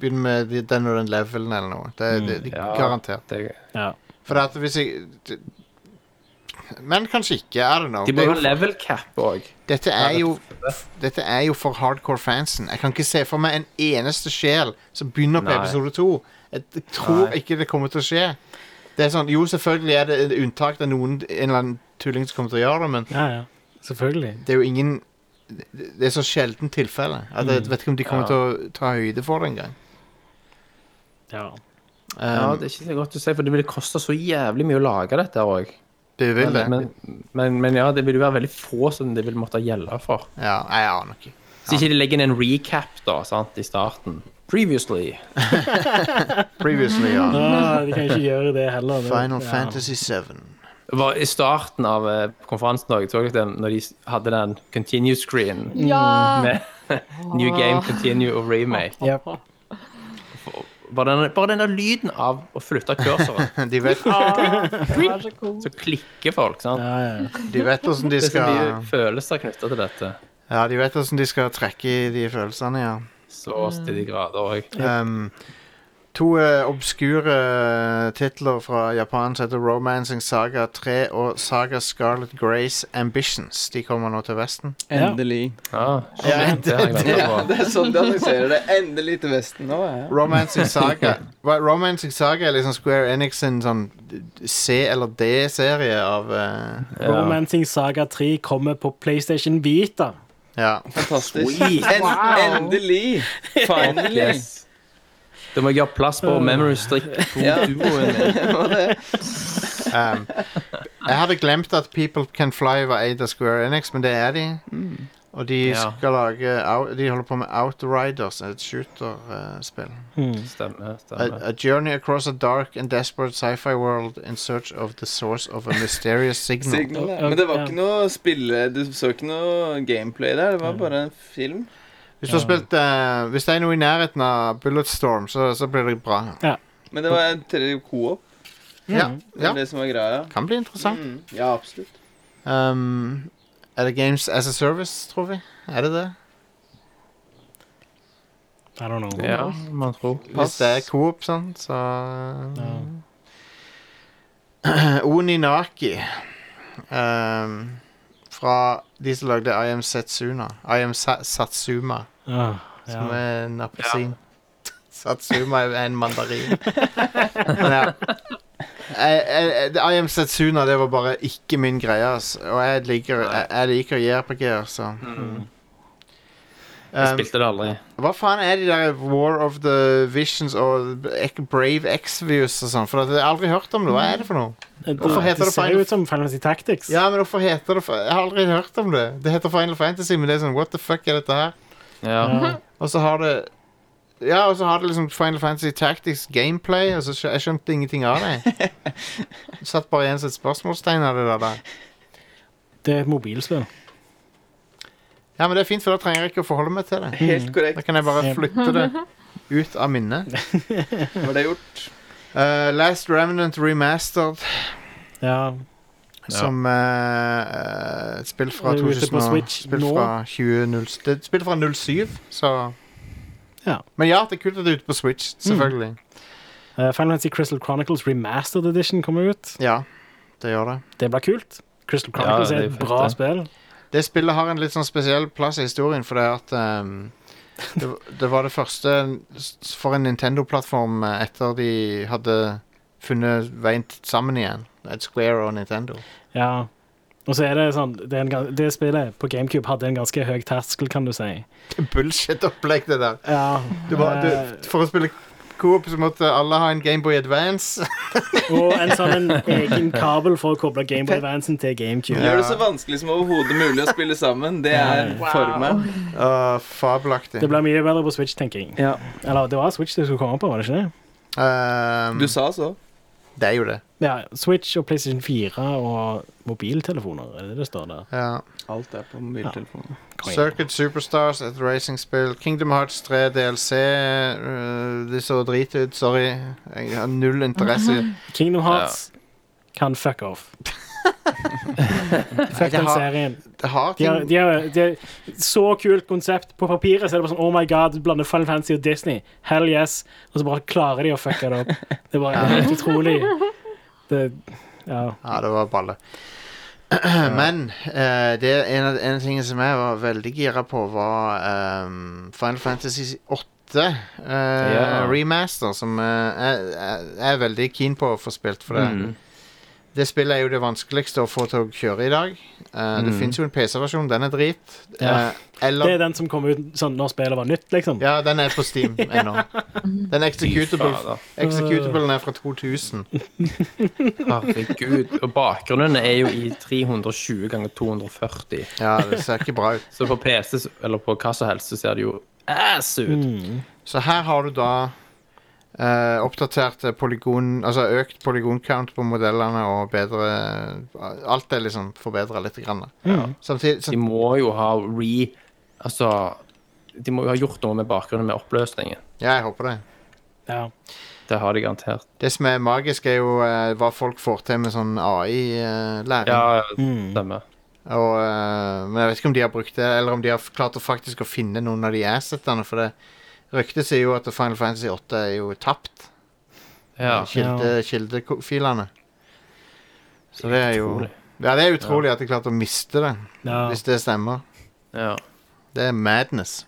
S2: Begynne med de- den og den levelen eller noe. Det er det- de,
S5: Mm. ja.
S2: garantert.
S5: Det,
S4: ja.
S2: For at hvis jeg d- Men kanskje ikke. I don't know.
S5: de
S2: Det
S5: må
S2: er jo-
S5: jo ha level cap òg.
S2: Dette er jo Dette er jo for hardcore fansen. Jeg kan ikke se for meg en eneste sjel som begynner på
S5: Nei.
S2: episode to. Jeg t- tror
S5: Nei.
S2: ikke det kommer til å skje. Det er sånn, Jo, selvfølgelig er det et unntak det er noen en eller annen tulling som kommer til å gjøre det, men
S4: ja, ja. Selvfølgelig.
S2: det er jo ingen Det er så sjelden tilfelle. At jeg vet ikke om de kommer
S5: Mm. Ja.
S2: til å ta høyde for det engang.
S4: Ja.
S2: Um,
S5: Ja,
S2: det,
S5: det er ikke så godt å si, for det ville koste så jævlig mye å lage dette òg.
S2: vil det.
S5: Men, men, men ja, det vil jo være veldig få som det vil måtte gjelde for.
S2: ja, nei, jeg aner ikke.
S5: Hvis ikke de legger inn en recap da, sant, i starten. Previously.
S2: Previously, ja.
S4: Ah, de kan ikke gjøre det heller. Det-
S2: Final
S4: ja.
S2: Fantasy 7.
S5: Det var I starten av eh, konferansen da, jeg så dere den, når de hadde den continue screen
S6: Ja!
S5: med New Game, Continue og Remake.
S4: Jep.
S5: Bare den, bare den der lyden av å flytte kursoren,
S2: De vet,
S6: Det var så cool.
S5: så klikker folk. sant?
S4: Ja, ja.
S2: de vet hvordan de
S5: Det er så
S2: skal
S5: mye følelser knytta til dette.
S2: Ja, de vet hvordan de skal trekke i de følelsene, ja.
S5: Så til de grader òg.
S2: Um, to eh, obskure eh, titler fra Japan som heter Romancing Saga 3 og Saga Scarlet Grace Ambitions. De kommer nå til Vesten.
S3: Endelig.
S5: Ja, det har jeg ventet på.
S3: det er sånn de annonserer det. Endelig til Vesten nå. Ja.
S2: Romancing Saga Hva- Romancing Saga er liksom Square Enix sin sånn C- eller D-serie av eh,
S5: Ja.
S4: Romancing Saga 3 kommer på PlayStation Vita.
S2: Ja.
S3: Fantastisk. En, Endelig! Finally.
S5: Yes. Det må gjøre plass på memory strikk
S3: Ja.
S2: Um, jeg hadde glemt at People Can Fly var eid av Square Enix, men det er de. Og de
S5: Ja.
S2: skal lage out- De holder på med Outriders, et shooter-spill.
S4: Hmm.
S5: Stemmer. stemmer.
S2: A, a journey across a dark and desperate sci-fi world in search of the source of a mysterious signal.
S3: Signal, ja. Men det var ikke noe spille Du så ikke noe gameplay der. Det var bare en film.
S2: Hvis du har
S4: Ja.
S2: spilt eh, Hvis det er noe i nærheten av Bulletstorm, så, så blir det bra.
S3: Men det var en tre co-op.
S2: Ja,
S3: Det
S2: ja.
S3: var det som var greia.
S2: Kan bli interessant.
S3: Mm. Ja, absolutt.
S2: Um, er det Games as a Service, tror vi? Er det det?
S4: I don't know.
S5: Ja, man tror.
S2: Hvis
S3: Pass.
S2: det er Coop, sånn, så
S4: Ja.
S2: eh, Oninaki um, Fra de som lagde I Am Setsuna. I Am Sa Satsuma,
S4: Ah,
S2: som
S4: ja.
S2: er en appelsin. Satsuma er en mandarin. Men ja. jeg, jeg, det- I Am Setsuna det var bare ikke min greie, ass. Og jeg liker, jeg, jeg liker altså. JRPG-er, så
S5: Mm. Jeg
S2: um,
S5: spilte det aldri.
S2: Hva faen er de der War of the Visions og Ek- Brave Exvius og sånn? For at jeg har aldri hørt om det. Hva er det for noe? Hvorfor heter det
S4: ser
S2: Final-
S4: jo ut som Final Fantasy Tactics.
S2: Ja, men hvorfor heter det fa- Jeg har aldri hørt om det. Det heter Final Fantasy, men det er sånn What the fuck er dette her?
S5: Ja.
S4: Ja.
S2: Og så har det Ja, og så har det liksom Final Fantasy Tactics gameplay, og så skjø jeg skjønte ingenting av det. Satt bare igjen som et spørsmålstegn av det der, da.
S4: Det er et mobilspill.
S2: Ja, men det er fint, for da trenger jeg ikke å forholde meg til det.
S3: Helt korrekt.
S2: Da kan jeg bare
S4: Ja.
S2: flytte det ut av minnet.
S3: Var det gjort?
S2: Eh, Last Remnant Remastered
S4: Ja.
S5: Ja.
S2: Som eh, eh, et spill fra
S4: Det er ute
S2: 2000
S4: på
S2: og-
S4: Switch
S2: Spill
S4: nå.
S2: fra 2007 Det er et spill fra 07, så
S4: Ja.
S2: Men ja, det er kult at det er ute på Switch, selvfølgelig.
S4: Eh, Final Fantasy Crystal Chronicles Remastered Edition kommer ut.
S2: Ja, det gjør det.
S4: Det blir kult. Crystal
S5: Ja,
S4: Chronicles
S5: det er
S4: er
S5: fett,
S4: et bra
S5: det.
S4: spill.
S2: Det spillet har en litt sånn spesiell plass i historien, for det er at ehm, det, det var det første s- for en Nintendo-plattform eh, etter de hadde funnet veien t- sammen igjen. Et Square og Nintendo.
S4: Ja. Og så er det sånn Det, er en, gan- det spillet på GameCube hadde en ganske høy terskel, kan du si.
S2: Bullshit-opplegg, det der.
S4: Ja.
S2: Du må,
S4: eh,
S2: du, for å spille Coop så måtte alle ha en Gameboy Advance.
S4: og en sånn en egen kabel for å koble Gameboy Advancen til GameCube.
S2: Ja.
S3: Gjør det så vanskelig som overhodet mulig å spille sammen. Det er
S6: Wow.
S3: formen.
S2: Uh, fabelaktig.
S4: Det blir mye bedre på Switch, tenker jeg.
S3: Ja.
S4: Eller det var Switch det skulle komme på, var det ikke det?
S2: Ehm,
S3: Du sa så.
S2: det er jo det.
S4: Ja, Switch og PlayStation 4 og mobiltelefoner, er det det det står der?
S2: Ja.
S3: Alt er på mobiltelefonen.
S4: Kom igjen.
S2: Circuit Superstars, et racingspill. Kingdom Hearts 3 DLC. øh, det så drit ut. Sorry. Jeg har null interesse. i-
S4: Kingdom Hearts kan fuck off.
S2: Nei,
S4: Fuck
S2: det
S4: den
S2: har,
S4: serien.
S2: det har
S4: De har,
S2: ting
S4: de har, de har så kult konsept. På papiret så er det bare sånn Oh my god, du blander Final Fantasy og Disney. Hell yes. Og så bare klarer de å fucke det opp. Det er bare helt utrolig. Det, ja.
S2: Ja, det var balle. Men eh, det er en av, en av tingene som jeg var veldig gira på, var ehm, Final Fantasy 8. eh,
S5: Ja.
S2: Remaster, som eh, jeg, jeg, jeg er veldig keen på å få spilt. For det,
S4: Mm.
S2: det spillet er jo det vanskeligste å få til å kjøre i dag. Eh, Det
S5: Mm.
S2: fins jo en PC-versjon, den er drit.
S4: Ja.
S2: Eh,
S4: det
S2: eller
S4: er den som kom ut sånn når spillet var nytt, liksom.
S2: Ja, den er på Steam ennå. Den executable,
S5: fader.
S2: executables er fra 2000.
S5: Herregud. Og bakgrunnen er jo i 320 ganger 240.
S2: Ja, det ser ikke bra ut.
S5: Så på PC s- eller på hva som helst så ser det jo ass ut.
S4: Mm.
S2: Så her har du da eh, oppdatert eh, polygon Altså økt polygoncount på modellene og bedre Alt er liksom forbedra litt. Grann, da. Samtidig
S5: De
S2: så,
S5: må jo ha re... Altså De må jo ha gjort noe med bakgrunnen med oppløsningen.
S2: Ja, jeg håper det.
S4: Ja.
S5: Det har de garantert.
S2: Det som er magisk, er jo eh, hva folk får til med sånn AI-læring.
S5: Ja,
S4: Mm.
S5: stemmer.
S2: Og, eh, men jeg vet ikke om de har brukt det, eller om de har f- klart å faktisk å finne noen av de assetene. For det ryktet sier jo at Final Fantasy 8 er jo tapt.
S5: Ja.
S2: Eh, Kilde, Kildefilene. Så det er jo
S5: Utrolig.
S2: Ja, det er utrolig at de klarte å miste det.
S4: ja.
S2: Hvis det stemmer.
S5: ja.
S2: Det er madness.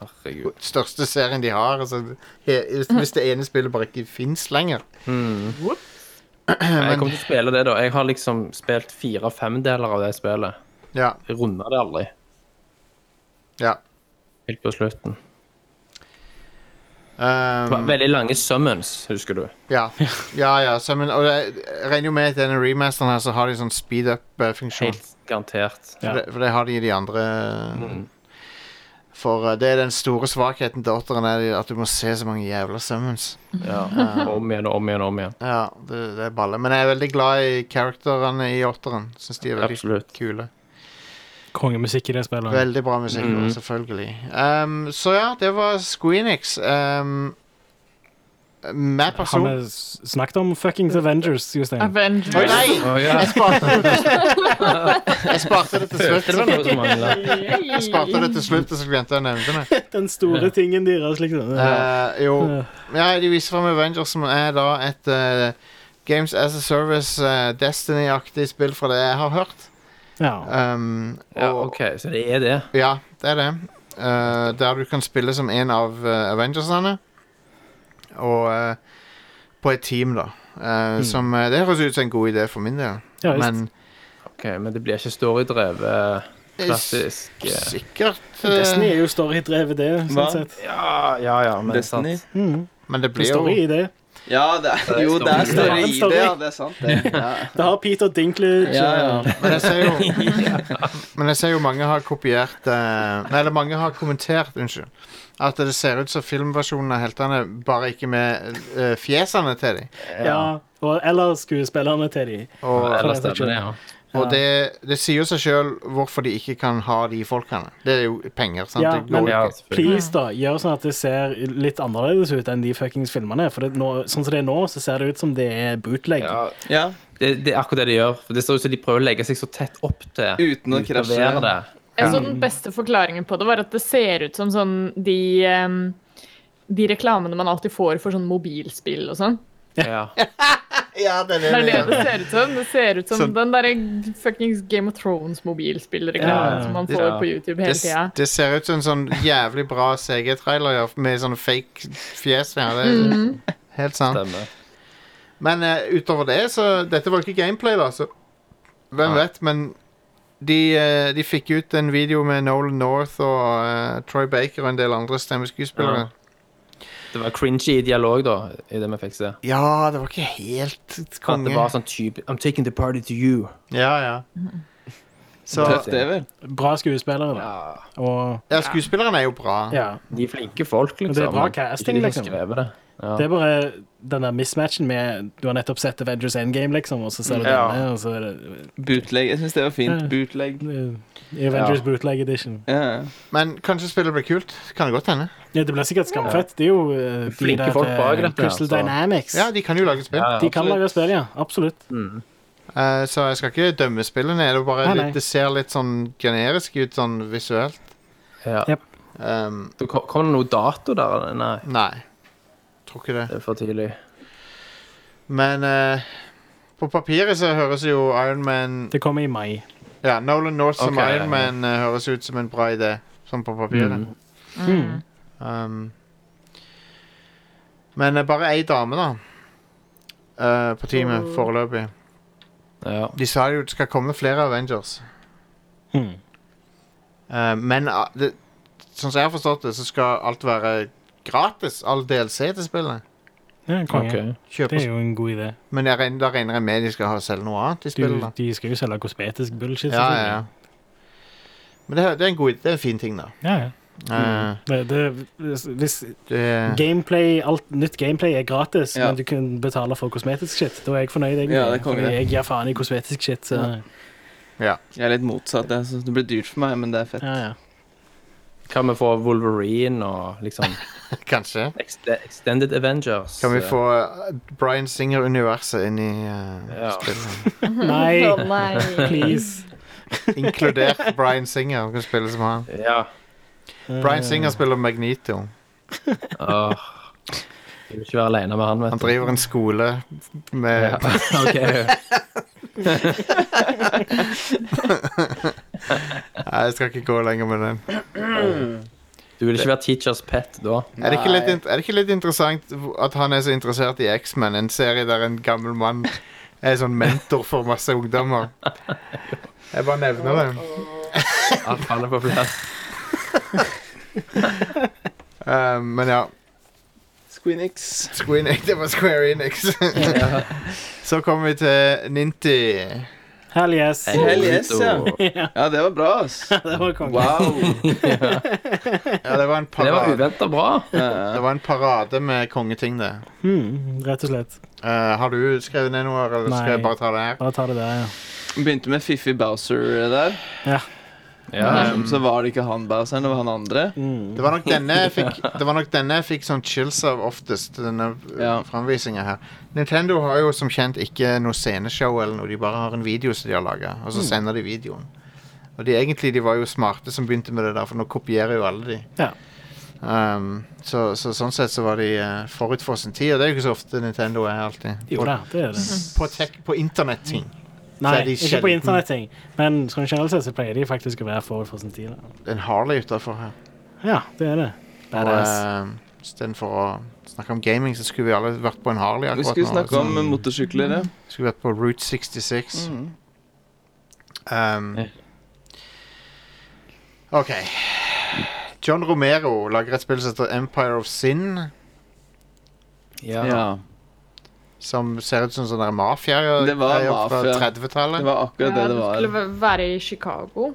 S5: Herregud.
S2: Største serien de har. Altså, he, hvis, hvis det ene spillet bare ikke fins lenger.
S5: Jeg kommer til å spille det, da. Jeg har liksom spilt fire-fem deler av det spillet.
S2: Ja.
S5: Jeg runda det aldri.
S2: ja.
S5: Helt på slutten. Det var
S2: Um,
S5: Veldig lange summons, husker du.
S2: ja. ja, ja. Så, men, og jeg jeg regner jo med at i denne remasteren her så har de sånn speed up-funksjon.
S5: Helt garantert.
S4: Ja.
S2: For, det- for det har de i de andre.
S5: Mm.
S2: For uh, det er den store svakheten til åtteren, er at du må se så mange jævla summons.
S5: Ja. Om igjen og om igjen og om igjen.
S2: Ja, det, det er balle. Men jeg er veldig glad i karakterene i åtteren. Syns de er veldig
S5: Absolutt.
S2: kule.
S4: Kongemusikk i det spillet.
S2: Veldig bra musikk,
S5: Mhm.
S2: selvfølgelig. Um, så ja, det var Squeenix. Um, med
S4: Har
S2: person
S4: vi s- snakket om fuckings Avengers, Jostein?
S6: Avengers.
S2: Å nei!
S5: Å, ja.
S2: Jeg sparte det Jeg sparte det til
S5: Følte det var
S2: slutt.
S5: noe som manglet.
S2: Jeg sparte det til slutt, og så glemte jeg å nevne det.
S4: Den store tingen deres, liksom.
S2: Uh, jo.
S4: Ja.
S2: Ja, de viser frem Avengers, som er da et uh, Games as a Service, uh, Destiny-aktig spill fra det jeg har hørt.
S4: Ja.
S2: Um,
S5: Ja,
S2: og-
S5: OK, så det er det.
S2: Ja, det er det. Eh, der du kan spille som en av eh, Avengersene. Og eh, på et team, da. Eh, Som eh, Det høres ut som en god idé for min del.
S4: Hmm. Ja, visst.
S2: men
S5: Ok, Men det blir ikke storydrevet
S2: eh,
S5: klassisk eh,
S2: sikkert eh,
S4: Destiny er jo storydrevet, det.
S3: Hva?
S4: Sånn sett.
S5: Ja, ja, ja, men
S3: Destiny.
S5: sant.
S4: Mm.
S2: Men det
S4: Det
S2: blir
S4: er story
S2: jo
S4: i det.
S3: Ja, det er, jo, det er
S4: Det
S3: større
S4: er en
S3: i
S4: story.
S3: det. Ja, det er sant, det. Ja.
S4: Det har Peter Dinklage. eh,
S3: Ja, ja.
S2: Men jeg ser jo, men jeg ser jo mange har kopiert eh, Nei, eller mange har kommentert, unnskyld. At det ser ut som filmversjonen av heltene, bare ikke med eh, fjesene til dem.
S4: Ja, og, eller skuespillerne til de.
S2: Og,
S5: Eller stemmer det, ja.
S2: og det, det sier jo seg sjøl hvorfor de ikke kan ha de folkene. Det er jo penger, sant?
S4: Ja,
S2: det går
S4: men-
S2: jo
S5: ja
S2: ikke.
S5: selvfølgelig.
S4: Please, da, gjør sånn at det ser litt annerledes ut enn de fuckings filmene. For det, nå, sånn som det er nå, så ser det ut som det er bootleg.
S5: Ja,
S3: ja.
S5: det, det er akkurat det de gjør. For Det ser ut som de prøver å legge seg så tett opp til
S3: Uten å
S5: å
S3: krasje.
S5: være det.
S6: Jeg så den beste forklaringen på det var at det ser ut som sånn de em, de reklamene man alltid får for sånn mobilspill og sånn.
S5: Ja.
S2: Ja, den
S6: Det
S2: er
S6: er det
S2: det.
S6: det ser ut som. Det ser ut som
S2: Så-
S6: den derre fuckings Game of Thrones-mobilspillreklamen
S5: Ja,
S6: som man
S5: det-
S6: får
S5: ja.
S6: på YouTube
S2: Det,
S6: hele tida.
S2: det ser ut som en sånn jævlig bra CG-trailer ja, med sånne fake fjes. Ja, det er helt sant.
S5: Stemmer.
S2: Men eh, utover det, så Dette var jo ikke gameplay, da, så hvem
S5: Nei.
S2: vet, men de, eh, de fikk ut en video med Nolan North og eh, Troy Baker og en del andre stemmeskuespillere.
S5: Det var cringy i dialog, da, i det vi fikk se.
S2: Ja. det var ikke helt
S5: At
S2: konge.
S5: det var sånn type I'm taking the party to you.
S2: Ja, ja. Så
S3: Tøft, det, vel?
S4: Bra skuespillere, da.
S5: Ja,
S4: Og
S2: Ja, skuespillerne er jo bra.
S4: ja.
S5: de er flinke folk, liksom.
S4: Men det er bra
S5: Ikke de
S4: casting,
S5: som
S4: liksom.
S5: skrev det. Ja.
S4: Det er bare den der mismatchen med Du har nettopp sett Avengers Endgame, liksom, og så ser du
S5: Ja.
S4: denne, og så er det
S3: Bootleg. Jeg syns det var fint.
S4: Ja.
S3: Bootleg.
S4: i Avengers
S5: Ja.
S4: Bootleg Edition.
S3: Ja.
S2: Men kanskje spillet blir kult. Kan det godt hende.
S4: Ja, det blir sikkert skamfett. Det er jo eh, de
S5: Flinke
S4: der,
S5: folk
S4: eh,
S5: bak dette,
S4: Crystal
S5: altså.
S4: Dynamics.
S2: Ja, de kan jo lage spill.
S5: Ja, ja.
S4: de kan lage spill, ja. Absolutt.
S2: Eh, så jeg skal ikke dømme spillet ned. Det, er bare
S4: Nei, nei.
S2: litt, det ser litt sånn generisk ut sånn visuelt.
S5: Ja.
S4: Jep.
S2: Um,
S5: Det kom, kom det noe dato der? eller? Nei,
S2: nei. Tror ikke det.
S5: det er for tidlig.
S2: Men eh, på papiret så høres jo Iron Man
S4: Det kommer i mai.
S2: Ja, Nolan North som
S5: Ok,
S2: Iron
S5: ja.
S2: Man eh, høres ut som en bra idé. Sånn på papiret.
S4: Mm.
S2: Um, men eh, bare ei dame, da. eh, på teamet foreløpig.
S5: Ja.
S2: De sa jo det skal komme flere Avengers.
S4: Mm.
S2: Eh, men ah, det, sånn som jeg har forstått det, så skal alt være gratis. All DLC til spillet.
S4: Ja, konge.
S5: Ok.
S2: Kjøp
S4: Det er jo en god idé.
S2: Men jeg regner, da regner jeg med de skal ha selv noe annet i
S4: Du,
S2: spillet. da.
S4: de skal jo selge kosmetisk bullshit.
S2: Ja, ja,
S4: selvfølgelig.
S2: ja. Men det, det er en god Det er en fin ting, da.
S4: ja, ja.
S2: Eh,
S4: Det, det, hvis- hvis
S2: det,
S4: gameplay, alt nytt gameplay er gratis,
S3: Ja.
S4: men du kan betale for kosmetisk shit, da er jeg fornøyd. egentlig.
S3: Ja, det er konge,
S4: Fordi
S3: det.
S4: jeg gir faen i kosmetisk shit. Så, ja.
S3: Jeg er litt motsatt. Jeg synes det blir dyrt for meg, men det er fett.
S4: Ja,
S5: Kan vi få Wolverine og liksom
S2: kanskje.
S5: Ex- Extended Avengers?
S2: Kan vi få eh, Bryan Singer-universet inn i eh,
S5: Ja.
S2: spillet?
S6: Mhm.
S4: Nei,
S6: Å, nei.
S4: please.
S2: Inkludert Bryan Singer. Han kan spille som han.
S5: Ja.
S2: Bryan Singer spiller Magnito.
S5: Åh. Jeg vil ikke være alene med han, vet
S2: Han driver en skole med
S5: Ok.
S2: Nei, jeg skal ikke gå lenger med den.
S5: Du vil ikke være teachers pet da?
S2: Er det, ikke litt, int- er det ikke litt interessant at han er så interessert i X-Men, en serie der en gammel mann er sånn mentor for masse ungdommer? Jeg bare nevner det.
S5: Alt faller på plass.
S2: Eh, men ja,
S3: Squeenix.
S2: Square Enix, det var Square Enix. så kommer vi til Ninty.
S4: Hell yes.
S3: Hell yes, ja.
S5: Og-
S3: Ja, det var bra, ass.
S4: Det var konge.
S3: Wow.
S2: Ja, det var en
S5: Det var
S2: parade,
S5: uventet bra.
S3: Ja,
S2: det var en parade med kongeting, det.
S4: Hmm, rett og slett.
S2: Eh, har du skrevet ned noe, eller skal
S4: Nei.
S2: jeg bare ta det her?
S4: Bare ta det der, ja.
S3: Begynte med Fiffi Bowser der.
S5: Ja.
S3: Så var det ikke han Bowseren, det var han andre.
S2: Det var nok denne jeg fikk, det var nok denne jeg fikk sånn chills av oftest, denne ja.
S3: Ja.
S2: framvisinga her. Nintendo har jo som kjent ikke noe sceneshow eller noe, de bare har en video som de har laga, og
S4: Mm.
S2: så sender de videoen. Og de egentlig de var jo smarte som begynte med det der, for nå kopierer jo alle de.
S4: Ja.
S2: Um, så, så sånn sett så var de eh, forut for sin tid, og det er jo ikke så ofte Nintendo er alltid.
S4: Jo da, det er det.
S2: På, tech- på internetting.
S4: Nei,
S2: er de
S4: ikke på
S2: sjelden-
S4: internetting, men sånn generelt sett så pleier de faktisk å være forut for sin tid. da.
S2: Det er En Harley utafor her.
S4: Ja, det er det.
S2: Og,
S4: Badass.
S2: eh, Istedenfor å snakke om gaming, så skulle vi alle vært på en Harley
S3: Vi
S2: akkurat
S3: skulle
S2: nå.
S3: snakke om eh, motorsykler, ja.
S2: Skulle vært på Route 66.
S3: Mm.
S2: Um,
S3: Ja.
S2: OK. John Romero lager et spill som heter Empire of Sin,
S5: Ja.
S3: ja.
S2: som ser ut som sånn der
S3: Det var
S2: mafia-greier fra
S3: mafia. Det
S2: 30-tallet.
S3: var akkurat det det
S6: det
S3: var.
S6: skulle være i Chicago.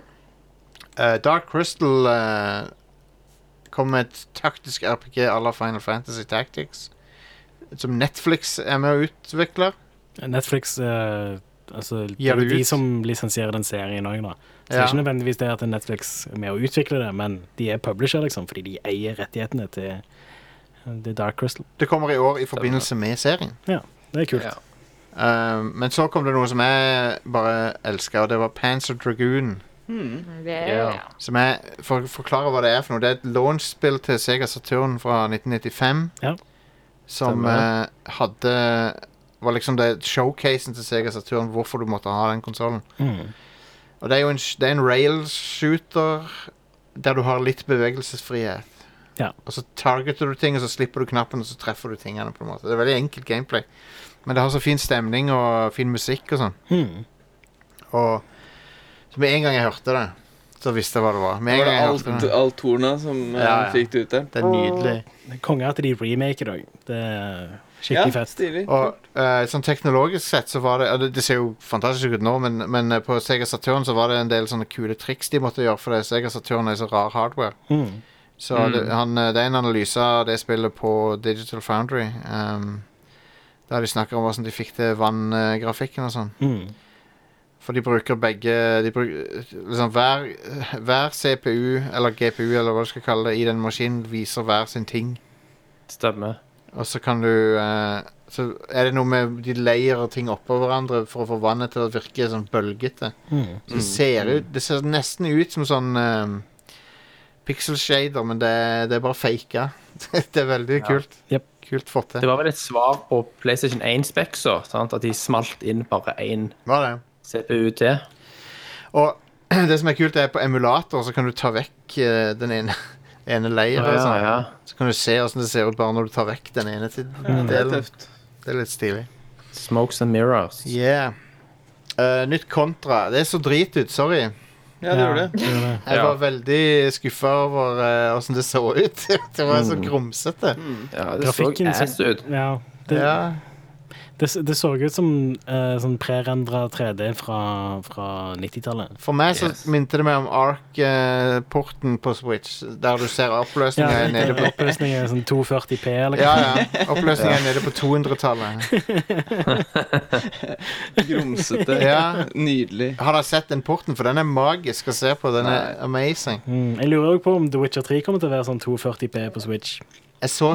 S2: Eh, Dark Crystal eh, kom med et taktisk RPG à la Final Fantasy Tactics, som Netflix er med og utvikler.
S4: Netflix eh, altså, Det
S2: Gir
S4: er
S2: det
S4: jo de
S2: ut?
S4: som lisensierer den serien òg, da. Så det
S2: Ja.
S4: er ikke nødvendigvis det at Netflix er med å utvikle det, men de er publisher, liksom, fordi de eier rettighetene til eh, The Dark Crystal.
S2: Det kommer i år i forbindelse med serien.
S4: Det er kult.
S5: Ja.
S2: Eh, men så kom det noe som jeg bare elska, og det var Panzer Dragoon.
S6: Det,
S5: Ja.
S6: ja.
S2: Som jeg, For å forklare hva det er for noe. Det er et launchspill til Sega Saturn fra 1995.
S4: Ja.
S2: Som
S3: Stemmer.
S2: eh, hadde Var liksom det showcasen til Sega Saturn hvorfor du måtte ha den konsollen.
S4: Mm.
S2: Og det er jo en, sh- det er en rail-shooter der du har litt bevegelsesfrihet.
S4: Ja.
S2: Og så targeter du ting, og så slipper du knappen, og så treffer du tingene. på en måte. Det er veldig enkelt gameplay. Men det har så fin stemning og fin musikk og sånn.
S3: Hmm.
S4: Mm.
S2: Og så med en gang jeg hørte det, så visste jeg hva det var. Med en
S3: Det var
S2: gang jeg
S3: alt,
S2: hørte det.
S3: alt torna som eh,
S2: Ja, ja.
S3: fikk det ute.
S2: Det er nydelig.
S4: Det er Konge at de remaker det òg. Det er skikkelig
S3: ja,
S4: fett.
S3: stilig.
S2: Og eh, sånn teknologisk sett så var det og det, det ser jo fantastisk ut nå, men, men eh, på Sega Saturn så var det en del sånne kule triks de måtte gjøre, for det Sega Saturn er så rar hardware.
S4: Mm.
S2: Så det, han, eh, det er en analyse av det spillet på Digital Foundry. ehm, der de snakker om hvordan de fikk til vanngrafikken og sånn.
S4: Mm.
S2: For de bruker begge de bruker, liksom hver, hver CPU, eller GPU, eller hva du skal kalle det, i den maskinen viser hver sin ting.
S5: Stemmer.
S2: Og så kan du eh, Så er det noe med de leierer ting oppå hverandre for å få vannet til å virke sånn bølgete.
S4: Mm.
S2: Så det ser, ut, det ser nesten ut som sånn eh, pixel shader, men det, er- det er bare faka. det er veldig
S5: Ja.
S2: kult.
S4: Jep.
S2: Kult fått
S5: Det
S2: til.
S5: var vel et svar på PlayStation 1-speksa, at de smalt inn bare én
S2: Var det.
S5: CPU til.
S2: Og det som er kult, er på emulator så kan du ta vekk eh, den ene, ene leiren. og sånn.
S5: ja.
S2: Så kan du se åssen det ser ut bare når du tar vekk den ene til-
S3: Det er
S2: delen.
S3: tøft.
S2: Det er litt stilig.
S5: Smokes and mirrors.
S2: Yeah. Eh, nytt kontra. Det er så drit ut. Sorry.
S3: Ja, det gjorde det.
S4: gjør det.
S2: Jeg
S5: Ja.
S2: var veldig skuffa over eh, åssen det så ut. det var så grumsete.
S5: Ja, det
S4: Grafikken
S5: så ass ut.
S4: Ja. Det,
S2: Ja.
S4: det, det så ut som eh, sånn prerendra 3D fra, fra 90-tallet.
S2: For meg så
S5: Yes.
S2: minte det meg om Ark-porten på Switch, der du ser
S4: Ja,
S2: oppløsninga nede på
S4: Oppløsningen er sånn 240P eller
S2: ja,
S4: hva.
S2: ja. Oppløsninga er nede på 200-tallet.
S3: Grumsete.
S2: Ja.
S3: Nydelig.
S2: Har dere sett den porten? For den er magisk å se på. Den er amazing.
S4: Mm. Jeg lurer òg på om The Witcher 3 kommer til å være sånn 240P på Switch.
S2: Jeg så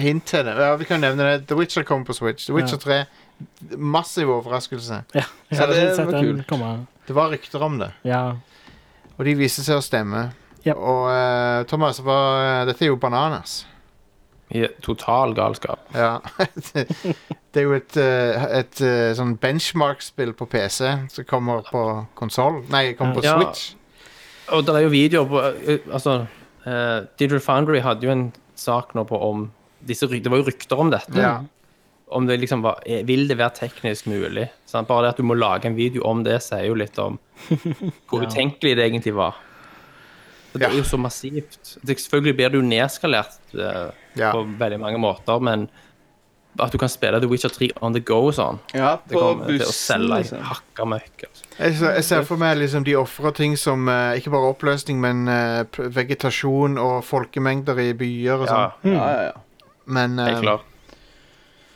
S2: hint til det. Ja, vi kan nevne det. The Witcher kom på Switch. The Witcher 3. Massiv overraskelse.
S4: Ja, jeg
S3: Ja,
S4: hadde
S3: det
S4: ikke sånn sett
S3: var
S4: den
S3: kult.
S4: komme.
S2: Det var rykter om det.
S4: Ja.
S2: Og de viste seg å stemme.
S4: Yep.
S2: Og eh, Thomas, hva, dette er jo bananas.
S5: Ja, total galskap.
S2: Ja. det, det er jo et, eh, et eh, sånn benchmark-spill på PC som kommer på konsoll Nei, kommer på
S5: Ja.
S2: Switch.
S5: Og det er jo videoer på eh, Altså, eh, Digital Foundry hadde jo en sak nå på om disse, ry- Det var jo rykter om dette.
S2: Ja.
S5: Om det liksom var eh, Vil det være teknisk mulig? Sant? Bare det at du må lage en video om det, sier jo litt om hvor utenkelig det egentlig var. For det
S2: Ja.
S5: er jo så massivt. Det, selvfølgelig blir det jo nedskalert eh,
S2: Ja.
S5: på veldig mange måter, men at du kan spille The Witcher 3 on the go og sånn,
S3: Ja,
S5: det
S3: på
S5: kommer til å
S3: bussen,
S5: selge i
S3: liksom.
S5: hakka møkk. Altså.
S2: Jeg, ser- jeg ser for meg liksom de ofrer ting som eh, ikke bare oppløsning, men eh, p- vegetasjon og folkemengder i byer og
S5: Ja.
S2: sånn.
S3: Ja, ja, ja.
S2: Men eh,
S5: Helt klart. Ehm,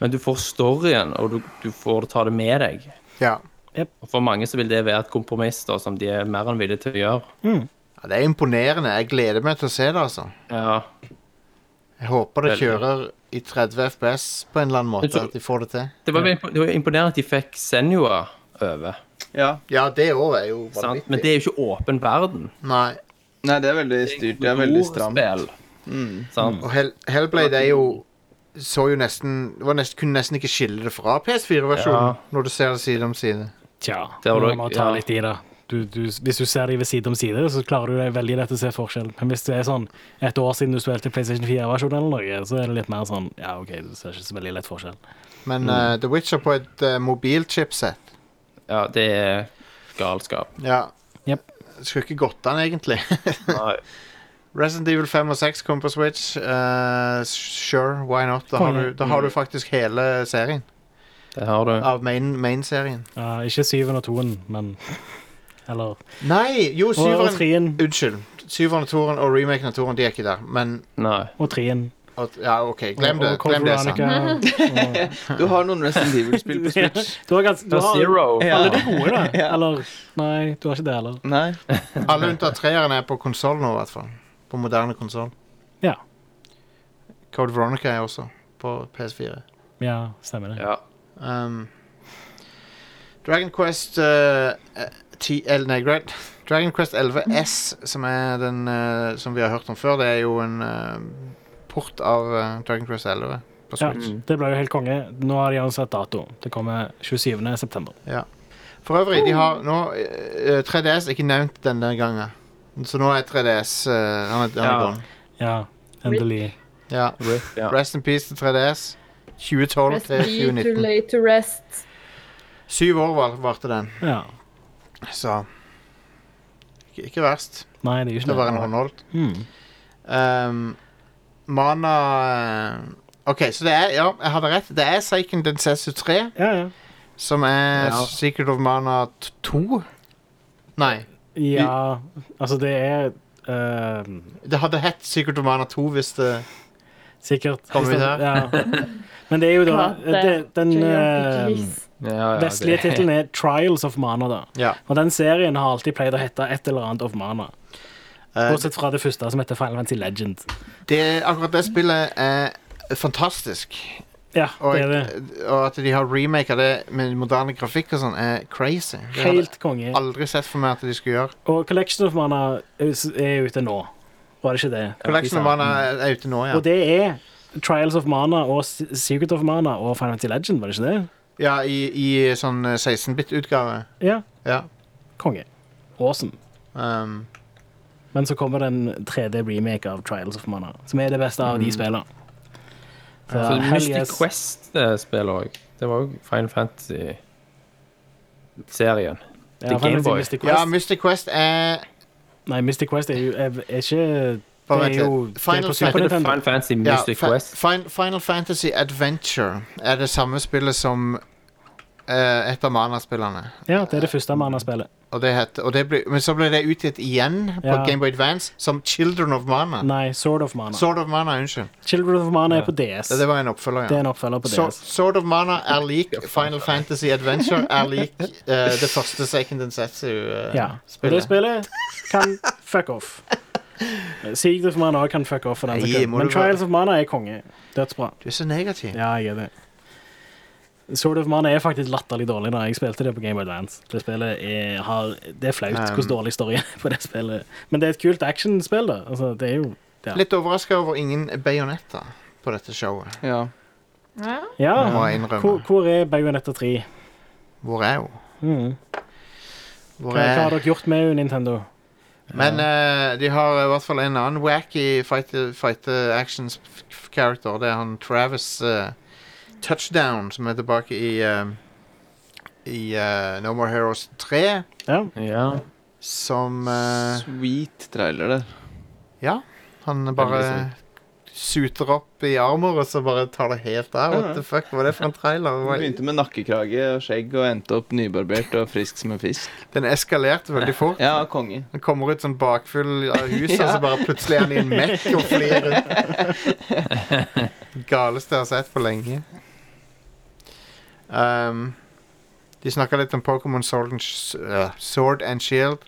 S5: Men du får storyen, og du, du får ta det med deg.
S2: ja.
S5: Og For mange så vil det være et kompromiss da, som de er mer enn villige til å gjøre.
S2: ja. Det er imponerende. Jeg gleder meg til å se det, altså.
S5: Ja.
S2: Jeg håper det
S5: Veldig.
S2: kjører i 30 FPS på en eller annen
S5: Men
S2: måte.
S5: så-
S2: At de får det til.
S5: Det var, vel impo- det var imponerende at de fikk Senua over.
S3: ja.
S2: Ja, det året er jo
S5: Sant? Men
S2: vanvittig.
S5: det er jo ikke åpen verden.
S2: Nei.
S3: Nei, det er veldig styrt. Det er veldig stramt.
S5: Storspill, sant?
S2: Og Hell Hellblade er jo så jo nesten, det var nesten Kunne nesten ikke skille det fra PS4-versjonen,
S5: Ja.
S2: når du ser det side om side.
S4: Tja,
S5: Det var
S4: nå
S5: det-
S4: må vi ta
S5: ja.
S4: litt i det. du, du, hvis du ser de ved side om side, så klarer du deg veldig lett å se forskjell. Men hvis det er sånn et år siden du spilte PlayStation 4-versjonen eller noe, så er det litt mer sånn Ja, OK, du ser ikke så veldig lett forskjell.
S2: Men
S4: Mm.
S2: eh, The Witcher på et eh, mobilchipset
S5: Ja, det er galskap.
S2: Ja.
S4: Yep.
S2: Skulle ikke gått an, egentlig.
S5: Nei.
S2: Resident Evil 5 og 6 kom på Switch. Eh, sure, why not? Da har, du, da har du faktisk hele serien.
S5: Det har du.
S2: Av main- main-serien.
S4: Ja, ikke syven og toen, men Eller
S2: Nei! Jo,
S4: Og, og
S2: syveren
S4: trien.
S2: Unnskyld. Syveren og toeren og remaken av toeren, de er ikke der. Men
S5: Nei.
S4: Og trien.
S2: at- Ja, OK. Glem
S4: og-
S2: det.
S4: og Code
S2: Glem det, sant.
S4: Veronica, og-
S3: Du har noen Resident Evil-spill på Switch.
S4: Du har ganske du
S5: Og
S4: har,
S5: Zero.
S3: Ja.
S4: Alle de gode, da.
S3: Ja.
S4: Eller Nei, du har ikke det heller.
S3: Nei.
S2: Alle unntatt treeren er på konsoll nå, i hvert fall. På moderne konsoll.
S4: Ja.
S2: Code Veronica er også på PS4.
S4: Ja, stemmer det.
S5: Ja.
S2: Um, Dragon Quest eh, eh, ti- eller nei, Gra- Dragon Quest 11 S, som er den eh, som vi har hørt om før, det er jo en eh, port av eh, Dragon Quest 11 på
S4: Ja,
S2: Switch.
S4: det ble jo helt konge. Nå har de ansatt dato. Det kommer 27. september.
S2: For øvrig, de har nå eh, eh, 3DS er ikke nevnt denne gangen. Så nå er 3DS eh, han er, han er
S5: Ja.
S2: gone.
S4: Ja, endelig.
S2: Ja.
S5: ja.
S2: Rest in peace til 3DS. 2012
S6: Rest
S2: til
S6: be too
S2: 2019.
S6: late to rest.
S2: Syv år var- varte den,
S4: Ja.
S2: så Ikke, ikke verst.
S4: Nei, det er jo
S2: Det var en
S4: ikke det.
S2: håndholdt.
S4: Mm.
S2: Um, Mana eh, OK, så det er Ja, jeg hadde rett. Det er Seiken Densetsu 3,
S4: Ja, ja.
S2: som er
S5: Ja.
S2: Secret of Mana t- 2. Nei.
S4: ja, altså det er eh,
S2: Det hadde hett Secret of Mana 2 hvis det
S4: sikkert
S2: Kommer vi der?
S4: Ja. Men det er jo da det, Den eh,
S5: Ja, ja,
S4: vestlige
S5: det-
S4: tittelen er Trials of Mana, da.
S2: Ja.
S4: Og den serien har alltid pleid å hete et eller annet of Mana.
S2: Eh,
S4: Bortsett fra det første, som heter Final Fantasy Legend.
S2: det, akkurat det spillet er fantastisk.
S4: Ja,
S2: Og,
S4: det er det.
S2: og at de har remaka det med moderne grafikk og sånn, er crazy. Det hadde
S4: Helt
S2: jeg
S4: konge.
S2: aldri sett for meg at de skulle gjøre.
S4: Og Collection of Mana er er ute nå. Var det ikke det?
S2: Collection of Mana er- er ute nå, ja.
S4: Og det er Trials of Mana og Se- Secret of Mana og Final Fantasy Legend, var det ikke det?
S2: Ja, I, i sånn eh, 16-bit-utgave.
S4: Ja.
S2: Ja.
S4: Konge. Awesome.
S2: Um,
S4: Men så kommer det en 3D-remake av Trials of Mana, som er det beste av de spillene. Så,
S5: Så
S4: hell
S5: Mm. Mystic
S4: yes.
S5: Quest eh, spiller òg. Det var òg Final Fantasy-serien.
S4: Ja,
S5: til
S4: Final Fantasy
S5: Gameboy.
S4: Mystic Quest.
S2: Ja, Mystic Quest er
S4: Nei, Mystic Quest er jo er, er ikke
S2: Bare vent
S4: Det er jo
S2: litt.
S4: det er
S2: Final
S4: på Super
S2: Fantasy-
S4: Nintendo.
S5: Final Fantasy
S2: ja,
S5: Mystic
S2: Fi-
S5: Quest.
S2: Fin- Final Fantasy Adventure er det samme spillet som eh, et av Mana-spillene.
S4: Ja, det er det første Mana-spillet.
S2: Og det het, og det ble, men så ble det utgitt igjen på
S4: Ja.
S2: Gameboy Advance som Children of Mana.
S4: Nei, Sword of Mana.
S2: Sword of Mana, unnskyld.
S4: Children of Mana er på DS.
S2: Det, det var en oppfølger,
S4: Det er
S2: ja.
S4: en oppfølger på
S2: So,
S4: DS.
S2: Sword of Mana er lik Final Fantasy Adventure er lik eh, det første Second and eh,
S4: Ja. Og det
S2: Setsu-spillet.
S4: spillet kan fuck off. Secret of Mana også kan fuck off. For den
S2: Nei,
S4: som kan.
S2: må
S4: Men
S2: du være-
S4: Trials of Mana er konge. Dødsbra.
S2: du er så negativ.
S4: Ja, jeg er det. Sword of Mana er faktisk latterlig dårlig da jeg spilte det på Game Advance. Det spillet er, har, det er flaut
S2: Um.
S4: hvordan dårlig storyen er på det spillet. Men det er et kult actionspill, da. Altså, det er jo Ja.
S2: Litt overraska over ingen bajonetter på dette showet,
S3: Ja.
S6: Ja.
S4: Ja.
S2: må jeg innrømme.
S4: Hvor, hvor er Bayonetta 3?
S2: Hvor er hun?
S4: Mm. Hva,
S2: Hvor
S4: hva
S2: er
S4: har dere gjort med henne, Nintendo?
S2: Men eh, de har i hvert fall en annen wacky fight, fight eh, actions f- f- character. Det er han Travis eh, Touchdown, som er tilbake i eh, I eh, No More Heroes 3.
S4: Ja.
S5: Ja.
S2: Som eh,
S3: Sweet trailer der.
S2: Ja. Han bare
S3: Veldig
S2: suter opp i armer, og så bare tar det helt av. What the fuck var det for en trailer?
S3: Vi
S2: Hva-
S3: Begynte med nakkekrage og skjegg og endte opp nybarbert og frisk som en fisk.
S2: Den eskalerte veldig fort.
S3: Ja, konge.
S2: Han kommer ut sånn bakfull av huset, og så bare plutselig er han i en mekk og flyr rundt. Galeste jeg har sett på lenge. Um, de snakka litt om Pokémon Sword, and Sh- øh, Sword and Shield.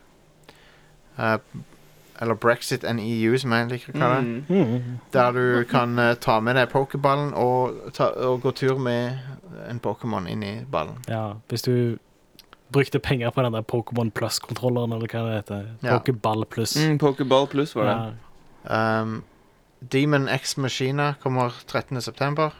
S2: Uh, eller Brexit and EU, som jeg liker å kalle det.
S3: Mm.
S4: Mm.
S2: Der du kan eh, ta med deg pokerballen og, ta, og gå tur med en Pokémon inn i ballen.
S4: ja. Hvis du brukte penger på den der Pokémon Plus-kontrolleren, eller hva det heter.
S2: Ja.
S4: Pokéball Plus.
S3: Mm, Pokéball pluss var det.
S4: Ja.
S2: Um, Demon X Machina kommer 13.9.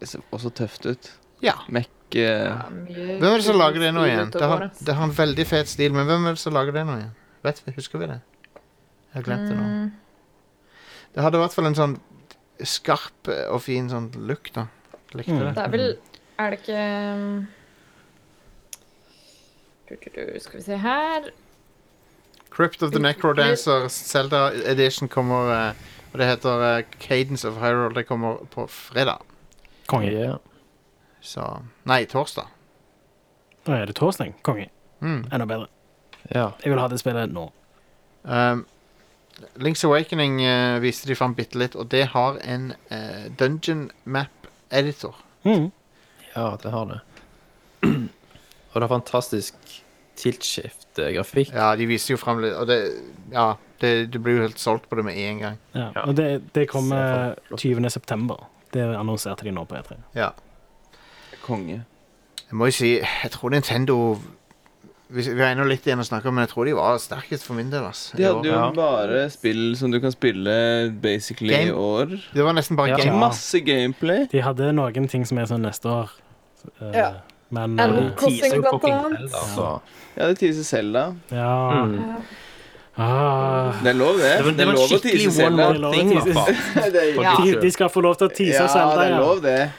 S3: Det ser også tøft ut.
S2: Ja.
S3: Mekk ikke
S2: Hvem er det som lager det nå igjen? Det har, det har en veldig fet stil, men hvem er det som lager det nå igjen? Vet vi, Husker vi det? Jeg har glemt det nå. Det hadde i hvert fall en sånn skarp og fin sånn look, da. Likte det.
S6: Det er vel Er det ikke um, du, du, du, Skal vi se her
S2: Crypt of the Necrodancer Zelda Edition kommer eh, Og det heter eh, Cadence of Hyrule Det kommer på fredag
S4: Konge.
S2: Så, Nei, torsdag
S4: Nå er det torsdag. Konge.
S2: mm.
S4: Enda bedre.
S5: Ja.
S4: Jeg vil ha det spillet nå.
S2: um, Link's Awakening eh, viste de fram bittelitt Og det har en eh, dungeon map editor
S4: Mm.
S5: ja, det har det. Og det har fantastisk eh, tilt-skift-grafikk.
S2: Ja, de viser jo frem litt Og det, ja, det, du blir jo helt solgt på det med en gang
S4: Ja.
S5: Ja.
S4: Og det, det kommer
S5: Se for-
S4: 20. september. Det annonserte de nå på E E3.
S2: Ja
S3: konge.
S2: Jeg må jo si, jeg tror Nintendo hvis, Vi har ennå litt igjen å snakke om, men jeg tror de var sterkest for min del. Ass, i
S3: De hadde jo
S2: år.
S5: Ja.
S3: bare spill som du kan spille basically
S2: Game-
S3: i år.
S2: Det var nesten bare
S5: Ja.
S2: game.
S3: Masse gameplay.
S4: De hadde noen ting som er sånn neste år, eh,
S3: Ja.
S4: men
S6: Animal
S4: eh,
S6: Crossing,
S5: Teaser jo
S6: blant
S5: fucking
S6: annet.
S5: Zelda, altså.
S3: Ja, det teaser Selda.
S4: Ja.
S5: Mm.
S4: Ah.
S3: Det er lov, det.
S5: Det var,
S3: Det
S5: det
S3: er
S5: var
S3: lov å
S5: skikkelig
S3: tease
S5: one
S3: Selda.
S5: more
S4: Det er lov å
S5: thing, i
S4: tease.
S5: hvert fall.
S3: Det er-
S5: Ja.
S4: De, de skal få lov til å tease
S3: Ja,
S4: Zelda,
S3: det er lov, det.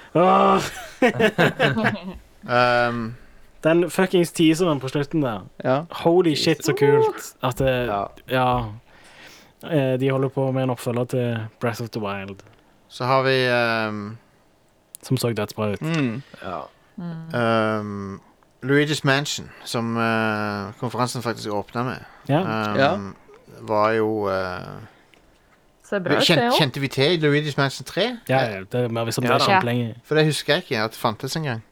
S4: Ah.
S2: Um,
S4: Den fuckings teaseren på slutten der.
S3: Ja.
S4: Holy shit, så kult at det,
S5: Ja.
S4: Ja. Eh, De holder på med en oppfølger til Breath of the Wild,
S2: så har vi um,
S4: som så dødsbra ut.
S3: Mm.
S5: Ja.
S2: um, Luigi's Mansion, som eh, konferansen faktisk åpna med.
S4: Ja.
S2: Um,
S3: Ja.
S2: Var jo eh,
S6: Ser bra ut, det
S2: kjen,
S6: òg.
S2: Kjente vi til Luigi's Mansion 3?
S4: Ja, ja, det er mer hvis om det
S5: Ja
S4: er
S5: da.
S4: kjempelenge.
S2: For det husker jeg ikke at det fantes engang.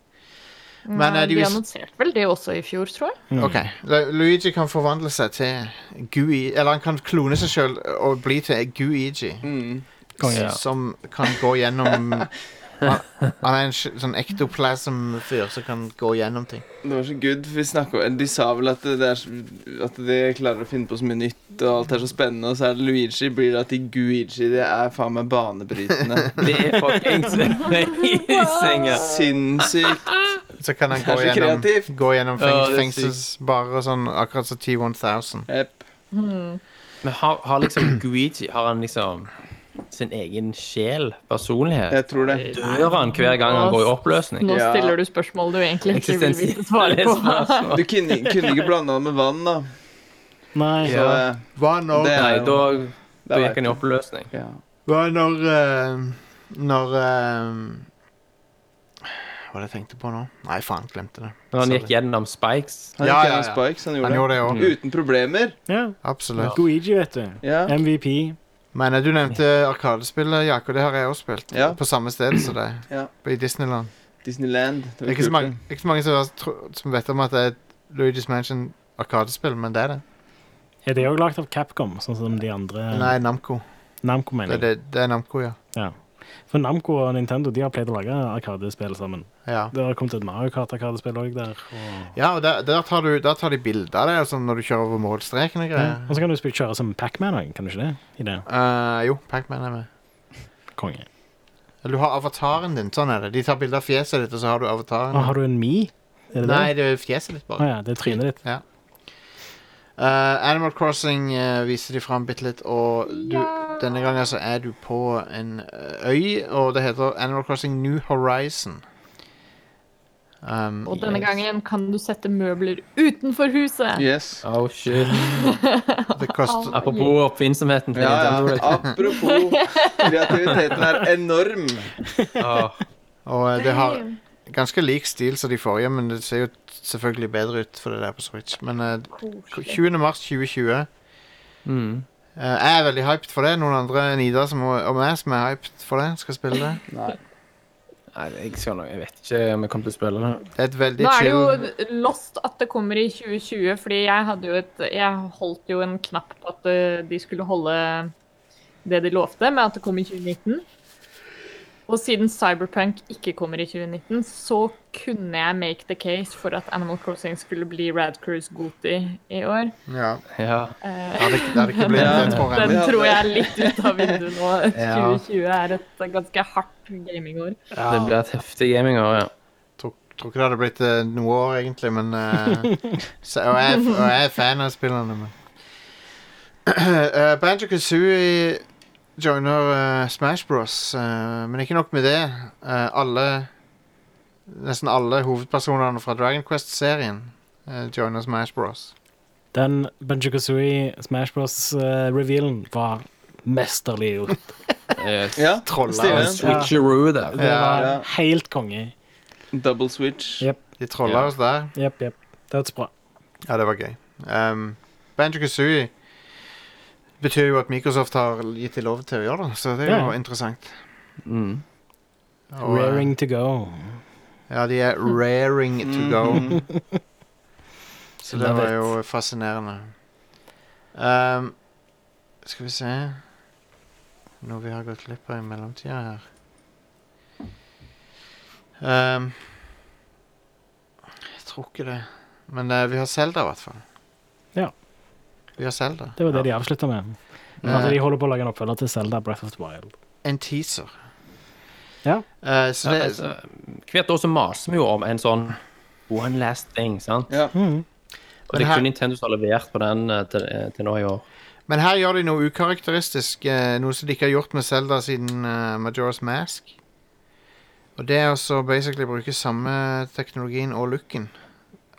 S2: Men, eh,
S6: De
S2: de vis-
S6: annonserte vel det også i fjor, tror jeg.
S4: Mm.
S2: Ok, Lu- Luigi kan forvandle seg til Gui Eller han kan klone seg sjøl og bli til Guigi.
S3: Mm.
S4: Konge, ja.
S2: som kan gå gjennom Han han er en sj- sånn ektoplasm-fyr som kan gå gjennom ting.
S3: Det var så good, for vi snakket, De sa vel at, det er, så- at de klarer å finne på så mye nytt, og alt er så spennende, og så er det Luigi blir det til Guigi. Det er faen meg banebrytende.
S5: Det er fuckings amazing. ja.
S3: Sinnssykt.
S2: Så kan han
S3: Det er
S2: gå
S3: så
S2: gjennom,
S3: kreativt.
S2: gå gjennom feng,
S5: Ja, det er
S2: fengselsbarer og sånn, akkurat som T1000.
S3: Yep.
S5: Men har, har liksom Guigi Har han liksom sin egen sjel, personlighet?
S3: Jeg tror det.
S5: Dør han hver gang han går i oppløsning?
S6: Nå
S3: Ja.
S6: stiller du spørsmål du egentlig ikke vil vite
S5: Eksistensielle
S6: svaret på.
S5: spørsmål.
S3: Du kunne, kunne ikke blande det med vann, da.
S4: Nei.
S3: Så,
S5: Ja.
S3: eh,
S2: Hva når,
S3: Det-
S5: Nei, da,
S3: da
S5: da
S3: vet
S5: gikk han i oppløsning.
S3: ja.
S2: hva når eh, Når eh, Hva var det jeg tenkte på nå? Nei, faen, glemte det.
S5: Når han gikk gjennom spikes.
S3: Han
S2: Ja,
S3: gikk
S2: ja,
S3: gjennom
S2: ja.
S3: spikes, han gjorde,
S2: Han gjorde det Mm. òg.
S3: det. Mm. Uten problemer.
S4: Ja.
S2: Absolutt.
S4: Goigi, vet du.
S3: Ja.
S4: MVP.
S2: Men eh, du nevnte Arkadespillet, Jakob. Det har jeg òg spilt.
S3: Ja.
S2: På samme sted som det.
S3: Ja.
S2: I Disneyland.
S3: Disneyland. Det
S2: Det
S3: var
S2: er ikke så
S3: kult,
S2: mange,
S3: det.
S2: ikke så mange som, tro- som vet om at det er et Luigi's Mansion Arkadespill, men det er det.
S4: Er det òg lagd av Capcom, sånn som de andre
S2: Nei, Namco.
S4: Namco,
S2: Det,
S4: mener jeg.
S2: det, det er Namco, ja.
S4: For Namco og Nintendo de har pleid å lage arkadespill sammen.
S2: Ja,
S4: Det har kommet et Mario Kart-arkadespill òg der. Og,
S2: ja og der, der, tar du, der tar de bilder av det altså, når du kjører over målstreken og
S4: ja.
S2: greier.
S4: og så kan du spille- kjøre som Pac-Man òg, kan du ikke det? I det.
S2: Eh, jo, Pac-Man er med.
S4: Konge.
S2: Eller du har avataren din. Sånn er det. De tar bilde av fjeset ditt, og så har du avataren.
S4: Og Ah, har du en Mi? Er det
S2: Nei,
S4: det?
S2: det er fjeset ditt,
S4: Å
S2: bare.
S4: ja, det er trynet ditt.
S2: Eh, Animal Crossing eh, viser de fram bitte litt, og du, denne gangen så er du på en eh, øy, og det heter Animal Crossing New Horizon. Um,
S6: Og denne
S2: yes.
S6: gangen kan du sette møbler utenfor huset.
S3: Yes.
S5: Oh shit.
S2: Det koster
S5: Apropos oppfinnsomheten til
S3: Ja, ja.
S5: Nintendo.
S3: Apropos, kreativiteten er enorm. Ah.
S5: Åh,
S2: Og eh, det har ganske lik stil som de forrige, men det ser jo t- selvfølgelig bedre ut for det der på Switch. Men eh, 20. mars 2020
S5: mm.
S2: eh, Jeg er veldig hyped for det. Noen andre enn Ida som, og meg som er hyped for det, skal spille det.
S3: Nei.
S5: Nei, jeg skjønner Jeg vet ikke om jeg kommer til å spille det.
S2: Det er et veldig
S6: Nå er det
S2: chill
S6: jo lost at det kommer i 2020, fordi jeg hadde jo et Jeg holdt jo en knapp på at eh, de skulle holde det de lovte, med at det kom i 2019. Og siden Cyberpunk ikke kommer i 2019, så kunne jeg make the case for at Animal Crossing skulle bli Rad Cruise Goti i år.
S2: ja.
S5: Ja.
S6: Eh,
S2: det, hadde ikke- det hadde ikke blitt det, tror
S6: Den
S2: jeg.
S3: Ja,
S6: tror
S3: det-
S6: jeg er litt ut av vinduet nå.
S5: Ja.
S6: 2020 er et ganske hardt gamingår.
S5: Det blir et heftig gamingår, ja.
S2: Tror, tror ikke det hadde blitt eh, noe år, egentlig, men eh, så, og, jeg, og jeg er fan av spillerne, men Eh, Banjo Kazooie joiner eh, Smash Bros, eh, men ikke nok med det. Eh, alle Nesten alle hovedpersonene fra Dragon Quest-serien eh, joiner Smash Bros.
S4: Den Banjo Kazooie Smash Bros.-revealen var mesterlig gjort.
S5: Yes.
S3: Ja,
S2: Troller.
S3: Stilig.
S5: Switcheroo der.
S4: Det var
S3: Ja.
S4: helt konge.
S3: Double switch.
S4: Ja.
S2: De trolla
S5: Ja.
S2: oss der.
S4: Jepp, jepp. Det hørtes bra.
S2: Ja, det var gøy. Um, Banjo Kazooie betyr jo at Microsoft har gitt de lov til å gjøre det, så det er jo
S4: Ja.
S2: interessant.
S5: Mm.
S2: Og, eh,
S4: Raring to go.
S2: Ja, de er raring to go.
S3: Mhm.
S2: Så det var jo fascinerende. Um, skal vi se Noe vi har gått glipp av i mellomtida her. Um, jeg tror ikke det. Men eh, vi har Selda, i hvert fall.
S4: Ja.
S2: Vi har Selda.
S4: Det var det de avslutta med. At de holder på å lage en oppfølger til Zelda Breath of the Wild.
S2: en teaser.
S4: Ja.
S2: Eh, så
S5: Ja,
S2: det,
S5: altså, hvert år så maser vi jo om en sånn One last thing, sant?
S3: Ja.
S5: Og det
S2: Men her-
S5: er kun Nintendo som har levert på den eh, til, eh, til nå i år.
S2: men her gjør de noe ukarakteristisk, eh, noe som de ikke har gjort med Zelda siden eh, Majora's Mask. Og det er også basically å bruke samme teknologien og looken.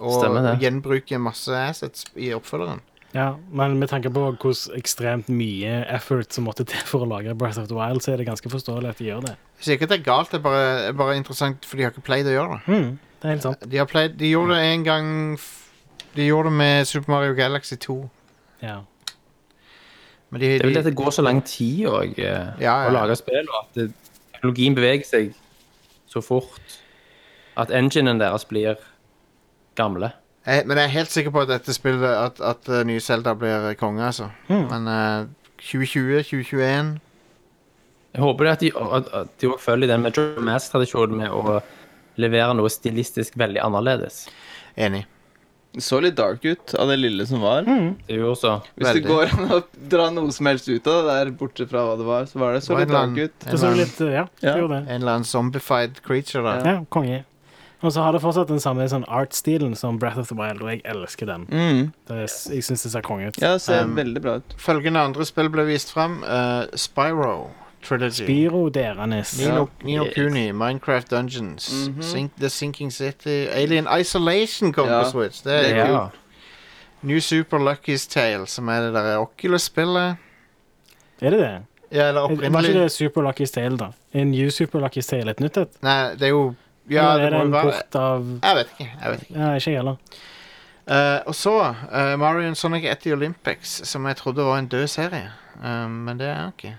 S2: Og
S5: Stemmer det.
S2: gjenbruke masse assets i oppfølgeren.
S4: Ja, men med tanke på hvordan ekstremt mye effort som måtte til for å lage Breath of the Wild, så er det ganske forståelig at de gjør det.
S2: Jeg sier ikke at det er galt, det er bare, det er bare interessant, for de har ikke pleid å gjøre det.
S4: Mm, det er helt sant.
S2: De, har pleid, de gjorde det en gang f De gjorde det med Super Mario Galaxy 2.
S4: Ja.
S2: Men de,
S5: Det er vel
S2: de,
S5: det at det går så lang tid og, eh,
S2: Ja, ja.
S5: å lage spill, og at det, teknologien beveger seg så fort at enginen deres blir gamle.
S2: Jeg, men jeg er helt sikker på at dette spillet At, at eh, nye Zelda blir konge, altså.
S5: Hmm.
S2: Men eh, 2020, 2021
S5: Jeg håper det at de, at, at de også følger den med Mass-tradisjonen med å levere noe stilistisk veldig annerledes.
S2: Enig.
S3: Det Så litt dark ut av det lille som var.
S5: Det gjorde så.
S2: Mm,
S3: Hvis
S2: Veldig.
S3: det går an å dra noe som helst ut av det der, bortsett fra hva det var, så var det så
S2: Og en
S3: litt
S2: eller
S3: dark
S2: annen-
S3: ut.
S2: en
S4: Det så
S2: eller
S4: litt eh, Ja, det
S3: Ja.
S4: gjorde
S2: annen-
S4: det.
S2: en eller annen zombified creature, da.
S4: Ja, konge. Og så har det fortsatt den samme sånn art-stilen som Breath of the Wild, og jeg elsker den.
S3: Mm.
S4: Det er, jeg syns det ser konge ut.
S3: Ja, det ser
S2: Um,
S3: veldig bra ut.
S2: Følgende andre spill ble vist fram. Spyro Trilogy.
S4: Spiro Deranes.
S2: Nino, Nino
S5: Yes.
S2: Kuni, Minecraft Dungeons,
S3: Mhm.
S2: Sink, The Sinking City Alien Isolation kom
S3: Ja.
S2: på Switch. Det
S3: Det
S2: er
S3: er
S2: kult.
S5: Ja.
S2: New Super Lucky's Tale, som er det der Oculus-spillet.
S4: Er det det?
S2: Ja, eller
S4: Er- Var ikke
S2: opprinnelig
S4: det Super Lucky's Tale, da? En New Super Lucky's Tale, et nytt et?
S2: Nei, det er jo Ja,
S4: Eller
S2: det
S4: er det
S2: må jo
S4: en
S2: være
S4: port av
S2: Jeg vet ikke. Jeg vet ikke.
S4: ja, Ikke jeg heller.
S2: Eh, og så eh, Mario and Sonic etter Olympics, som jeg trodde var en død serie. Eh, men det er han ikke.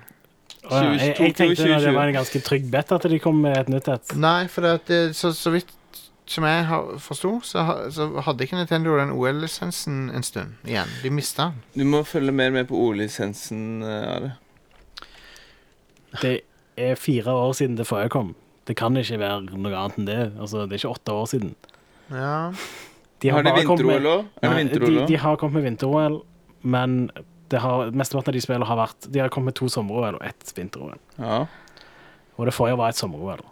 S4: Å, ja. jeg, jeg
S3: 22,
S4: tenkte da det
S3: 22.
S4: var en ganske trygg bet at de kom med et nytt et.
S2: Nei, for det, at det, så, så vidt som jeg har- forsto, så, ha- så hadde ikke Nintendo den OL-lisensen en stund igjen. De mista den.
S3: Du må følge mer med på ordlisensen, eh, Are.
S4: Det er fire år siden det forrige kom. Det kan ikke være noe annet enn det. Altså, det er ikke åtte år siden.
S2: Ja.
S4: De
S3: Har de
S4: bare kommet med-
S3: vinter-OL òg? Er det
S4: Nei,
S3: vinter-OL
S4: de, de
S3: òg?
S4: har kommet med vinter-OL, men det har, mesteparten av de spillene har vært De har kommet med to sommer-OL og ett vinter-OL.
S3: Ja.
S4: Og det forrige var et sommer-OL.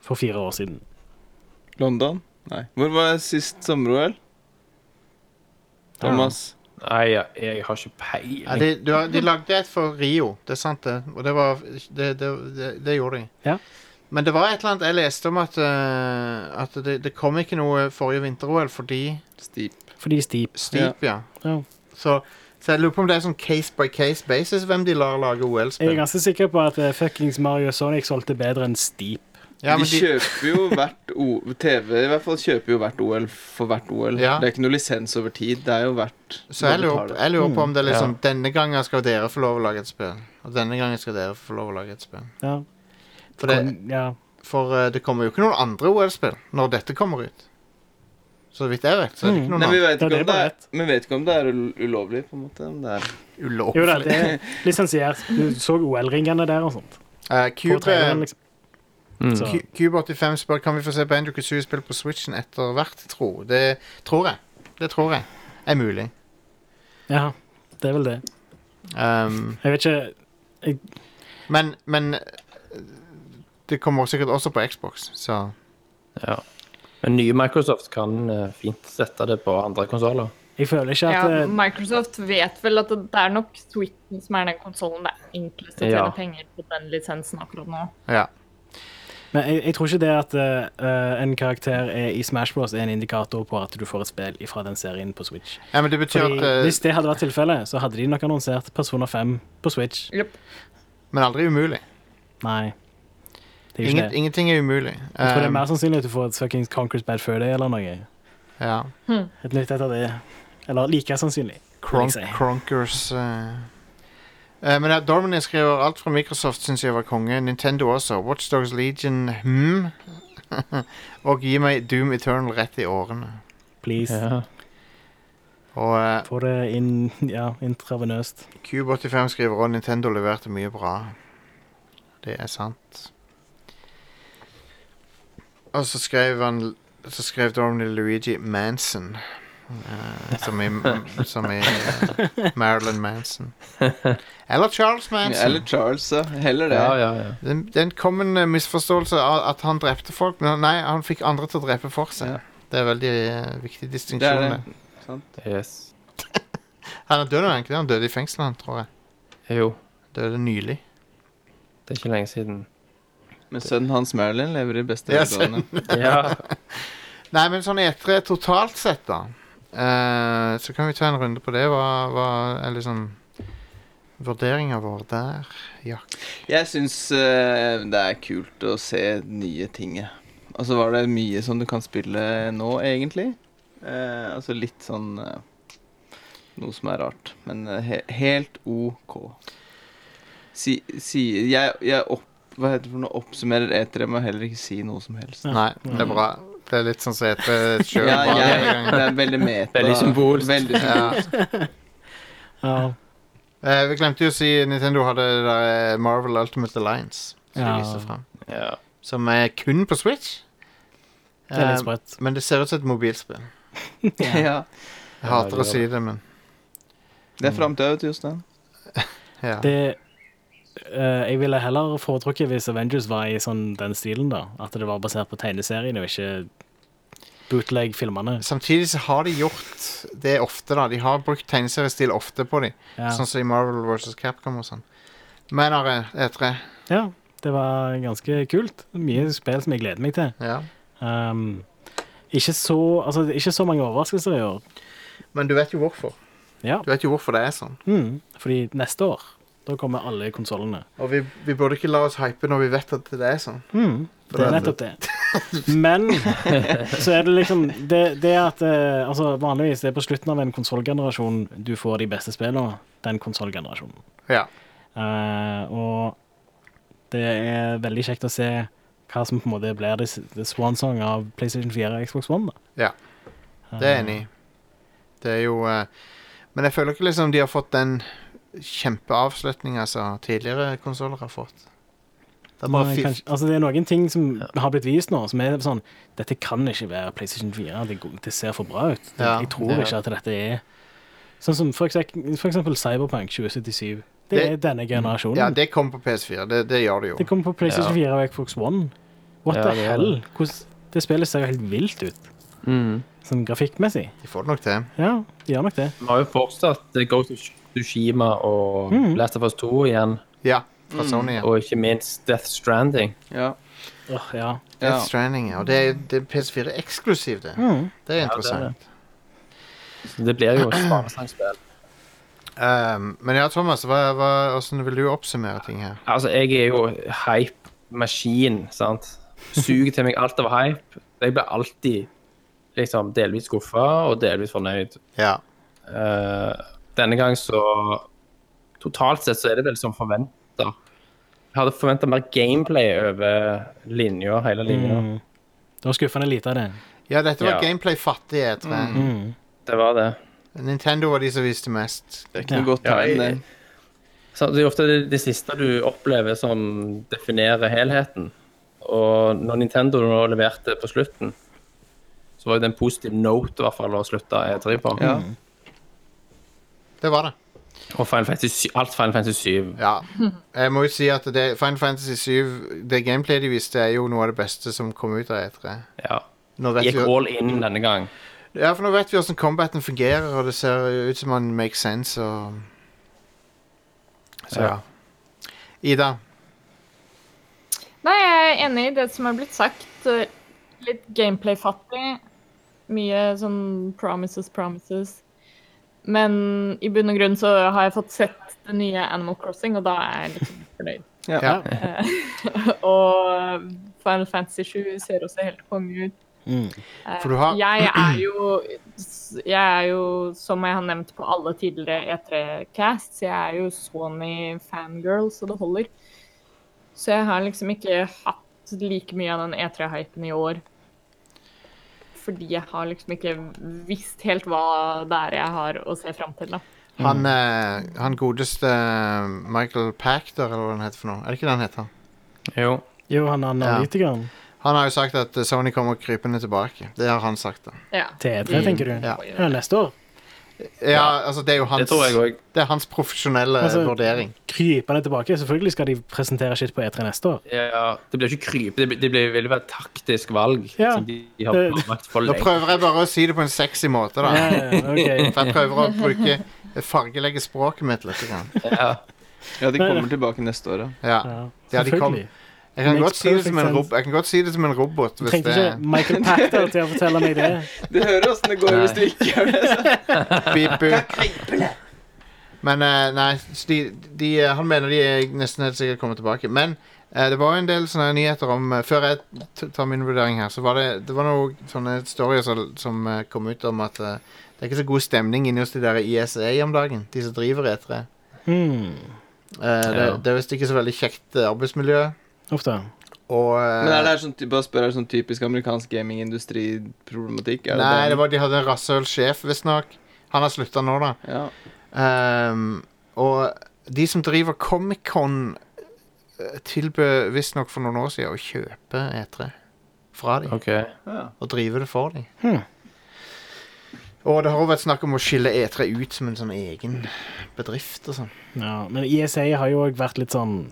S4: For fire år siden.
S3: London? Nei. Hvor var sist sommer-OL? Thomas?
S5: Nei, jeg, jeg har ikke
S2: Ja,
S5: peiling.
S2: de, du har- de lagde et for Rio, det er sant det. Og det var Det, det, det, det gjorde de.
S4: Ja.
S2: Men det var et eller annet jeg leste om at, eh, at det, det kom ikke noe forrige vinter-OL fordi
S3: Steep.
S4: Fordi Steep
S2: Steep, ja.
S4: Ja.
S2: Så, så jeg lurer på om det er sånn case by case basis hvem de lar lage
S4: Jeg er
S2: OL-spill.
S4: ganske sikker på at eh, fuckings Mario og Sonic solgte bedre enn Steep.
S2: Ja, men
S3: de,
S2: de,
S3: kjøper jo hvert o TV i hvert fall kjøper jo hvert OL for hvert OL.
S2: Ja.
S3: Det er ikke noe lisens over tid. Det er jo hvert
S2: så jeg lurer, jeg lurer på om det er liksom
S5: Ja.
S2: Denne gangen skal dere få lov å lage et spill. Og denne gangen skal dere få lov å lage et spill.
S4: Ja.
S2: For det,
S4: Kon- ja.
S2: for eh, det kommer jo ikke noen andre OL-spill når dette kommer ut. Så vidt jeg vet, så er
S4: Mm.
S2: det ikke noen
S3: Nei, vi
S2: andre.
S3: vet,
S4: Ja,
S3: ikke
S4: det er
S3: om det
S4: bare
S3: er, vi vet ikke om det er ul- ulovlig, på en måte. Om det er.
S4: Jo da,
S2: Ulovlig.
S4: det er lisensiert. Du så OL-ringene der og sånt.
S2: Eh,
S4: På
S2: Cube-
S4: traileren, liksom.
S5: Mm.
S4: Så,
S2: Cu- Cube85 spør kan vi få se Banjo Kazooie-spill på Switchen etter hvert, tro. Det tror jeg. Det tror jeg er mulig.
S4: ja, det er vel det.
S2: Um,
S4: Jeg vet ikke
S2: Men, men eh, det kommer sikkert også på Xbox, så
S5: Ja. Men nye Microsoft kan eh, fint sette det på andre konsoller.
S4: Jeg føler ikke at
S6: Ja,
S4: eh,
S6: Microsoft vet vel at det er nok Switchen som er den konsollen det er enklest å tjene
S5: Ja.
S6: penger på den lisensen akkurat nå.
S2: Ja.
S4: Men jeg, jeg tror ikke det at eh, en karakter er i Smash Bros. er en indikator på at du får et spill fra den serien på Switch.
S2: ja, men det betyr
S4: Fordi,
S2: at eh,
S4: hvis det hadde vært tilfellet, så hadde de nok annonsert Persona 5 på Switch.
S6: Yep.
S2: Men aldri umulig.
S4: Nei. Det er jo ikke
S2: Ingen,
S4: det.
S2: ingenting er umulig.
S4: Jeg tror det er
S2: Um,
S4: mer sannsynlig at du får et fuckings Conquer's Bad Fur Day eller noe.
S2: ja.
S4: Et nytt etter det. Eller like sannsynlig.
S2: Kronk,
S4: vil jeg si.
S2: Kronkers eh. Eh, Men ja, Dormany skriver alt fra Microsoft syns jeg var konge. Nintendo også. Watchdogs Legion, hm? og gi meg Doom Eternal rett i årene.
S4: Please.
S5: Ja.
S2: Og eh,
S4: Få det inn ja, intravenøst.
S2: Cube85 skriver også Nintendo leverte mye bra. Det er sant. Og så skrev han Så skrev Dormany Luigi Manson. eh, som i, som i eh, Marilyn Manson. Eller Charles Manson.
S3: Eller Charles, ja. Heller det.
S5: Ja, ja, ja.
S2: Den, den kom en eh, misforståelse av at han drepte folk, men nei, han fikk andre til å drepe for seg.
S3: Ja.
S2: Det er en veldig eh, viktig
S3: Det
S2: distinksjon.
S3: er
S2: det.
S3: det. Sant.
S5: Yes.
S2: Han er død nå, er han ikke det? Han døde i fengselet, han, tror jeg.
S5: Jo,
S2: Døde nylig.
S5: det er ikke lenge siden.
S3: Men sønnen hans Marilyn lever i beste
S2: Ja,
S3: velgående.
S5: Ja,
S2: Nei, men sånn etere totalt sett, da. eh, så kan vi ta en runde på det. Hva, hva er liksom Vurderinga vår der.
S3: Jeg syns eh, det er kult å se nye ting. jeg. Og så var det mye som du kan spille nå, egentlig. Eh, altså litt sånn eh, Noe som er rart, men eh, he helt OK. Si, si, jeg jeg opp, hva heter det for noe, oppsummerer etere med å heller ikke si noe som helst.
S2: Nei, det er bra. Det er litt sånn som etere sjøl.
S3: Ja, jeg, det
S2: Ja,
S3: er veldig meta.
S5: Veldig symbolsk.
S3: Veldig symbolsk.
S4: Ja.
S2: Eh, vi glemte jo å si Nintendo hadde det der eh, Marvel Ultimate Alliance. Som de
S4: Ja.
S2: viste frem.
S5: ja.
S2: Som er kun på Switch.
S4: Det er
S2: Eh,
S4: litt sprøtt.
S2: men det ser ut som et mobilspill.
S3: Ja.
S2: Jeg hater
S5: det
S2: å
S5: gjør
S2: si det, men
S3: Det er framtida, Jostein.
S2: ja.
S4: Det eh, Jeg ville heller foretrukket hvis Avengers var i sånn den stilen, da. At det var basert på tegneserien og ikke bootleg-filmene.
S2: Samtidig så har de gjort det ofte, da. De har brukt tegneseriestil ofte på dem.
S4: Ja.
S2: Sånn som i Marvel vs. Capcom og sånn. Men E Are, E3
S4: ja, det var ganske kult. Mye spill som jeg gleder meg til.
S2: ja.
S4: Um, ikke, så, altså, det er ikke så mange overraskelser i år.
S2: Men du vet jo hvorfor.
S4: Ja.
S2: Du vet jo hvorfor det er sånn.
S4: Mm, fordi neste år da kommer alle konsollene.
S2: Og vi, vi burde ikke la oss hype når vi vet at det er sånn.
S4: Det er nettopp det. Men så er det liksom Det, det at eh, altså, Vanligvis det er på slutten av en konsollgenerasjon du får de beste spillene. Den konsollgenerasjonen.
S2: Ja.
S4: Eh, og det er veldig kjekt å se hva som på en måte blir det, s- det swansong av PlayStation 4 og Xbox One. Da.
S2: Ja. Det er jeg enig i. Det er jo eh, Men jeg føler ikke liksom de har fått den kjempeavslutninga som tidligere konsoller har fått. Det er bare
S4: Nei,
S2: fi-
S4: kanskje, altså, det er noen ting som har blitt vist nå, som er sånn Dette kan ikke være PlayStation 4. Det, går- det ser for bra ut. Det,
S2: Ja,
S4: jeg tror
S2: det er-
S4: ikke at dette er Sånn som for eksempel, for eksempel Cyberpunk 2077. Det,
S2: Det-
S4: er denne generasjonen.
S2: Ja,
S4: det,
S2: det kommer på PS4. Det, det gjør det jo.
S4: kommer på PlayStation 4 og Xbox One. What
S5: Ja,
S4: the
S5: det er
S4: hell? Hvordan, det spillet ser jo helt vilt ut,
S5: Mm.
S4: sånn grafikkmessig.
S2: De får det nok til.
S4: Ja, det gjør nok det.
S5: Vi har jo fortsatt eh, Ghost of Tsushima og Last of Us 2 igjen,
S2: Ja, fra Sony. Ja.
S5: og ikke minst Death Stranding.
S3: Ja.
S4: Åh,
S3: ja.
S4: ja.
S2: Death Stranding, ja. Og det er, det er PS4 eksklusivt, det.
S4: Mm.
S2: Det er interessant.
S5: Så det blir jo et sparesangspill.
S2: Um, men ja, Thomas, hva, hva, hvordan vil du oppsummere ting her?
S5: Altså, jeg er jo hype-maskin, sant? Suger til meg alt av hype. Jeg blir alltid liksom delvis skuffa og delvis fornøyd.
S2: Ja.
S5: Eh, denne gang så Totalt sett så er det vel som forventa. Jeg hadde forventa mer gameplay over linja, hele linja.
S4: Det var skuffende lite av det.
S2: ja, dette var
S5: Ja.
S2: gameplay-fattig E3.
S5: Det var det.
S2: Mm. Nintendo var de som viste mest.
S3: Det er ikke noe godt
S5: Ja, jeg-
S3: tegn, det.
S5: Så det er ofte det, det siste du opplever som definerer helheten. Og når Nintendo nå leverte på slutten,
S3: Mm.
S5: så var jo det en positiv note i hvert fall å slutte E3 på.
S3: Ja.
S2: Det var det.
S5: Og Final Fantasy, sy- alt Final Fantasy 7.
S2: Ja. Jeg må jo si at det, Final Fantasy 7, det gameplayet de viste, er jo noe av det beste som kom ut av E3.
S5: Ja.
S2: Nå vet vi,
S5: Gikk all in denne gang.
S2: ja, for nå vet vi hvordan combaten fungerer, og det ser jo ut som man makes sense, og Så ja.
S5: Ja.
S2: Ida.
S6: Nei, jeg er enig i det som er blitt sagt. eh, Litt gameplay-fattig. Mye sånn promises, promises. Men i bunn og grunn så har jeg fått sett det nye Animal Crossing, og da er jeg liksom fornøyd.
S2: Ja.
S6: Og Final Fantasy 7 ser også helt konge ut.
S4: Mm.
S6: Eh,
S2: For du har-
S6: Jeg er jo Jeg er jo, som jeg har nevnt på alle tidligere E3-casts, jeg er jo Sony-fangirl, så det holder. Så jeg har liksom ikke hatt like mye av den E3-hypen i år. Fordi jeg har liksom ikke visst helt hva det er jeg har å se fram til, da.
S2: Han, eh, han godeste eh, Michael Pachter, eller hva han heter for noe. Er det ikke det han heter?
S5: Jo.
S4: Jo, han analytikeren.
S2: Han har jo sagt at eh, Sony kommer krypende tilbake. Det har han sagt, da.
S6: Ja.
S4: T3, E tenker du.
S2: Mm. Ja.
S4: Ja, neste år.
S2: Ja, altså det er jo hans,
S5: Det tror jeg òg.
S2: det er hans profesjonelle
S4: Altså,
S2: Eh, vurdering.
S4: Krypende tilbake. Selvfølgelig skal de presentere shit på E3 neste år.
S5: Ja, det blir ikke krype, det blir, det blir, vil være et taktisk valg.
S4: Ja.
S5: Som de har
S4: Det-
S5: planlagt for
S2: Da
S5: lenge.
S2: prøver jeg bare å si det på en sexy måte, da.
S4: Ja, ja, ok.
S2: For jeg prøver å bruke fargelegge språket mitt litt. Grann.
S5: Ja.
S3: Ja, de kommer tilbake neste år, ja.
S2: Ja.
S4: Ja,
S2: Ja, de kom.
S4: selvfølgelig.
S2: Jeg, kan
S4: Makes
S2: godt si det som en
S4: perfect
S2: rob jeg kan godt si det som en robot.
S4: Du
S2: Hvis
S4: trengte
S2: det
S4: ikke Michael Pachter til å fortelle meg det.
S3: Du hører åssen det går hvis du ikke gjør det.
S2: Beep, beep. Men eh, nei, så de, de, eh, han mener de er nesten helt sikkert kommer tilbake. Men eh, det var jo en del sånne nyheter om eh, Før jeg t- tar min vurdering her, så var det, det var noen sånne stories som, som eh, kom ut om at eh, det er ikke så god stemning inne hos de der i ISA om dagen, de som driver E3.
S4: Hmm.
S2: Eh, det,
S5: Ja.
S2: det er visst ikke så veldig kjekt eh, arbeidsmiljø.
S4: Uff da.
S2: Og
S3: Men er
S2: eh,
S3: det her sånn, ty- bare spør, er det sånn typisk amerikansk gamingindustriproblematikk? Er det
S2: Nei,
S3: den?
S2: det var, de hadde en rasshøl sjef, visstnok. Han har slutta nå, da.
S3: ja.
S2: Ehm, og de som driver Comic-Con, eh, tilbød visstnok for noen år siden å kjøpe E3 fra dem
S5: OK.
S3: Ja.
S2: og drive det for dem.
S4: Hmm.
S2: Og det har også vært snakk om å skille E3 ut som en sånn egen bedrift og sånn.
S4: Ja, men ISA har jo òg vært litt sånn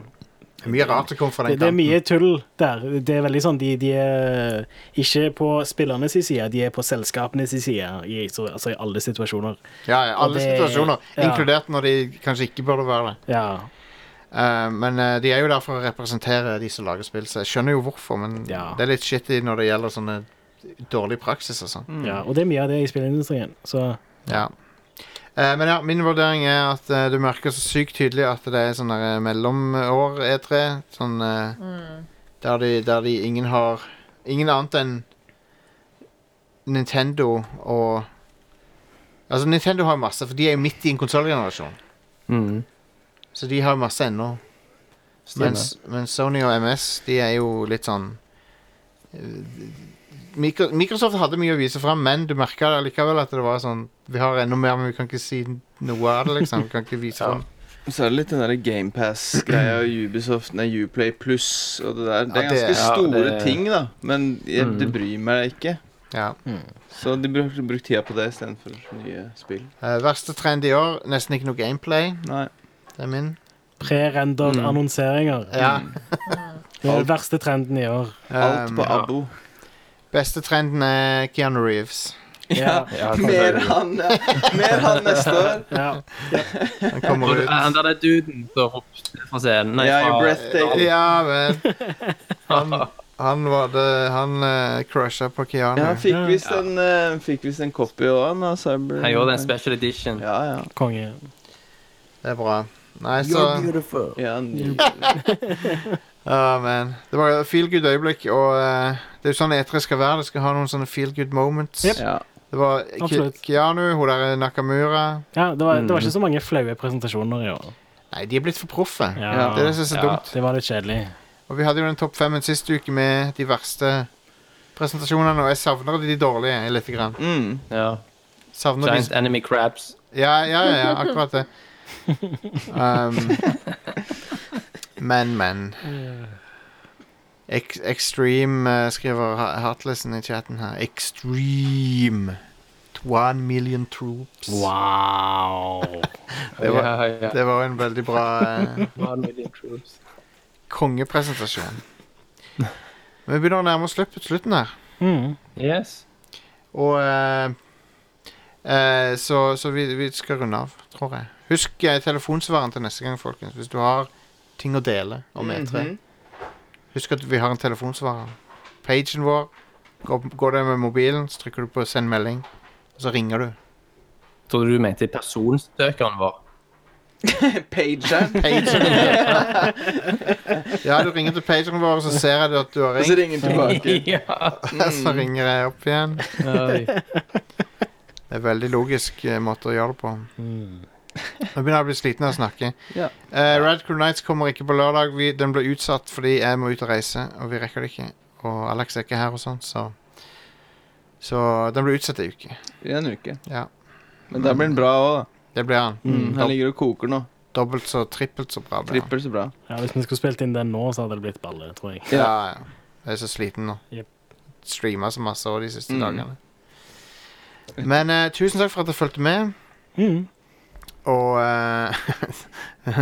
S2: Det er mye rart som kommer fra
S4: det,
S2: den
S4: det er
S2: kanten.
S4: mye tull der. Det er veldig sånn, De, de er ikke på spillernes side, de er på selskapenes side. I, så, altså i alle situasjoner.
S2: Ja, ja, alle
S4: og det-
S2: situasjoner,
S4: ja.
S2: inkludert når de kanskje ikke burde være det.
S4: Ja.
S2: Eh, men eh, de er jo der for å representere de som lager spill, så jeg skjønner jo hvorfor, men
S4: Ja.
S2: det er litt shitty når det gjelder sånne dårlig praksis og sånn.
S4: ja. Og det er mye av det i spillindustrien. Så
S2: Ja. Eh, men ja, min vurdering er at eh, du merker så sykt tydelig at det er sånn der, eh, mellomår E3. Sånn eh, der, de, der de ingen har Ingen annet enn Nintendo og Altså, Nintendo har masse, for de er jo midt i en konsollgenerasjon.
S5: Mm.
S2: Så de har masse ennå.
S5: Stemmer.
S2: Mens, mens Sony og MS, de er jo litt sånn eh, Mikro- Microsoft hadde mye å vise fram, men du merka likevel at det var sånn Vi har enda mer, men vi kan ikke si noe av det, liksom. Vi kan ikke vise fram.
S3: Så er det litt den der GamePass-greia og Ubisoft, nei, Uplay Pluss og det der. Det er
S2: Ja, det- Mm.
S3: ganske
S5: ja,
S3: store
S5: det-
S3: ting, da. Men jeg, det bryr meg ikke.
S2: Ja.
S3: Så de brukte bruk tida på det istedenfor nye spill.
S2: Eh, verste trend i år, nesten ikke noe gameplay.
S3: Nei.
S2: Det er min.
S4: prerendert annonseringer.
S2: Hmm. Ja.
S4: Det er den verste trenden i år.
S3: Mm. Alt
S2: Um,
S3: på abo.
S2: beste trenden er Keanu Reeves.
S4: Ja.
S5: Ja,
S3: Mer han, mer han neste år.
S4: ja.
S2: Han kommer
S5: Og
S2: ut.
S5: Han der er duden som ropte fra scenen. Nei,
S3: Ja, you're
S5: fra
S3: breathtaking.
S2: Ja, men Han, han var det Han uh, crusha på Keanu.
S3: Ja, han fikk
S4: Ja.
S3: visst en, eh, fikk visst en copy òg, han av Cyber.
S5: Han gjorde en special edition.
S3: Ja, ja.
S4: Konge.
S2: Det er bra. Nei, så
S3: ja ny.
S2: Ja, men Det var feel good øyeblikk, og eh, det er jo sånn E3 skal være. Det skal ha noen sånne feel good moments.
S4: Yep.
S3: Ja.
S2: Det var Ki-
S4: Absolutt.
S2: Keanu, hun der Nakamura
S4: Ja, det, var, det var ikke så mange flaue presentasjoner i år.
S2: Nei, de er blitt for proffe.
S4: Ja.
S2: Det er det som er så
S5: Ja.
S2: dumt.
S4: Det var litt kjedelig.
S2: Og vi hadde jo den topp femmen sist uke med de verste presentasjonene, og jeg savner de dårlige litt. Grann.
S3: Mm.
S5: Ja.
S2: Savner de
S5: Giant Enemy Crabs.
S2: Ja, ja, ja, ja akkurat det. Um, men, men. Ex Extreme eh, skriver ha- Heartlessen i chatten her. Extreme One million troops.
S4: Wow.
S2: Det, var,
S5: Ja, ja.
S2: det var en veldig bra eh,
S5: One million troops.
S2: kongepresentasjon. Vi begynner å nærme oss slutt- slutten her.
S4: Mm.
S5: Yes.
S2: Og eh, eh, Så, så vi, vi skal runde av, tror jeg. Husk eh, telefonsvareren til neste gang, folkens. Hvis du har ting å dele om E3.
S3: Mhm.
S2: Husk at vi har en telefonsvarer. Pagen vår. Går, går det med mobilen, så trykker du på 'send melding', og så ringer du.
S5: Trodde du mente personsøkeren vår.
S3: Pageren.
S2: Ja, du ringer til pageren vår, og så ser jeg at du har
S3: Og så Mm.
S2: ringt.
S3: ringer han tilbake.
S5: ja.
S2: Så ringer jeg opp igjen. Det er veldig logisk eh, måte å gjøre det på. Nå begynner jeg å bli sliten av å snakke.
S3: Ja.
S2: Eh, Red Crew Nights kommer ikke på lørdag. Vi, den ble utsatt fordi jeg må ut og reise, og vi rekker det ikke. Og Alex er ikke her og sånn, så Så den ble utsatt ei uke.
S3: I en uke.
S2: Ja.
S3: Men da blir den bra òg, da.
S2: Det ble han.
S3: Han ligger og koker nå.
S2: Dobbelt så trippelt så bra. Ble han.
S3: Trippel så bra.
S4: Ja, hvis vi skulle spilt inn den nå, så hadde det blitt balle, tror jeg.
S2: Ja. ja, Jeg er så sliten nå.
S4: Jep.
S2: Streama så masse også de siste
S3: Mm.
S2: dagene. Men eh, tusen takk for at du fulgte med.
S4: Mm.
S2: Og eh,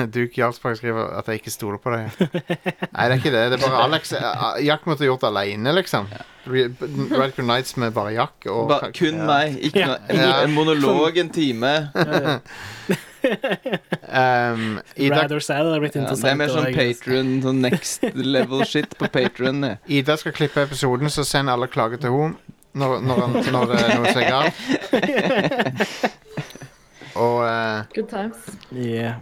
S2: Duke Jarlsberg skriver at jeg ikke stoler på deg. Nei, det er ikke det. Det er bare Alex. eh, Jack måtte gjort det aleine, liksom. Red Crew Nights med bare Jack. Og
S3: Ba, kun meg. Ikke
S4: Ja.
S3: noe, en,
S2: Ja.
S3: en monolog en time.
S2: Ehm, Ida,
S4: Rather sad hadde blitt
S3: Ja,
S4: interessant.
S3: det er mer sånn
S4: og
S5: altså.
S4: jeg-
S3: patron, sånn next level shit på patron.
S2: Ida skal klippe episoden, så send alle klager til henne når, når, han- når det er noe som er galt. Og eh,
S6: Good times.
S4: Yeah.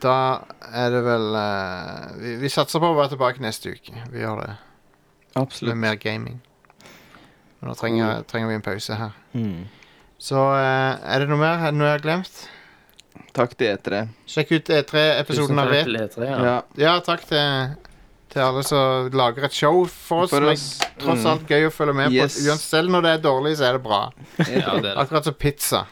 S2: da er det vel eh, vi, vi satser på å være tilbake neste uke. Vi gjør det. Med
S3: Absolutt.
S2: mer gaming. Men nå trenger, trenger vi en pause her.
S4: Mm.
S2: Så eh, er det noe mer? Er det noe jeg har glemt?
S3: Takk til etere.
S2: Sjekk ut E3-episoden av Vet.
S5: Ja.
S3: Ja.
S2: Ja, takk til, til alle som lager et show for oss.
S3: For
S2: men
S3: oss.
S2: Tross
S3: Mm.
S2: alt gøy å følge med
S3: Yes.
S2: på. Uansett, selv når det er dårlig, så er det bra.
S5: ja, det er det.
S2: Akkurat som pizza.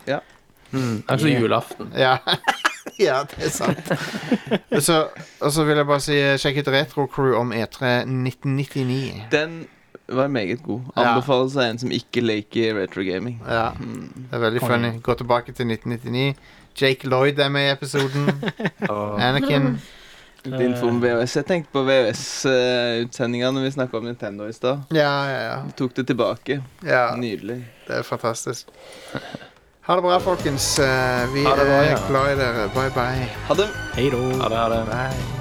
S5: Mm, Akkurat som julaften.
S2: Ja, ja det er sant. Og så, og så vil jeg bare si eh, sjekk ut Retro-crew om E E3 1999.
S3: Den var meget god.
S2: Ja.
S3: Anbefales av en som ikke liker retrogaming.
S2: Ja, det er veldig funny. Gå tilbake til 1999. Jake Lloyd er med i episoden. Anakin.
S3: Litt
S2: Eh.
S3: info om VHS. Jeg tenkte på VHS-utsendinga når eh, vi snakka om Nintendo i stad.
S2: Ja, ja, ja.
S3: Tok det tilbake.
S2: ja
S3: Nydelig.
S2: det er fantastisk. Ha det bra, folkens. Eh, Vi
S5: Ha det bra,
S2: er
S5: ja.
S2: glad i dere. Bye, bye.
S3: Ha det.
S4: Hei da.
S5: Ja, det er det.
S2: bye.